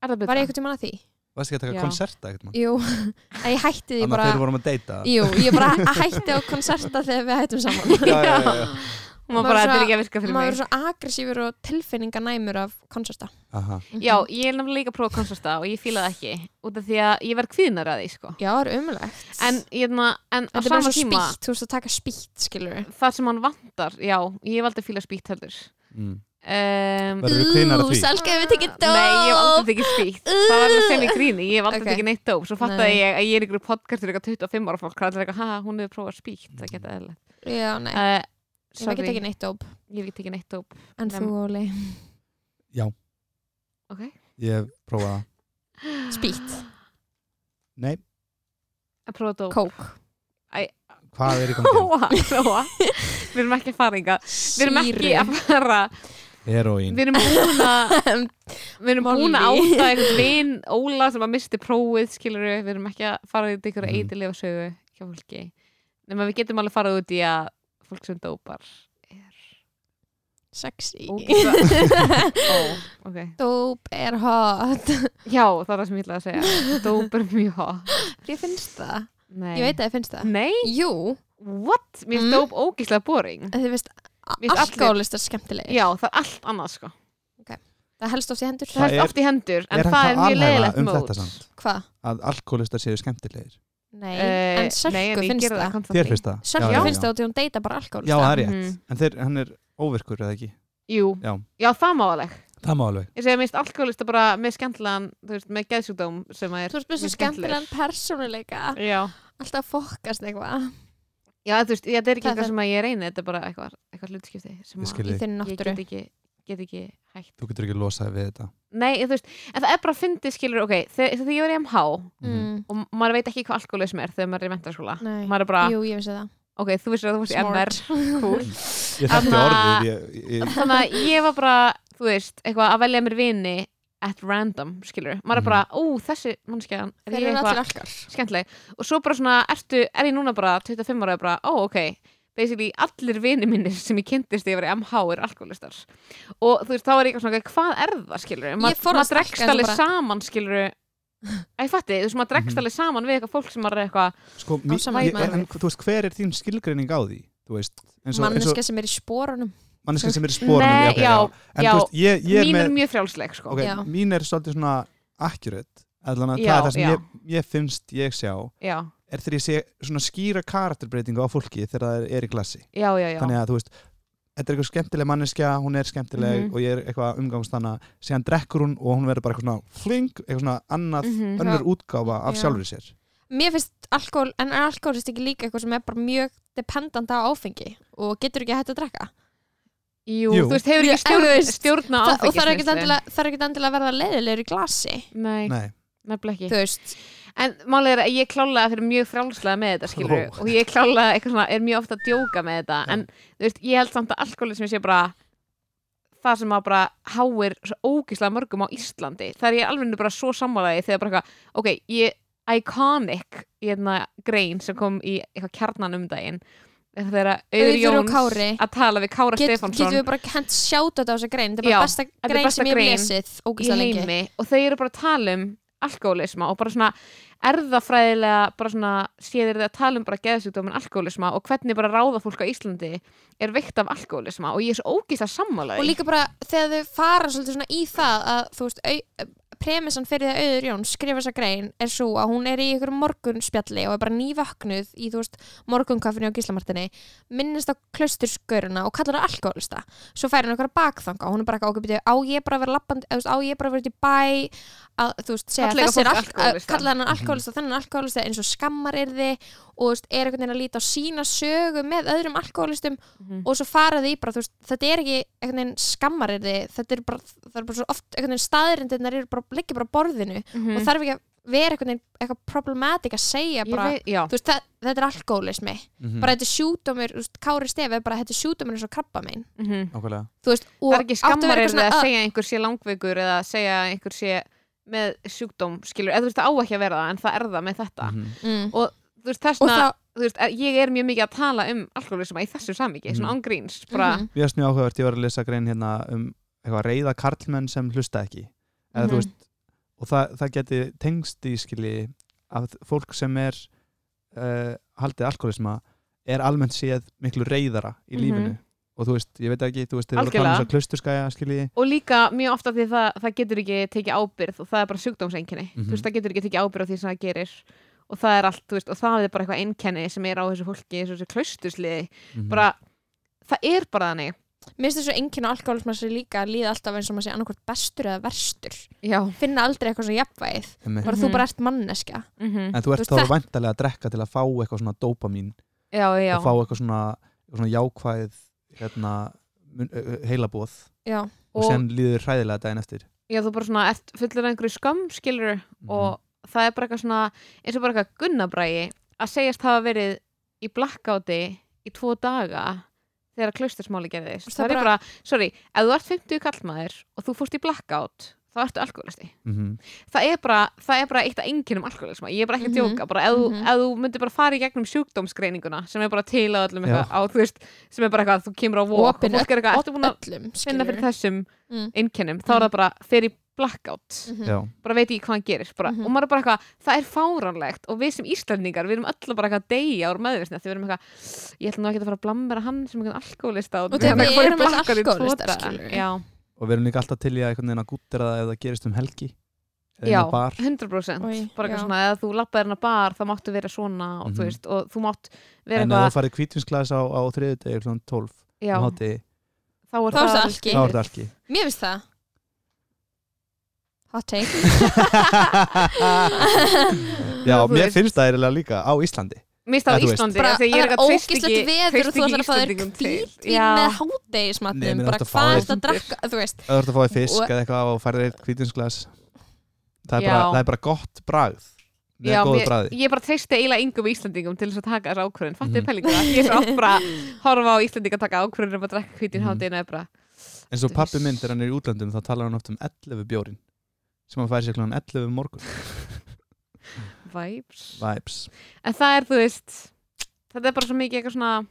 [SPEAKER 1] Er það
[SPEAKER 2] Var ég
[SPEAKER 1] betra?
[SPEAKER 2] eitthvað tíma að því?
[SPEAKER 3] varst ekki að
[SPEAKER 1] Já.
[SPEAKER 3] taka konserta ekkert mann?
[SPEAKER 2] Jú, en ég hætti því
[SPEAKER 3] þannig
[SPEAKER 2] bara...
[SPEAKER 3] að þeir vorum að deyta
[SPEAKER 2] Jú, ég bara hætti á konserta þegar við hættum saman.
[SPEAKER 3] já, já, já, já.
[SPEAKER 1] Hún var
[SPEAKER 2] Maður
[SPEAKER 1] bara,
[SPEAKER 2] svo-
[SPEAKER 1] þetta er ekki að virka fyrir
[SPEAKER 2] maður
[SPEAKER 1] mig
[SPEAKER 2] er svo agressífur og tilfinninganæmur af konserta.
[SPEAKER 3] Aha.
[SPEAKER 1] Já, ég er nefnilega líka að prófa konstasta og ég fíla það ekki út af því að ég verð kvíðnar að því sko.
[SPEAKER 2] Já, það er umlegt.
[SPEAKER 1] en, hérna, en á
[SPEAKER 2] þetta er bara
[SPEAKER 1] sama
[SPEAKER 2] svo
[SPEAKER 1] tíma
[SPEAKER 2] spýtt, þú veist að taka spýtt, skilur við.
[SPEAKER 1] það sem hann vantar, já, ég hef aldrei fíla spýtt heldur
[SPEAKER 3] Mm.
[SPEAKER 1] um,
[SPEAKER 3] Verður þú kvíðnar að því?
[SPEAKER 2] salka við tekið dóp.
[SPEAKER 1] Nei, ég hef aldrei tekið spýtt Það var alveg sem í gríni, ég hef aldrei
[SPEAKER 2] Ok.
[SPEAKER 1] tekið neitt dóp Svo fattaði
[SPEAKER 2] Nei.
[SPEAKER 1] ég að ég er ykkur podcastur eitthvað 25 ára og fólk hvað er eitthvað, ha, hún hefur prófað spýtt það geta eðlilegt
[SPEAKER 2] Já, nei,
[SPEAKER 1] uh,
[SPEAKER 2] ég hef ekki
[SPEAKER 1] Sorry,
[SPEAKER 2] tekið neitt dóp.
[SPEAKER 1] ég hef ekki tekið neitt dóp
[SPEAKER 2] En
[SPEAKER 1] Nei.
[SPEAKER 2] þú, Óli,
[SPEAKER 1] okay.
[SPEAKER 3] ég hef prófað það
[SPEAKER 2] spýtt,
[SPEAKER 3] Nei,
[SPEAKER 1] að prófa dóp
[SPEAKER 2] kók,
[SPEAKER 3] hvað er í gangi?
[SPEAKER 1] Lóa, Lóa, við erum ekki að fara inga Við erum ekki að fara
[SPEAKER 3] Heroín
[SPEAKER 1] Við erum búin að Við erum búin að
[SPEAKER 2] Molly.
[SPEAKER 1] átta einhvern vinn Óla sem að misti prófið, skilur við erum ekki að fara út í einhverja
[SPEAKER 3] Mhm.
[SPEAKER 1] mm. eitilega sögu hjá fólki nema við getum alveg farað út í að fólk sem dópar
[SPEAKER 2] sexy.
[SPEAKER 1] ógeðslega- Ó, ok.
[SPEAKER 2] Dóp er hot.
[SPEAKER 1] Já, það er það sem ég ætlaði að segja Dóp er mjög hot
[SPEAKER 2] Ég finnst það.
[SPEAKER 1] Nei.
[SPEAKER 2] Ég veit að ég finnst það.
[SPEAKER 1] Nei,
[SPEAKER 2] Jú,
[SPEAKER 1] what? Mér finnst
[SPEAKER 2] Mm.
[SPEAKER 1] dóp ógeðslega boring
[SPEAKER 2] en þið finnst
[SPEAKER 1] finnst allir-
[SPEAKER 2] alkoholistar skemmtilegir.
[SPEAKER 1] Já, það er allt annað sko
[SPEAKER 2] Það helst oft í hendur.
[SPEAKER 1] Það
[SPEAKER 3] er-
[SPEAKER 1] er oft í hendur, en það
[SPEAKER 3] er
[SPEAKER 1] er
[SPEAKER 3] hægt að
[SPEAKER 1] mjög
[SPEAKER 3] alhæfa
[SPEAKER 1] leiðilegt
[SPEAKER 3] um
[SPEAKER 1] mót
[SPEAKER 3] þetta samt?
[SPEAKER 2] Hvað?
[SPEAKER 3] að alkoholistar séu skemmtilegir
[SPEAKER 2] Nei,
[SPEAKER 1] Eh,
[SPEAKER 2] en Sölku
[SPEAKER 1] nei, ég
[SPEAKER 2] finnst
[SPEAKER 1] geri
[SPEAKER 2] það.
[SPEAKER 1] constantly.
[SPEAKER 3] Þér finnst það?
[SPEAKER 2] Sölku
[SPEAKER 1] Já, já,
[SPEAKER 2] finnst það út í hún deyta bara sko. alkohólista.
[SPEAKER 3] Já, það er rétt.
[SPEAKER 1] Mhm.
[SPEAKER 3] En þeir, hann er óvirkur eða ekki?
[SPEAKER 1] Jú,
[SPEAKER 3] Já.
[SPEAKER 1] já það má alveg
[SPEAKER 3] Það má alveg.
[SPEAKER 1] Ég segi að minnst alkoholista bara með skemmtilegan þú veist, með geðsjúkdóm sem að er
[SPEAKER 2] Þú ert með svo
[SPEAKER 1] mjög
[SPEAKER 2] skemmtilegan persónuleika.
[SPEAKER 1] Já,
[SPEAKER 2] Alltaf að fókast eitthvað
[SPEAKER 1] já þú veist, já, þetta er ekki
[SPEAKER 2] Það
[SPEAKER 1] eitthvað
[SPEAKER 2] er-
[SPEAKER 1] sem að ég reyni þetta er bara eitthvað, eitthvað hlutskipti sem
[SPEAKER 3] Ég skil
[SPEAKER 1] að
[SPEAKER 2] í
[SPEAKER 3] Skilji.
[SPEAKER 2] þinn
[SPEAKER 1] ég
[SPEAKER 2] náttúru.
[SPEAKER 1] get ekki, get ekki hægt
[SPEAKER 3] Þú getur ekki losað við þetta.
[SPEAKER 1] Nei, þú veist, en það er bara að fyndi skilur, ok, þegar, þegar ég var í MH
[SPEAKER 3] Mhm.
[SPEAKER 2] Mm.
[SPEAKER 1] og maður veit ekki hvað alkoholism er þegar maður er í mentarskóla
[SPEAKER 2] Nei.
[SPEAKER 1] maður er bara,
[SPEAKER 2] Jú, ég vissi það.
[SPEAKER 1] ok, þú vissir að þú varst í MR
[SPEAKER 2] Smart.
[SPEAKER 1] cool.
[SPEAKER 3] Ég þekkti
[SPEAKER 1] Þarna-
[SPEAKER 3] orðið. Ég, ég,
[SPEAKER 1] þannig að ég var bara, þú veist, eitthvað að velja mér vini at random, skilur maður er
[SPEAKER 3] Mhm.
[SPEAKER 1] bara, ó, þessi mannskjaðan er
[SPEAKER 2] Þeir
[SPEAKER 1] ég
[SPEAKER 2] eru allir
[SPEAKER 1] eitthvað
[SPEAKER 2] alkar.
[SPEAKER 1] skemmtileg og svo bara svona, ertu, er ég núna bara 25 ára og bara, ó, ok basically allir vini minni sem ég kynntist þegar ég var í MH er alkoholistar og þú veist, þá er ég eitthvað svona, hvað er það, skilur
[SPEAKER 2] Ég fór að
[SPEAKER 1] maður
[SPEAKER 2] stækka
[SPEAKER 1] dregst
[SPEAKER 2] eins og
[SPEAKER 1] alveg
[SPEAKER 2] bara-
[SPEAKER 1] saman, skilur að ég fatti, þú veist, maður dregst
[SPEAKER 3] Mhm.
[SPEAKER 1] alveg saman við eitthvað fólk sem maður er eitthvað,
[SPEAKER 3] sko, mí,
[SPEAKER 2] sama
[SPEAKER 3] ég,
[SPEAKER 2] tíma.
[SPEAKER 3] en, þú veist, hver er þín skilgreining á því? Þú veist, eins og, eins og
[SPEAKER 2] Manneska sem er í spórunum.
[SPEAKER 3] manneska sem er í spórnum.
[SPEAKER 1] Nei,
[SPEAKER 3] ok,
[SPEAKER 1] já,
[SPEAKER 3] En
[SPEAKER 1] já.
[SPEAKER 3] þú veist, ég, ég er
[SPEAKER 1] mín
[SPEAKER 3] með...
[SPEAKER 1] er mjög frjálsleg, sko
[SPEAKER 3] ok,
[SPEAKER 2] Já.
[SPEAKER 3] mín er svolítið svona accurate allan að
[SPEAKER 1] Já,
[SPEAKER 3] það er það sem
[SPEAKER 1] já.
[SPEAKER 3] ég, ég finnst ég sjá
[SPEAKER 1] já,
[SPEAKER 3] er þegar ég sé svona skýra karakterbreytingu á fólki þegar það er í klassi
[SPEAKER 1] já, já, já,
[SPEAKER 3] þannig að þú veist, þetta er eitthvað skemmtileg manneskja hún er skemmtileg
[SPEAKER 1] Mhm.
[SPEAKER 3] og ég er eitthvað umgangst hana síðan drekkur hún og hún verður bara eitthvað svona fling, eitthvað svona annað
[SPEAKER 1] Mhm.
[SPEAKER 3] önnur útgáfa af
[SPEAKER 2] Já.
[SPEAKER 3] sjálfur sér
[SPEAKER 2] Mér finnst alkohol, en er alkoholist ekki líka eitthvað sem er bara mjög dependent á áfengi og getur ekki að hætta að drekka.
[SPEAKER 1] jú,
[SPEAKER 3] Jú.
[SPEAKER 1] þú veist, hefur
[SPEAKER 2] Ég-
[SPEAKER 1] ekki stjórn,
[SPEAKER 2] en þú veist,
[SPEAKER 1] stjórna
[SPEAKER 2] Þa, og
[SPEAKER 1] áfengis
[SPEAKER 2] það er ekkit endilega, það er ekkit endilega að verða leiðilegur í glasi.
[SPEAKER 1] nei,
[SPEAKER 3] Nei,
[SPEAKER 1] nefnilega ekki
[SPEAKER 2] Þú veist,
[SPEAKER 1] En málið er að ég klálega fyrir mjög frálslega með þetta skilur
[SPEAKER 3] Ó.
[SPEAKER 1] og ég klálega eitthvað svona er mjög ofta að djóka með þetta
[SPEAKER 3] Já.
[SPEAKER 1] en þú veist, ég held samt að alkoholismi sé bara það sem að bara háir svo ógislega mörgum á Íslandi það er ég alveg bara svo sammálaði þegar bara eitthvað, ok, ég, iconic hérna, grein sem kom í eitthvað kjarnan um daginn þegar að Auður
[SPEAKER 2] Auður og
[SPEAKER 1] Jóns
[SPEAKER 2] Kári.
[SPEAKER 1] að tala við Kára
[SPEAKER 2] get, getum
[SPEAKER 1] Stefánsson
[SPEAKER 2] við bara hent sjátt á þessa grein. Þetta er
[SPEAKER 1] Já,
[SPEAKER 2] bara besta
[SPEAKER 1] er
[SPEAKER 2] grein
[SPEAKER 1] besta
[SPEAKER 2] sem ég hef
[SPEAKER 1] grein
[SPEAKER 2] lesið
[SPEAKER 1] í
[SPEAKER 2] ógæslega lengi.
[SPEAKER 1] heimi og þau eru bara að tala um alkoholisma og bara svona erðafræðilega bara svona séðir þið að tala um bara geðsjúkdómin alkoholisma og hvernig bara ráða fólk á Íslandi er veikt af alkoholisma og ég er svo ógíslega sammála
[SPEAKER 2] og
[SPEAKER 1] því.
[SPEAKER 2] líka bara þegar þau fara svolítið svona í það að þú veist, au, premissan fyrir það auður Jón skrifa þessa grein er svo að hún er í ykkur morgunspjalli og er bara nývöknuð í þú veist morgunkaffinu á Gíslamartinni minnist á klaustursgöruna og kallar það alkoholista svo fær hann ykkur bakþanga og hún er bara okkur byrju á ég bara að vera lappandi eða, þú veist, á ég bara að vera út í bæ að þú veist segja
[SPEAKER 1] Kalla eitthvað
[SPEAKER 2] þessi er
[SPEAKER 1] fólk
[SPEAKER 2] alk-
[SPEAKER 1] alkohólista.
[SPEAKER 2] að-
[SPEAKER 1] Mhm.
[SPEAKER 2] kalla hann alkoholista þennan alkoholista eins og skammar er og þú veist, er einhvern veginn að líta á sína sögu með öðrum alkoholistum
[SPEAKER 1] Mhm.
[SPEAKER 2] og svo fara því bara, þú veist, þetta er ekki einhvern veginn skammarirði, þetta er bara það er bara svo oft, einhvern veginn staðrindirnar eru bara, liggja bara á borðinu
[SPEAKER 1] Mhm.
[SPEAKER 2] og þarf ekki að vera einhvern veginn eitthvað problematic að segja
[SPEAKER 1] Ég
[SPEAKER 2] bara,
[SPEAKER 1] veit- Mm. já,
[SPEAKER 2] þú veist, það, þetta er alkoholismi
[SPEAKER 3] Mhm.
[SPEAKER 2] bara þetta er sjúdómur, þú veist, Kári Stefi er bara þetta er sjúdómur eins og krabba minn
[SPEAKER 1] mhm.
[SPEAKER 3] nákvæmlega
[SPEAKER 2] þú veist, og
[SPEAKER 1] það er ekki
[SPEAKER 2] áttu að
[SPEAKER 1] skammar
[SPEAKER 2] vera
[SPEAKER 1] eða
[SPEAKER 2] eitthvað
[SPEAKER 1] að
[SPEAKER 2] svona,
[SPEAKER 1] segja að einhver sé langveikur eða að segja að einhver sé með sjúkdóm skilur, eða þú veist það á ekki að vera það en það er það með þetta
[SPEAKER 3] Mhm.
[SPEAKER 2] mm.
[SPEAKER 1] þú veist þessna,
[SPEAKER 2] og þá,
[SPEAKER 1] þú veist, er- ég er mjög mikið að tala um alkoholisma í þessu samíki, svona
[SPEAKER 3] Mhm.
[SPEAKER 1] ángríns bara,
[SPEAKER 2] Mhm.
[SPEAKER 3] Mér finnst mjög áhugavert, ég var að lesa grein hérna um eitthvað reyða karlmenn sem hlusta ekki eða þú
[SPEAKER 1] Mhm.
[SPEAKER 3] veist og það, það geti tengst í skili að fólk sem er uh, haldið alkoholisma er almennt séð miklu reyðara í
[SPEAKER 1] Mhm.
[SPEAKER 3] lífinu og þú veist, ég veit ekki, þú veist þið voru að tala um
[SPEAKER 1] Algjörlega.
[SPEAKER 3] þess að klausturskæja skili
[SPEAKER 1] og líka mjög ofta því það, það getur ekki tekið ábyrð og það er bara sjúkdómseinkenni
[SPEAKER 3] Mhm.
[SPEAKER 1] þú veist, það getur ekki tekið ábyrð á því sem það gerir og það er allt, þú veist, og það er bara eitthvað einkenni sem er á þessu fólki, þessu, þessu klaustusliði
[SPEAKER 3] Mhm.
[SPEAKER 1] bara, það er bara þannig
[SPEAKER 2] mér finnst þessu enginn og alkoholismi sér líka að líða alltaf eins og maður sé annarkvort bestur eða verstur
[SPEAKER 1] já,
[SPEAKER 2] finna aldrei eitthvað svona jafnvægið bara þú
[SPEAKER 1] Mhm.
[SPEAKER 2] bara ert manneska
[SPEAKER 1] mhm,
[SPEAKER 3] en þú
[SPEAKER 2] þú
[SPEAKER 3] ert
[SPEAKER 2] veist
[SPEAKER 3] þá vantarlega að drekka til að fá eitthvað svona dópamín
[SPEAKER 1] já, já
[SPEAKER 3] og fá eitthvað svona, eitthvað svona jákvæð hérna, mun- ö- ö- heilabóð
[SPEAKER 2] já,
[SPEAKER 3] og, og
[SPEAKER 1] Og-
[SPEAKER 3] sen líður hræðilega daginn eftir
[SPEAKER 1] já, þú bara svona ert fullur af einhverju skam, skilur og það er bara eitthvað svona eins og bara eitthvað gunnabrægi að segjast hafa verið í blackouti í tvo daga þegar klaustursmáli gerðist það,
[SPEAKER 2] Það
[SPEAKER 1] er
[SPEAKER 2] bara-
[SPEAKER 1] bara, sorry, ef þú ert 50 kallmaður og þú fórst í blackout þá ertu alkoholisti
[SPEAKER 3] mm -hmm.
[SPEAKER 1] það er bara, það er bara eitt af enginum alkoholisma ég er bara ekki að
[SPEAKER 2] Mhm.
[SPEAKER 1] djóka, bara ef,
[SPEAKER 2] Mhm.
[SPEAKER 1] þú, ef þú myndir bara fara í gegnum sjúkdómsgreininguna sem er bara til á öllum
[SPEAKER 3] Já.
[SPEAKER 1] eitthvað á, þú veist, sem er bara eitthvað, þú kemur á vok
[SPEAKER 2] Opin
[SPEAKER 1] og fólk er eitthvað, ertu búin að
[SPEAKER 2] öllum
[SPEAKER 1] finna fyrir þessum
[SPEAKER 2] Mm.
[SPEAKER 1] einkennum, þá er það bara fer í blackout,
[SPEAKER 2] Mhm.
[SPEAKER 3] Já,
[SPEAKER 1] bara veit ég hvað hann gerir bara,
[SPEAKER 2] Mhm.
[SPEAKER 1] og maður er bara eitthvað, það er fáránlegt og við sem Íslandingar, við erum öll bara eitthvað að deyja úr meðvisna, því við erum eitthvað ég ætla nú ekki að fara að blammera hann sem eitthvað alkoholista
[SPEAKER 2] Og þegar
[SPEAKER 1] eitthvað
[SPEAKER 2] við
[SPEAKER 1] fór í
[SPEAKER 2] erum öll
[SPEAKER 1] blackout í tvo
[SPEAKER 2] alkohólistar,
[SPEAKER 1] daga.
[SPEAKER 2] skilurðu.
[SPEAKER 1] Já.
[SPEAKER 3] og við erum líka alltaf til í að einhvern veginn að gúttera það ef það gerist um helgi
[SPEAKER 1] já,
[SPEAKER 3] eða inn á bar
[SPEAKER 1] 100%
[SPEAKER 2] Oj,
[SPEAKER 1] bara eitthvað
[SPEAKER 2] já.
[SPEAKER 1] svona, eða þú lappaði hérna bar þá máttu vera svona og, þú
[SPEAKER 3] Mhm.
[SPEAKER 1] veist, og þú mátt vera
[SPEAKER 3] en ef þú
[SPEAKER 1] eitthvað
[SPEAKER 3] farið kvítvinsglas á, á þriðudegi kl. 12
[SPEAKER 1] já,
[SPEAKER 3] um hádegi,
[SPEAKER 1] þá er það
[SPEAKER 2] Þá er það
[SPEAKER 1] alveg
[SPEAKER 2] alki.
[SPEAKER 3] þá er
[SPEAKER 1] skilið.
[SPEAKER 3] þetta alki
[SPEAKER 2] Mér finnst það Hot take
[SPEAKER 3] já,
[SPEAKER 1] Þú
[SPEAKER 3] mér
[SPEAKER 1] veist.
[SPEAKER 3] finnst það eiginlega líka á Íslandi
[SPEAKER 1] mist á
[SPEAKER 3] Eða þú veist.
[SPEAKER 1] Íslandi
[SPEAKER 2] bara,
[SPEAKER 1] af því að ég er
[SPEAKER 2] Það er
[SPEAKER 1] eitthvað treyst ekki
[SPEAKER 2] ógislegt veður og þú ætlar að fá þér
[SPEAKER 1] Íslendingum til.
[SPEAKER 2] kvítvín
[SPEAKER 1] Já.
[SPEAKER 2] með
[SPEAKER 3] Nei,
[SPEAKER 2] hádegismatnum
[SPEAKER 3] menn
[SPEAKER 2] bara
[SPEAKER 3] þetta
[SPEAKER 2] hvað
[SPEAKER 3] fá
[SPEAKER 2] er þetta að drakka þú veist,
[SPEAKER 3] ef þú ert að fá þér fisk
[SPEAKER 2] Og-
[SPEAKER 3] eða eitthvað og farið eitt kvítvinsglas það er,
[SPEAKER 1] Já.
[SPEAKER 3] bara, það er bara gott bragð með
[SPEAKER 1] Já,
[SPEAKER 3] góðu
[SPEAKER 1] mér-
[SPEAKER 3] bragði
[SPEAKER 1] ég bara treysti eiginlega yngum Íslandingum til þess að taka þessa ákvörðin fattu mm.
[SPEAKER 3] Mhm.
[SPEAKER 1] pælinga, ég er svo oft bara að horfa á Íslandinga að taka ákvörðin um að drekka hvítin mm.
[SPEAKER 3] Mhm.
[SPEAKER 1] hátinn eða bara,
[SPEAKER 3] En svo pappi minn þegar hann er í útlöndum þá talar hann oft um 11 bjórin sem hann færi sér kl. 11 um morgun
[SPEAKER 1] vibes
[SPEAKER 3] Vibes
[SPEAKER 1] en það er, þú veist þetta er bara svo mikið eitthvað svona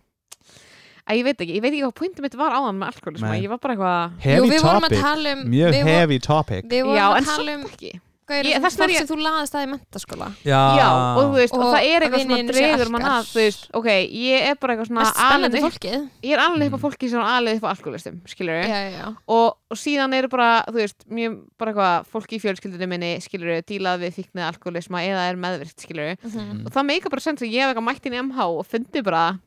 [SPEAKER 1] að ég veit ekki, ég veit ekki hvað pointum mitt var áðan með alkoholisma,
[SPEAKER 3] Nei.
[SPEAKER 1] ég var bara eitthvað
[SPEAKER 2] jú,
[SPEAKER 3] Heavy
[SPEAKER 2] við vorum að
[SPEAKER 3] topic,
[SPEAKER 2] tala um
[SPEAKER 3] mjög
[SPEAKER 2] við,
[SPEAKER 3] heavy topic
[SPEAKER 2] við vorum
[SPEAKER 1] Já, en
[SPEAKER 2] að
[SPEAKER 1] samt
[SPEAKER 2] tala um
[SPEAKER 1] ekki Ég- þess
[SPEAKER 2] gauðir
[SPEAKER 1] vegna er
[SPEAKER 2] fólk
[SPEAKER 1] ég-
[SPEAKER 2] sem þú laðast að í mentaskóla
[SPEAKER 3] Ah.
[SPEAKER 1] Já, og þú veist, og,
[SPEAKER 2] Og
[SPEAKER 1] það er eitthvað sem að
[SPEAKER 2] vinirnir séu
[SPEAKER 1] dregur mann
[SPEAKER 2] alkar.
[SPEAKER 1] að, þú veist, ok, ég er bara eitthvað svona
[SPEAKER 2] mest spennandi
[SPEAKER 1] alin upp-
[SPEAKER 2] fólkið
[SPEAKER 1] ég er alveg upp á
[SPEAKER 3] Mm.
[SPEAKER 1] fólki sem er alveg upp á alkoholistum, skilur
[SPEAKER 2] já, já, já.
[SPEAKER 1] og, og síðan eru bara, þú veist, mjög bara eitthvað, fólki í fjölskyldunum minni, skilur við, dílað við fíknið alkoholisma eða er meðvirkt, skilur
[SPEAKER 2] Mhm.
[SPEAKER 1] og það meika bara sens að ég hef eitthvað mætt inn í MH og fundi bara,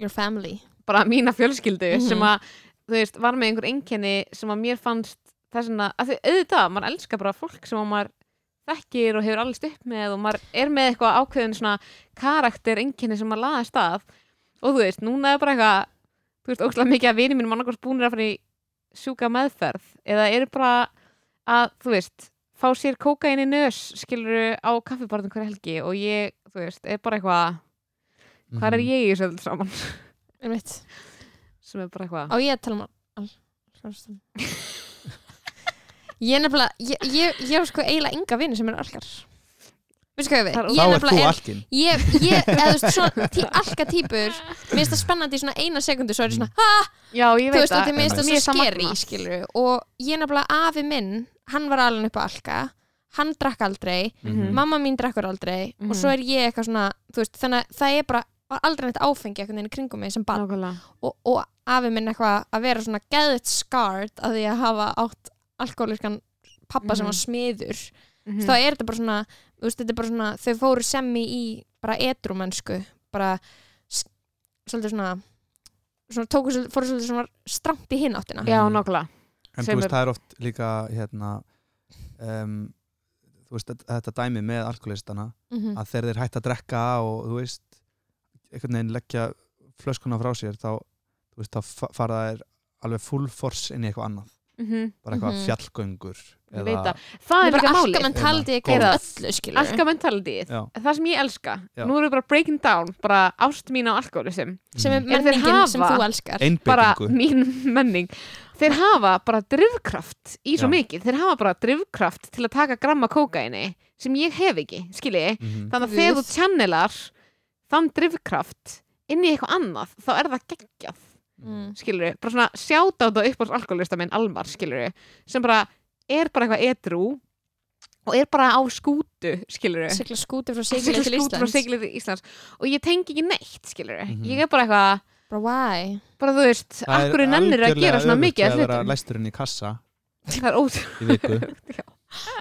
[SPEAKER 2] your family
[SPEAKER 1] bara mína fjölskyldu
[SPEAKER 2] Mhm.
[SPEAKER 1] sem að, þú veist, var með einhver einkenni sem að mér fannst þess vegna, að því auðvitað, maður elskar bara fólk sem að maður þekkir og hefur allist upp með og maður er með eitthvað ákveðin svona karakter einkenni sem maður laðast að og þú veist, núna er bara eitthvað þú veist, ókslega mikið að vinið mínum annarkvæmst búnir að fara í sjúka meðferð eða eru bara að, þú veist fá sér kókain í nös skilur á kaffibarnum hver helgi og ég, þú veist, er bara eitthvað hvað er
[SPEAKER 3] Mhm.
[SPEAKER 1] ég í þessu öll saman
[SPEAKER 2] Einmitt.
[SPEAKER 1] sem er bara eitthvað
[SPEAKER 2] á ég að tala um al- alkoholistum ég er nefnilega ég, ég, ég er sko eiginlega enga vini sem er alkar veistu hvað ég
[SPEAKER 1] Það er-
[SPEAKER 2] við
[SPEAKER 3] Þá
[SPEAKER 2] ég
[SPEAKER 3] ert þú
[SPEAKER 2] nefnilega er
[SPEAKER 3] alkin
[SPEAKER 2] ég, ég, eða þú veist, svona tí, alka típur mér finnst það spennandi í svona eina sekundu svo er ég svona, ha,
[SPEAKER 1] Já, ég
[SPEAKER 2] þú
[SPEAKER 1] veit
[SPEAKER 2] veist, þetta mér finnst það
[SPEAKER 1] Mér
[SPEAKER 2] svo
[SPEAKER 1] er það
[SPEAKER 2] skeri,
[SPEAKER 1] magnað.
[SPEAKER 2] skilur og ég nefnilega afi minn, hann var alveg upp á alka hann drakk aldrei,
[SPEAKER 3] Mm.
[SPEAKER 1] Mhm.
[SPEAKER 2] mamma mín drakkur aldrei
[SPEAKER 1] Mhm.
[SPEAKER 2] og svo er ég eitthvað svona, þú veist, þannig að það er bara var aldrei neitt áfengi einhvern veginn í kringum mig sem barn
[SPEAKER 1] Nákvæmlega.
[SPEAKER 2] og, og afi minn eitthvað að vera svona geðut skart að því að hafa átt alkoholiskan pappa sem
[SPEAKER 1] Mhm.
[SPEAKER 2] var smiður
[SPEAKER 1] Mhm.
[SPEAKER 2] þá er þetta bara svona, þú veist, þetta er bara svona þau fóru semmi í bara edrumennsku bara s- svolítið svona, svona tóku, svolítið- fóru svolítið svona stramt í hinn áttina
[SPEAKER 1] Já, nákvæmlega
[SPEAKER 3] En þú
[SPEAKER 1] Sem
[SPEAKER 3] veist,
[SPEAKER 1] er-
[SPEAKER 3] það er oft líka hérna, um, þú veist, þetta- þetta dæmi með alkoholistana
[SPEAKER 1] Mm.
[SPEAKER 2] Mhm.
[SPEAKER 3] að þegar þeir hætt að drekka og þú veist, einhvern veginn leggja flöskuna frá sér þá, þú veist, þá fa- fara þeir alveg full force inn í eitthvað annað
[SPEAKER 1] Mhm.
[SPEAKER 3] bara eitthvað
[SPEAKER 2] Mhm.
[SPEAKER 3] fjallgöngur
[SPEAKER 1] Ég
[SPEAKER 3] eða-
[SPEAKER 1] veit það Það
[SPEAKER 2] Það
[SPEAKER 1] er
[SPEAKER 2] er
[SPEAKER 1] líka
[SPEAKER 2] bara
[SPEAKER 1] málið
[SPEAKER 2] alkamentaldi
[SPEAKER 3] Góð.
[SPEAKER 2] gerir öllu skilur
[SPEAKER 1] Alka mentalityið
[SPEAKER 3] Já.
[SPEAKER 1] Það sem ég elska
[SPEAKER 3] Já.
[SPEAKER 1] Nú erum við bara breaking down Bara ást mín á alkoholism
[SPEAKER 2] sem er
[SPEAKER 3] Mhm.
[SPEAKER 1] Er þeir
[SPEAKER 2] menningin sem
[SPEAKER 1] hafa-
[SPEAKER 2] þú elskar
[SPEAKER 1] Bara
[SPEAKER 3] Einbeitingu
[SPEAKER 1] mín menning Þeir hafa bara drivkraft í svo
[SPEAKER 3] Já.
[SPEAKER 1] mikið Þeir hafa bara drivkraft til að taka gramma kókaini sem ég hef ekki, skilji
[SPEAKER 3] Mhm.
[SPEAKER 1] Þannig að
[SPEAKER 2] Guð.
[SPEAKER 1] þegar þú channelar þann drivkraft inn í eitthvað annað þá er það geggjað
[SPEAKER 3] Mhm.
[SPEAKER 2] Mm.
[SPEAKER 1] skilur við, bara svona sjáta á þetta upp á alkoholista minn Almar, skilur við, sem bara er bara eitthvað edrú og er bara á skútu, skilur við
[SPEAKER 2] sigla skúti frá sigli til
[SPEAKER 1] skútu frá
[SPEAKER 2] Íslands
[SPEAKER 1] siglið til Íslands og ég tengi ekki neitt, skilur við
[SPEAKER 3] Mhm.
[SPEAKER 1] ég er bara eitthvað,
[SPEAKER 2] bara why
[SPEAKER 1] bara þú veist
[SPEAKER 3] Það er
[SPEAKER 1] akkur er nennir að
[SPEAKER 3] algjörlega
[SPEAKER 1] gera svona
[SPEAKER 3] öfugt
[SPEAKER 1] mikið af
[SPEAKER 3] við að vera
[SPEAKER 1] hlutum
[SPEAKER 3] læsturinn í kassa
[SPEAKER 1] það er ótrúlega
[SPEAKER 3] í viku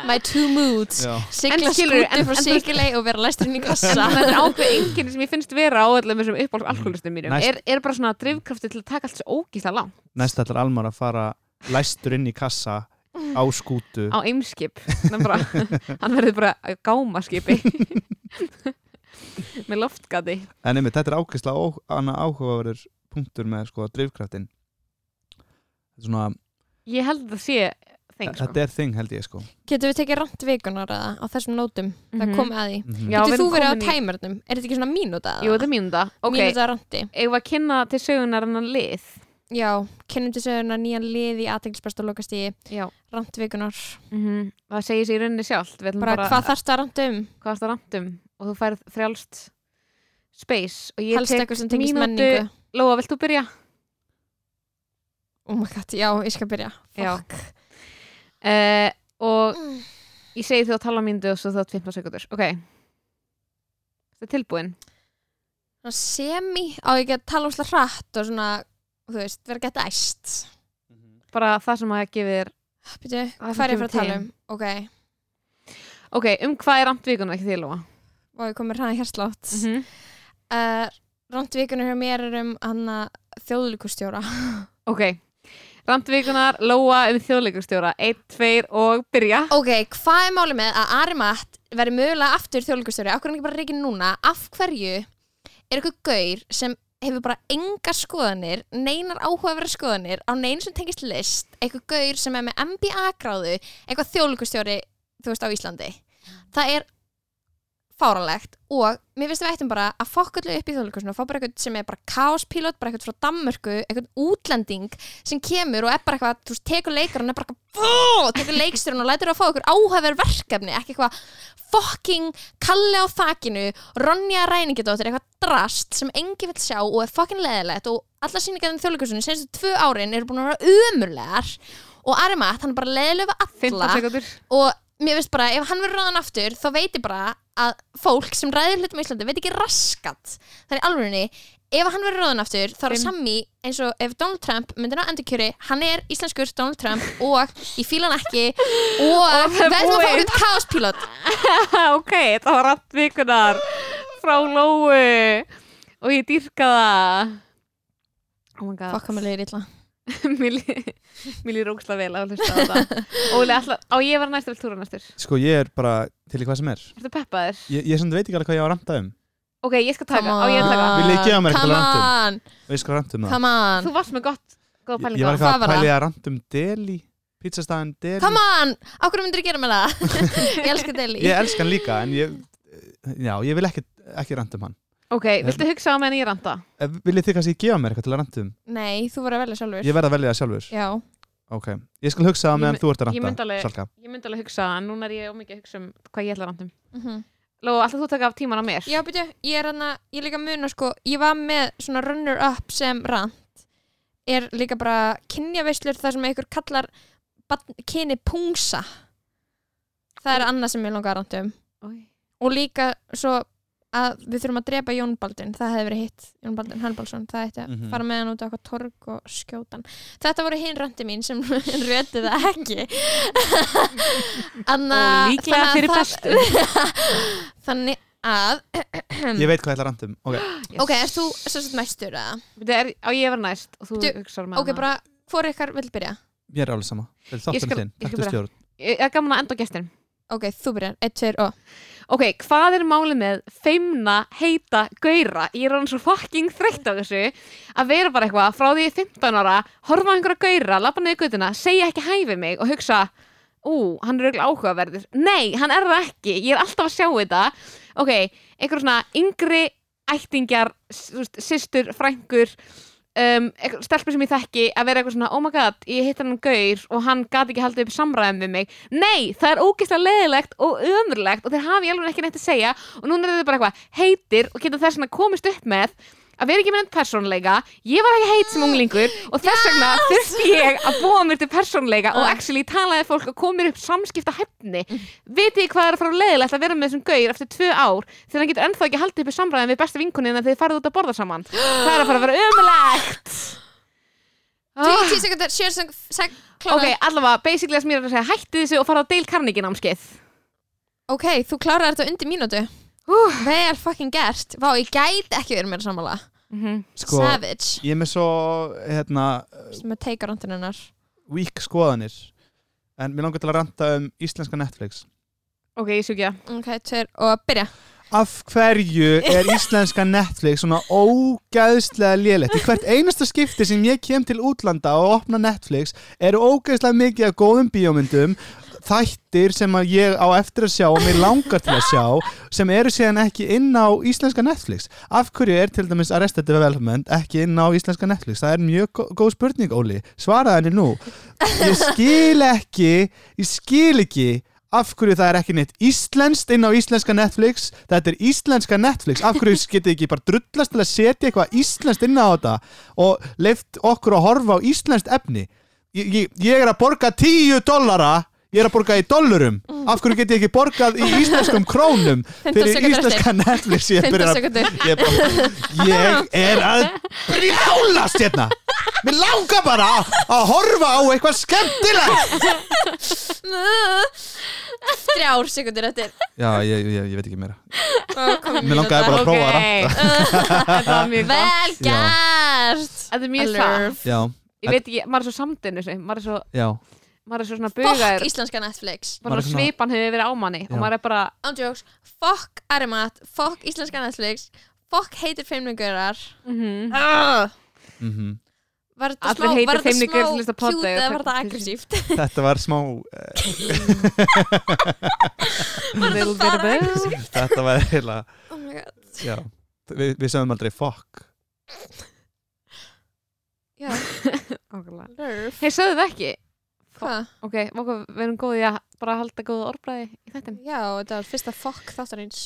[SPEAKER 2] my two moods
[SPEAKER 3] Já.
[SPEAKER 2] sigla
[SPEAKER 1] En skilurðu,
[SPEAKER 2] skúti
[SPEAKER 1] en-
[SPEAKER 2] frá
[SPEAKER 1] en þú-
[SPEAKER 2] sigli og vera læsturinn í kassa
[SPEAKER 1] það er ákveð enginni sem ég finnst vera á öllum þessum uppáhalds alkoholistum mínum
[SPEAKER 3] Næst-
[SPEAKER 1] er, er bara svona drivkrafti til að taka allt svo ógísla langt
[SPEAKER 3] næst ætlar Almar að fara læstur inn í kassa á skútu
[SPEAKER 1] á eimskip Þannig bara, hann verður bara á gámaskipi með loftgati
[SPEAKER 3] En einmitt, þetta er ákvæslega annað áhugaverður punktur með sko drifkraftin svona,
[SPEAKER 1] ég held að það sé þeng sko.
[SPEAKER 3] þetta er þing held ég sko
[SPEAKER 2] getur við tekið rand vikunar eða á þessum nótum það
[SPEAKER 1] Mhm.
[SPEAKER 2] komið að því
[SPEAKER 3] Mhm.
[SPEAKER 1] Já, við
[SPEAKER 2] getur þú
[SPEAKER 1] erum
[SPEAKER 2] verið á
[SPEAKER 1] komin í-
[SPEAKER 2] tæmurnum er þetta ekki svona mínúta
[SPEAKER 1] Jú, þetta er mínúnda Ok,
[SPEAKER 2] mínúta randi
[SPEAKER 1] eigum við að kynna til sögunar hennan lið
[SPEAKER 2] Já, kennum til söguna nýjan lið í aðteglisbæst og lokast í
[SPEAKER 1] Já,
[SPEAKER 2] randvikunar.
[SPEAKER 1] Mhm. það segir sér í rauninni sjálft Við ætlum
[SPEAKER 2] Bara,
[SPEAKER 1] bara,
[SPEAKER 2] hvað þarfst að randa um?
[SPEAKER 1] hvað er það randum og þú færð frjálst space og ég
[SPEAKER 2] Helst eitthvað sem
[SPEAKER 1] tek
[SPEAKER 2] tengist
[SPEAKER 1] mínútu
[SPEAKER 2] menningu.
[SPEAKER 1] Lóa, vilt þú byrja?
[SPEAKER 2] Oh my god, já, ég skal byrja.
[SPEAKER 1] Já.
[SPEAKER 2] Fuck.
[SPEAKER 1] Uh, og
[SPEAKER 2] Mm.
[SPEAKER 1] ég segi þú að tala mínútu og svo þú átt 15 sekundur Ok Það er tilbúin
[SPEAKER 2] Svona Semi, á ekki að tala úrslega hratt og svona, þú veist, vera gett æst.
[SPEAKER 1] Bara það sem að gefið þér
[SPEAKER 2] Býtu,
[SPEAKER 1] Það
[SPEAKER 2] hvað er ég
[SPEAKER 1] kemur
[SPEAKER 2] fyrir að
[SPEAKER 1] til.
[SPEAKER 2] tala um? Ok.
[SPEAKER 1] ok, um hvað er ramt vikuna ekki þig, Lóa?
[SPEAKER 2] og ég komið hraða hérslátt mm -hmm.
[SPEAKER 1] Mhm.
[SPEAKER 2] uh, Randvíkunar hjá mér er um hana þjóðlíkustjóra
[SPEAKER 1] ok, ramt vikunar Lóa um þjóðleikurstjóra, 1, 2 og byrja
[SPEAKER 2] Ok, hvað er málið með að Arimat verði mögulega aftur þjóðlíkustjóri Akkur er hann ekki bara reikin núna Af hverju er eitthvað gaur sem hefur bara enga skoðanir neinar áhugaverða skoðanir á neinu sem tengist list eitthvað gaur sem er með MBA-gráðu eitthvað þjóðlíkustjóri þú veist á Íslandi það er fáralegt og mér finnst við ættum bara að fokkullu upp í þjóðleikusinu og fá bara eitthvað sem er bara káspílot, bara eitthvað frá Danmörku eitthvað útlending sem kemur og er bara eitthvað, þú veist, tekur leikar og er bara eitthvað, "Vó!" tekur leiksturinn og lætur að fá eitthvað áhæfur verkefni, ekki eitthvað fokking kalli á þakinu Ronja ræningidóttir, eitthvað drast sem engi vill sjá og er fokkin leðilegt og alla síningarnir þjóðleikusinu senstu tvö árin eru búin að vera umurlegar og Arimat, hann er bara leðilega
[SPEAKER 1] 15
[SPEAKER 2] alla
[SPEAKER 1] sekundur
[SPEAKER 2] og mér finnst bara, ef hann verður ráðan aftur þá veit ég bara að fólk sem ræðir hlutum í Íslandi veit ekki raskat það er alvörinni, ef hann verður ráðan aftur þá er
[SPEAKER 1] Fimm.
[SPEAKER 2] sammi eins og ef Donald Trump myndir ná endurkjöri, hann er íslenskur Donald Trump og ég fíla hann ekki og
[SPEAKER 1] Og það er
[SPEAKER 2] við ætlum að fá
[SPEAKER 1] búið.
[SPEAKER 2] einhvern kaospílot
[SPEAKER 1] ok, þetta var ramt vikunar frá Lóu og ég dýrka það oh my god
[SPEAKER 2] fokk hann með leiðir illa
[SPEAKER 1] mér lí- mér líður ógslag vel að hlusta á þetta Óli, ætla, á ég að vera næstur vel túra næstur
[SPEAKER 3] Sko ég er bara til í hvað sem er
[SPEAKER 1] Ertu peppaður?
[SPEAKER 3] Ég, ég samt veit ekki alveg hvað ég á að ranta um
[SPEAKER 1] Ok, ég skal taka, á ég að taka
[SPEAKER 3] Viljið gefa mér eitthvað
[SPEAKER 2] come on,
[SPEAKER 3] random? Og ég skal ranta um það
[SPEAKER 2] come on
[SPEAKER 1] Þú varst með gott, góða
[SPEAKER 3] Ég- Ég var
[SPEAKER 1] pælinga
[SPEAKER 2] Hvað
[SPEAKER 3] eitthvað
[SPEAKER 2] var
[SPEAKER 3] að
[SPEAKER 2] það?
[SPEAKER 3] pæli að ranta um Deli Pizzastæðan Deli
[SPEAKER 2] come on, á hverju myndir þú gera með það ég elska Deli
[SPEAKER 3] Ég elska hann líka en ég Já, ég vil ekki, ekki ranta um hann
[SPEAKER 1] Ok, viltu hugsa á meðan ég ranta?
[SPEAKER 3] Eh, Viljið þið kannski gefa mér eitthvað til að ranta um?
[SPEAKER 2] nei, þú voru að velja sjálfur
[SPEAKER 3] Ég verð að velja það sjálfur
[SPEAKER 2] já,
[SPEAKER 3] Ok, ég skal hugsa það
[SPEAKER 1] Ég
[SPEAKER 3] meðan
[SPEAKER 1] mun-
[SPEAKER 3] þú ert að
[SPEAKER 1] ég
[SPEAKER 3] ranta
[SPEAKER 1] myndi alveg-
[SPEAKER 3] Salka.
[SPEAKER 1] Ég myndi alveg hugsa, en núna er ég ómikið að hugsa um hvað ég ætla að ranta um
[SPEAKER 2] mhm
[SPEAKER 1] Lóa, alltaf þú að taka af tíman á mér?
[SPEAKER 2] Já, byrju, ég er hann ég líka muna sko, ég var með svona runner-up sem rant er líka bara kynjaveislur þar sem einhver kallar barn- kyni pungsa það er annað sem ég langar að ranta um
[SPEAKER 1] Oj.
[SPEAKER 2] og líka svo að við þurfum að drepa Jón Baldin það hefði verið hitt, Jón Baldin Hannbalsson það ætti að
[SPEAKER 3] Mhm.
[SPEAKER 2] fara með hann út á eitthvað torg og skjótan þetta voru hinn ranti mín sem röti það ekki Anna,
[SPEAKER 1] Og líklega
[SPEAKER 2] þannig að
[SPEAKER 1] fyrir
[SPEAKER 2] það-
[SPEAKER 1] bestu
[SPEAKER 2] þannig að
[SPEAKER 3] Ég veit hvað ég ætla að ranta um Ok,
[SPEAKER 1] Yes.
[SPEAKER 2] Ok, erst þú sem sagt næstur eða?
[SPEAKER 1] Bíddu, er- Á ég að vera næst og þú um
[SPEAKER 2] Bíddu,
[SPEAKER 1] hugsa með
[SPEAKER 2] Ok, bara, hvor ykkar vil byrja?
[SPEAKER 3] ég er alveg sama Þetta er
[SPEAKER 1] Ég skal-
[SPEAKER 3] þátturinn þinn,
[SPEAKER 1] ég skal
[SPEAKER 3] taktu
[SPEAKER 1] bara-
[SPEAKER 3] stjórn
[SPEAKER 1] Ég er gaman að enda á gestin
[SPEAKER 2] Ok, þú byrjar, eitt, tveir og
[SPEAKER 1] Ok, hvað er málið með feimna, heita, gauðra? Ég er hann svo fucking þreytt á þessu að vera bara eitthvað frá því ég er 15 ára, horfa á einhverja gauðra, labba niður gautina, segja ekki hæfi mig og hugsa Ú, hann er auðvitað áhugaverður. Nei, hann er það ekki. Ég er alltaf að sjá þetta. Ok, einhver svona yngri ættingjar, s- þú veist, systur, frængur, um, einhver- stelpur sem ég þekki að vera eitthvað svona, oh my god, ég hitt hann gaur og hann gati ekki haldið upp samræðum við mig nei, það er ógeðslega leðilegt og ömurlegt og þeir hafi ég alveg ekki neitt að segja og núna er þetta bara eitthvað heitir og geta þess vegna komist upp með að vera ekki með enn persónleika ég var ekki heit sem unglingur og þess vegna þurfti ég að búa mér til persónleika og
[SPEAKER 2] Ah.
[SPEAKER 1] actually talaði fólk og kom mér upp samskipta hefni vitið þið hvað er að fara leðilegt að vera með þessum gaur eftir tvö ár þegar hann getur ennþá ekki haldið upp í samræðin við besta vinkunina þegar þið farið út að borða saman það er að fara að vera ömurlegt Ah.
[SPEAKER 2] 10 sekundar, 7 sekundar,
[SPEAKER 1] Ok,
[SPEAKER 2] klára
[SPEAKER 1] allavega, basically það sem ég er að segja, hætti þessu og fara á Dale Carnegie námskeið.
[SPEAKER 2] Ok, þú klárar þetta undir mínútu
[SPEAKER 1] Hú.
[SPEAKER 2] Vel fucking gert Vá, ég gæti ekki verið mér sammála
[SPEAKER 1] Mhm.
[SPEAKER 3] Sko,
[SPEAKER 2] Savage
[SPEAKER 3] ég er með svo hérna,
[SPEAKER 2] sem að teika rantuninnar
[SPEAKER 3] weak skoðanir En mér langar til að ranta um íslenska Netflix
[SPEAKER 1] Ok, ég sjúkja.
[SPEAKER 2] Ok, tveir og byrja
[SPEAKER 3] Af hverju er íslenska Netflix svona ógæðslega lélegt? Í hvert einasta skipti sem ég kem til útlanda og opna Netflix eru ógæðslega mikið af góðum bíómyndum þættir sem að ég á eftir að sjá og mér langar til að sjá sem eru síðan ekki inn á íslenska Netflix. Af hverju er til dæmis Arrested Development ekki inn á íslenska Netflix? Það er mjög gó- góð spurning, Óli. Svaraði henni nú. Ég skil ekki, ég skil ekki af hverju það er ekki neitt íslenskt inn á íslenska Netflix þetta er íslenska Netflix af hverju getið ekki bara drullast til að setja eitthvað íslenskt inn á þetta og leift okkur að horfa á íslenskt efni ég, ég, ég er að borga 10 dollara ég er að borga í dollurum af hverju getið ekki borgað í íslenskum krónum
[SPEAKER 2] 15
[SPEAKER 3] fyrir
[SPEAKER 2] sekúndur
[SPEAKER 3] íslenska Netflix ég er,
[SPEAKER 2] 15
[SPEAKER 3] byrjar að,
[SPEAKER 2] sekundur
[SPEAKER 3] ég, er bara, ég er að brjálast hérna Mér langar bara að- að horfa á eitthvað skemmtilegt
[SPEAKER 2] Drefum þrjár sekundir eftir
[SPEAKER 3] Já, ég, ég, ég veit ekki meira
[SPEAKER 2] Mér
[SPEAKER 3] Mér langaði bara að prófa að rappa
[SPEAKER 1] Þetta var mjög gott
[SPEAKER 2] Vel gert
[SPEAKER 1] Þetta er mjög
[SPEAKER 2] Alert.
[SPEAKER 1] satt
[SPEAKER 3] Já,
[SPEAKER 1] Ég veit ekki, maður er svo samdinn þessu Maður er svo,
[SPEAKER 3] já,
[SPEAKER 1] maður er svo svona
[SPEAKER 2] Fokk
[SPEAKER 1] bugaður
[SPEAKER 2] íslenska Netflix
[SPEAKER 1] Bara
[SPEAKER 3] Maður er
[SPEAKER 1] svona...
[SPEAKER 3] svona-
[SPEAKER 1] svipan hefur verið ámanni
[SPEAKER 3] Já.
[SPEAKER 1] Og maður er bara,
[SPEAKER 2] Andjóks, fokk Arimat Fokk íslenska Netflix Fokk heitir feimningaurar
[SPEAKER 1] mhm
[SPEAKER 2] Var
[SPEAKER 3] mhm
[SPEAKER 2] þetta
[SPEAKER 1] Allir
[SPEAKER 2] smá,
[SPEAKER 1] heitir
[SPEAKER 2] var þetta
[SPEAKER 1] feimningaurar
[SPEAKER 2] smá
[SPEAKER 1] lista
[SPEAKER 2] cute
[SPEAKER 1] podda, já,
[SPEAKER 2] eða var
[SPEAKER 1] takk.
[SPEAKER 2] þetta aggressíft?
[SPEAKER 3] Þetta var smá eh,
[SPEAKER 2] Var
[SPEAKER 1] Little bit
[SPEAKER 2] þetta
[SPEAKER 1] of
[SPEAKER 2] bara
[SPEAKER 1] both.
[SPEAKER 2] aggressíft?
[SPEAKER 3] Þetta var heila
[SPEAKER 2] Oh my god
[SPEAKER 3] Já, við, við sögum aldrei fuck
[SPEAKER 2] Já,
[SPEAKER 1] Hei,
[SPEAKER 2] nerf
[SPEAKER 1] sögðu það ekki?
[SPEAKER 2] Hvað?
[SPEAKER 1] Ok, okkur, við erum góðið að bara halda góða orðbræði í þetta.
[SPEAKER 2] Já, þetta var fyrsta fokk þáttarins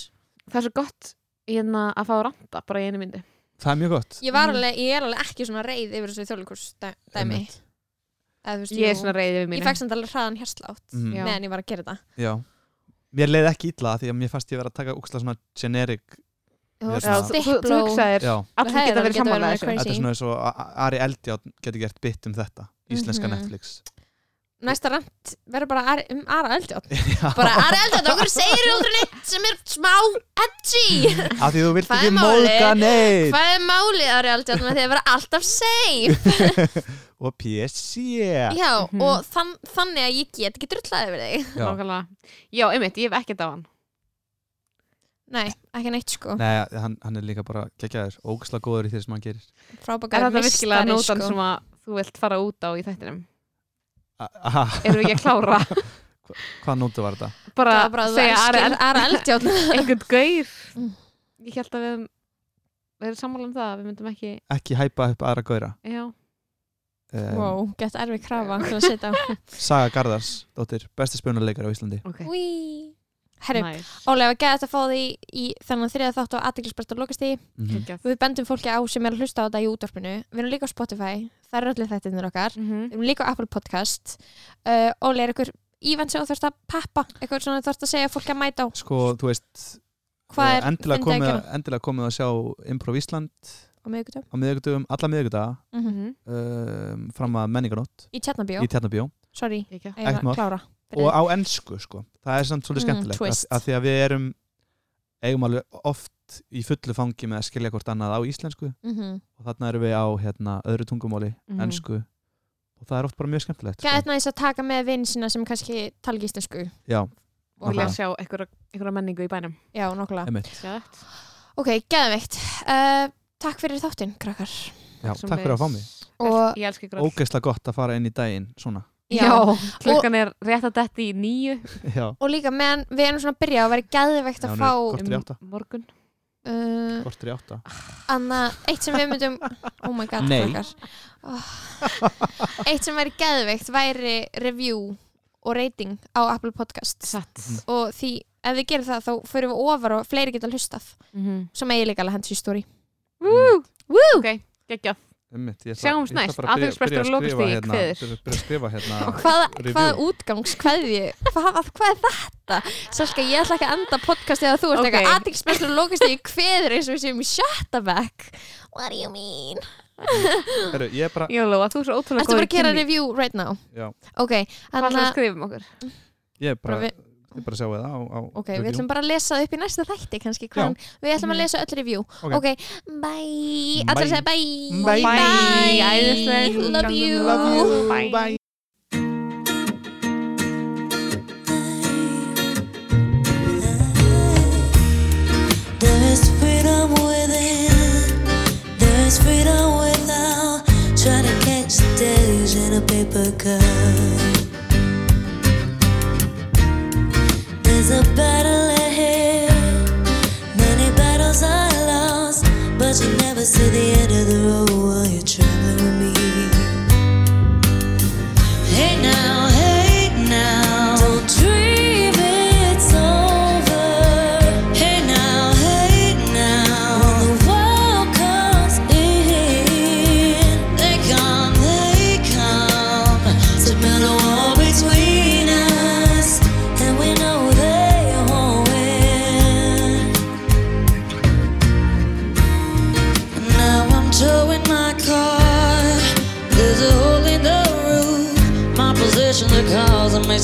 [SPEAKER 1] Það er svo gott hérna að fá að ranta bara í einu myndi.
[SPEAKER 3] Það er mjög gott
[SPEAKER 2] Ég var
[SPEAKER 1] Mm.
[SPEAKER 2] alveg, ég er alveg ekki svona reið yfir þessu þjóðleikurs dæmi
[SPEAKER 3] Einmitt.
[SPEAKER 2] Eða, þú veist,
[SPEAKER 1] Ég er
[SPEAKER 2] jú.
[SPEAKER 1] svona reyðið við mínu.
[SPEAKER 2] Ég fekk samt alveg hraðan hjárslátt
[SPEAKER 3] Mhm,
[SPEAKER 1] Já.
[SPEAKER 2] meðan ég var að gera þetta
[SPEAKER 3] Já Mér leiði ekki illa því að mér fast ég verið að taka úksla svona generic
[SPEAKER 2] Þú
[SPEAKER 3] Já,
[SPEAKER 2] varst
[SPEAKER 1] Já, þú, þú, þú
[SPEAKER 2] stipló.
[SPEAKER 1] hugsaðir,
[SPEAKER 3] Já,
[SPEAKER 1] allir
[SPEAKER 2] Hefði
[SPEAKER 1] geta verið
[SPEAKER 2] alveg geta verið
[SPEAKER 1] sammála
[SPEAKER 2] með
[SPEAKER 1] þessu.
[SPEAKER 2] crazy.
[SPEAKER 3] þetta er svona eins og að- að Ari Eldjátt getur gert bytt um þetta Íslenska
[SPEAKER 2] Mhm.
[SPEAKER 3] Netflix
[SPEAKER 2] Næsta rant verður bara Ari- um Ara Eldjátt
[SPEAKER 3] Já,
[SPEAKER 2] Bara Ari Eldjátt, okkur segir aldrei neitt sem er smá edgy
[SPEAKER 3] af því þú vilt
[SPEAKER 2] Hvað
[SPEAKER 3] ekki
[SPEAKER 2] er málið?
[SPEAKER 3] móðga neitt
[SPEAKER 2] Hvað er málið Ari Eldjátt með því að vera alltaf safe
[SPEAKER 3] Og PSG
[SPEAKER 2] Já,
[SPEAKER 1] Mhm.
[SPEAKER 2] og þann, þannig að ég get ekki drullað yfir þig
[SPEAKER 3] Já.
[SPEAKER 1] Nákvæmlega. Já, einmitt, ég hef ekkert á hann.
[SPEAKER 2] Nei, ekki neitt sko
[SPEAKER 3] Nei, hann, hann er líka bara geggjaður Óksla góður í því sem hann gerir
[SPEAKER 1] Er
[SPEAKER 2] Frábakar
[SPEAKER 1] þetta virkilega
[SPEAKER 2] meistari
[SPEAKER 1] nótan
[SPEAKER 2] sko
[SPEAKER 1] sem að þú vilt fara út á í þættinum?
[SPEAKER 3] A- Aha,
[SPEAKER 1] Erum við ekki að klára?
[SPEAKER 3] hvað nótu var þetta?
[SPEAKER 1] bara
[SPEAKER 2] Það var bara að
[SPEAKER 1] segja
[SPEAKER 2] þú
[SPEAKER 1] Ari
[SPEAKER 2] elskir Ara Eldjátt
[SPEAKER 1] Eld- einhvern gaur.
[SPEAKER 2] Mm.
[SPEAKER 1] Ég held að við höfum- við erum sammála um það, að við myndum ekki,
[SPEAKER 3] Ekki hæpa upp aðra góðra
[SPEAKER 1] já.
[SPEAKER 3] um,
[SPEAKER 2] Wow, gett erfið krafa til að setja á
[SPEAKER 3] Saga Garðars, dóttir, besti spjónuleikar á Íslandi
[SPEAKER 1] Ok,
[SPEAKER 2] Herru,
[SPEAKER 1] nice.
[SPEAKER 2] Ólega, við gæðum þetta að fá því í þennan þriða þátt og aðdeglisbært og lokast því
[SPEAKER 3] Mhm.
[SPEAKER 1] Geggjað.
[SPEAKER 2] Við bendum fólki á sem er að hlusta á þetta í útvarpinu Við erum líka á Spotify, það eru allir þættirnir okkar
[SPEAKER 1] Mhm.
[SPEAKER 2] Við erum líka á Apple Podcast uh, Ólega, er ykkur ívend sem þú þarfst að peppa eitthvað svona þú þarfst að segja fólki að mæta á
[SPEAKER 3] Sko, þú veist
[SPEAKER 2] Hvað
[SPEAKER 3] eh,
[SPEAKER 2] er
[SPEAKER 3] endilega,
[SPEAKER 2] fyndið að
[SPEAKER 3] komið,
[SPEAKER 2] gera?
[SPEAKER 3] endilega komið að sjá Improv Ísland
[SPEAKER 2] á miðvikudögum
[SPEAKER 3] á miðvikudögum, alla miðvikudaga
[SPEAKER 1] Mhm.
[SPEAKER 3] um, fram að menninganótt
[SPEAKER 2] Í Tjarnabíó,
[SPEAKER 3] í Tjarnabjó
[SPEAKER 2] sorry,
[SPEAKER 1] Geggjað.
[SPEAKER 2] ég var
[SPEAKER 3] Ekkert mál.
[SPEAKER 2] að klára
[SPEAKER 3] og á ennsku, sko það er samt
[SPEAKER 2] Mm,
[SPEAKER 3] svolítið skemmtilegt mm,
[SPEAKER 2] twist.
[SPEAKER 3] að, að því að við erum eigum alveg oft í fullu fangi með að skilja hvort annað á íslensku
[SPEAKER 2] mm -hmm.
[SPEAKER 3] og þarna erum við á hérna, öðru tungumáli
[SPEAKER 1] Mhm.
[SPEAKER 3] ennsku og það er oft bara mjög skemmtilegt sko.
[SPEAKER 2] Gæðið næst að taka með vinn sína sem kannski tala ekki íslensku
[SPEAKER 3] Já,
[SPEAKER 1] og vilja
[SPEAKER 3] Nákvæmlega.
[SPEAKER 1] sjá einhverja einhverja menningu í bænum
[SPEAKER 2] Já, nokkulega
[SPEAKER 3] einmitt
[SPEAKER 1] Gæðvegt.
[SPEAKER 2] Ok, gæðveikt uh, Takk fyrir þáttinn, krakkar
[SPEAKER 3] Já, Takk fyrir að fá mig
[SPEAKER 2] Og-
[SPEAKER 1] Ég elski gróð
[SPEAKER 3] Ógeðslega gott að fara inn í daginn svona
[SPEAKER 1] klukkan er rétt að detti í nýju
[SPEAKER 3] Já,
[SPEAKER 2] og líka meðan við erum svona að byrja og verið gæðveikt að
[SPEAKER 3] Já, hún er
[SPEAKER 2] fá
[SPEAKER 3] Korter í
[SPEAKER 1] um
[SPEAKER 3] átta.
[SPEAKER 1] morgun
[SPEAKER 2] uh,
[SPEAKER 3] kortur í átta
[SPEAKER 2] annað, eitt sem við myndum oh my god,
[SPEAKER 3] Nei.
[SPEAKER 2] krakkar oh. eitt sem væri gæðveikt væri review og rating á Apple Podcast
[SPEAKER 1] Satt
[SPEAKER 2] og því ef við gerum það þá förum við ofar og fleiri geta hlustað
[SPEAKER 3] Mhm.
[SPEAKER 2] sem eigi líka alveg hendur í stóri
[SPEAKER 1] Woo!
[SPEAKER 2] Woo!
[SPEAKER 1] Mhm. Ok, geggjað
[SPEAKER 3] Einmitt, ég ætla-
[SPEAKER 1] Sjáumst
[SPEAKER 3] ég ætla
[SPEAKER 1] næst.
[SPEAKER 3] bara að byrja-
[SPEAKER 1] Athyglisbrestur
[SPEAKER 3] byrja
[SPEAKER 1] og
[SPEAKER 3] að skrifa
[SPEAKER 1] lokastigi
[SPEAKER 3] hérna-
[SPEAKER 1] kveður.
[SPEAKER 3] byrja- Byrja að skrifa hérna
[SPEAKER 2] hvaða,
[SPEAKER 3] review.
[SPEAKER 2] hvaða útgangs, hvaði hvað, hvað er þetta? Salka, ég ætla ekki að enda podcastið að þú ert
[SPEAKER 1] Ok.
[SPEAKER 2] eitthvað aðtilsmestur og lókast í kveður eins og við séum í shut-a-back What do you mean?
[SPEAKER 3] Heru, Ég er bara
[SPEAKER 1] Jólóa, þú er svo ótrúlega
[SPEAKER 2] Ertu
[SPEAKER 1] góð
[SPEAKER 2] bara að gera review right now?
[SPEAKER 3] Já,
[SPEAKER 2] Ok,
[SPEAKER 1] Hvað
[SPEAKER 2] þannig
[SPEAKER 1] ætlum við að
[SPEAKER 2] að
[SPEAKER 1] skrifa um okkur?
[SPEAKER 3] ég er bara,
[SPEAKER 2] Bara við-
[SPEAKER 3] ég bara sjáu það á, á
[SPEAKER 2] Ok, um
[SPEAKER 3] review.
[SPEAKER 2] við ætlum bara að lesa það upp í næsta þætti kannski
[SPEAKER 3] Já.
[SPEAKER 2] hvaðan, Við ætlum að
[SPEAKER 1] Mhm.
[SPEAKER 2] lesa öll review
[SPEAKER 3] Ok.
[SPEAKER 2] Ok, bye Allir að segja bye
[SPEAKER 3] Bye.
[SPEAKER 1] Bye. Æðislegt.
[SPEAKER 2] Love you
[SPEAKER 1] Love you. Bye.
[SPEAKER 3] Bye.
[SPEAKER 4] There's freedom within, there's freedom without. Trying to catch the days in a paper cup. There's a battle ahead, many battles are lost, but you never see the end of the road while you're traveling with me. Hey now, hey now, don't dream it's over. Hey now, hey now, when the world comes in, they come, they come to build a wall between us, and we know they won't win. Now I'm towing my car. There's a hole in the roof. My position the cause of my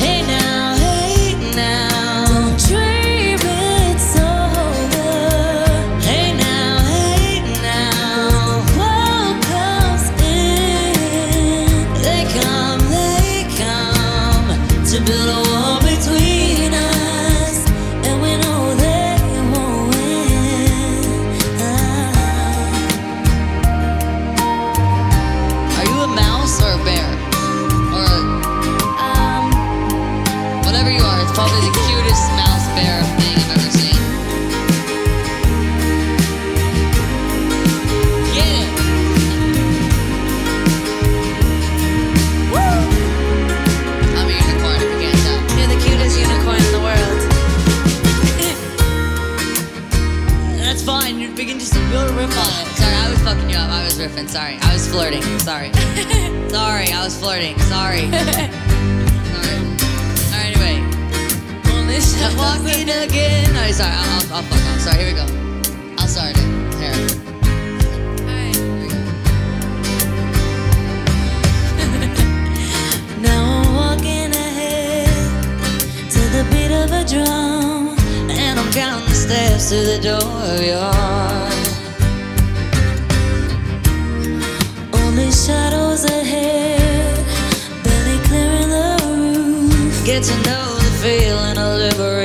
[SPEAKER 4] Hey now, hey now, don't dream it's over. Hey now, hey now, the world comes in. They come, they come to build a wall between us, and we know they won't win. Ah.
[SPEAKER 5] Are you a mouse or a bear? Or a,
[SPEAKER 4] Um,
[SPEAKER 5] whatever you are, it's probably the cutest mouse bear thing I've ever seen. Get it! I'm a unicorn if you can't tell.
[SPEAKER 4] You're the cutest unicorn in the world.
[SPEAKER 5] That's fine, you begin to build a riff on it. Sorry, I was fucking you up. I was riffing, sorry. I was flirting, sorry. sorry, I was flirting, sorry. sorry. Alright, anyway.
[SPEAKER 4] Only
[SPEAKER 5] I'm walking again. No, sorry, I'll, I'll, I'll fuck off. Sorry, here we go. I'll start it. Here. Here we go.
[SPEAKER 4] Now I'm walking ahead to the beat of a drum, and I'm counting the steps to the door of your heart. Only shadows ahead, barely clearing the roof. Get to know the feeling of liberation.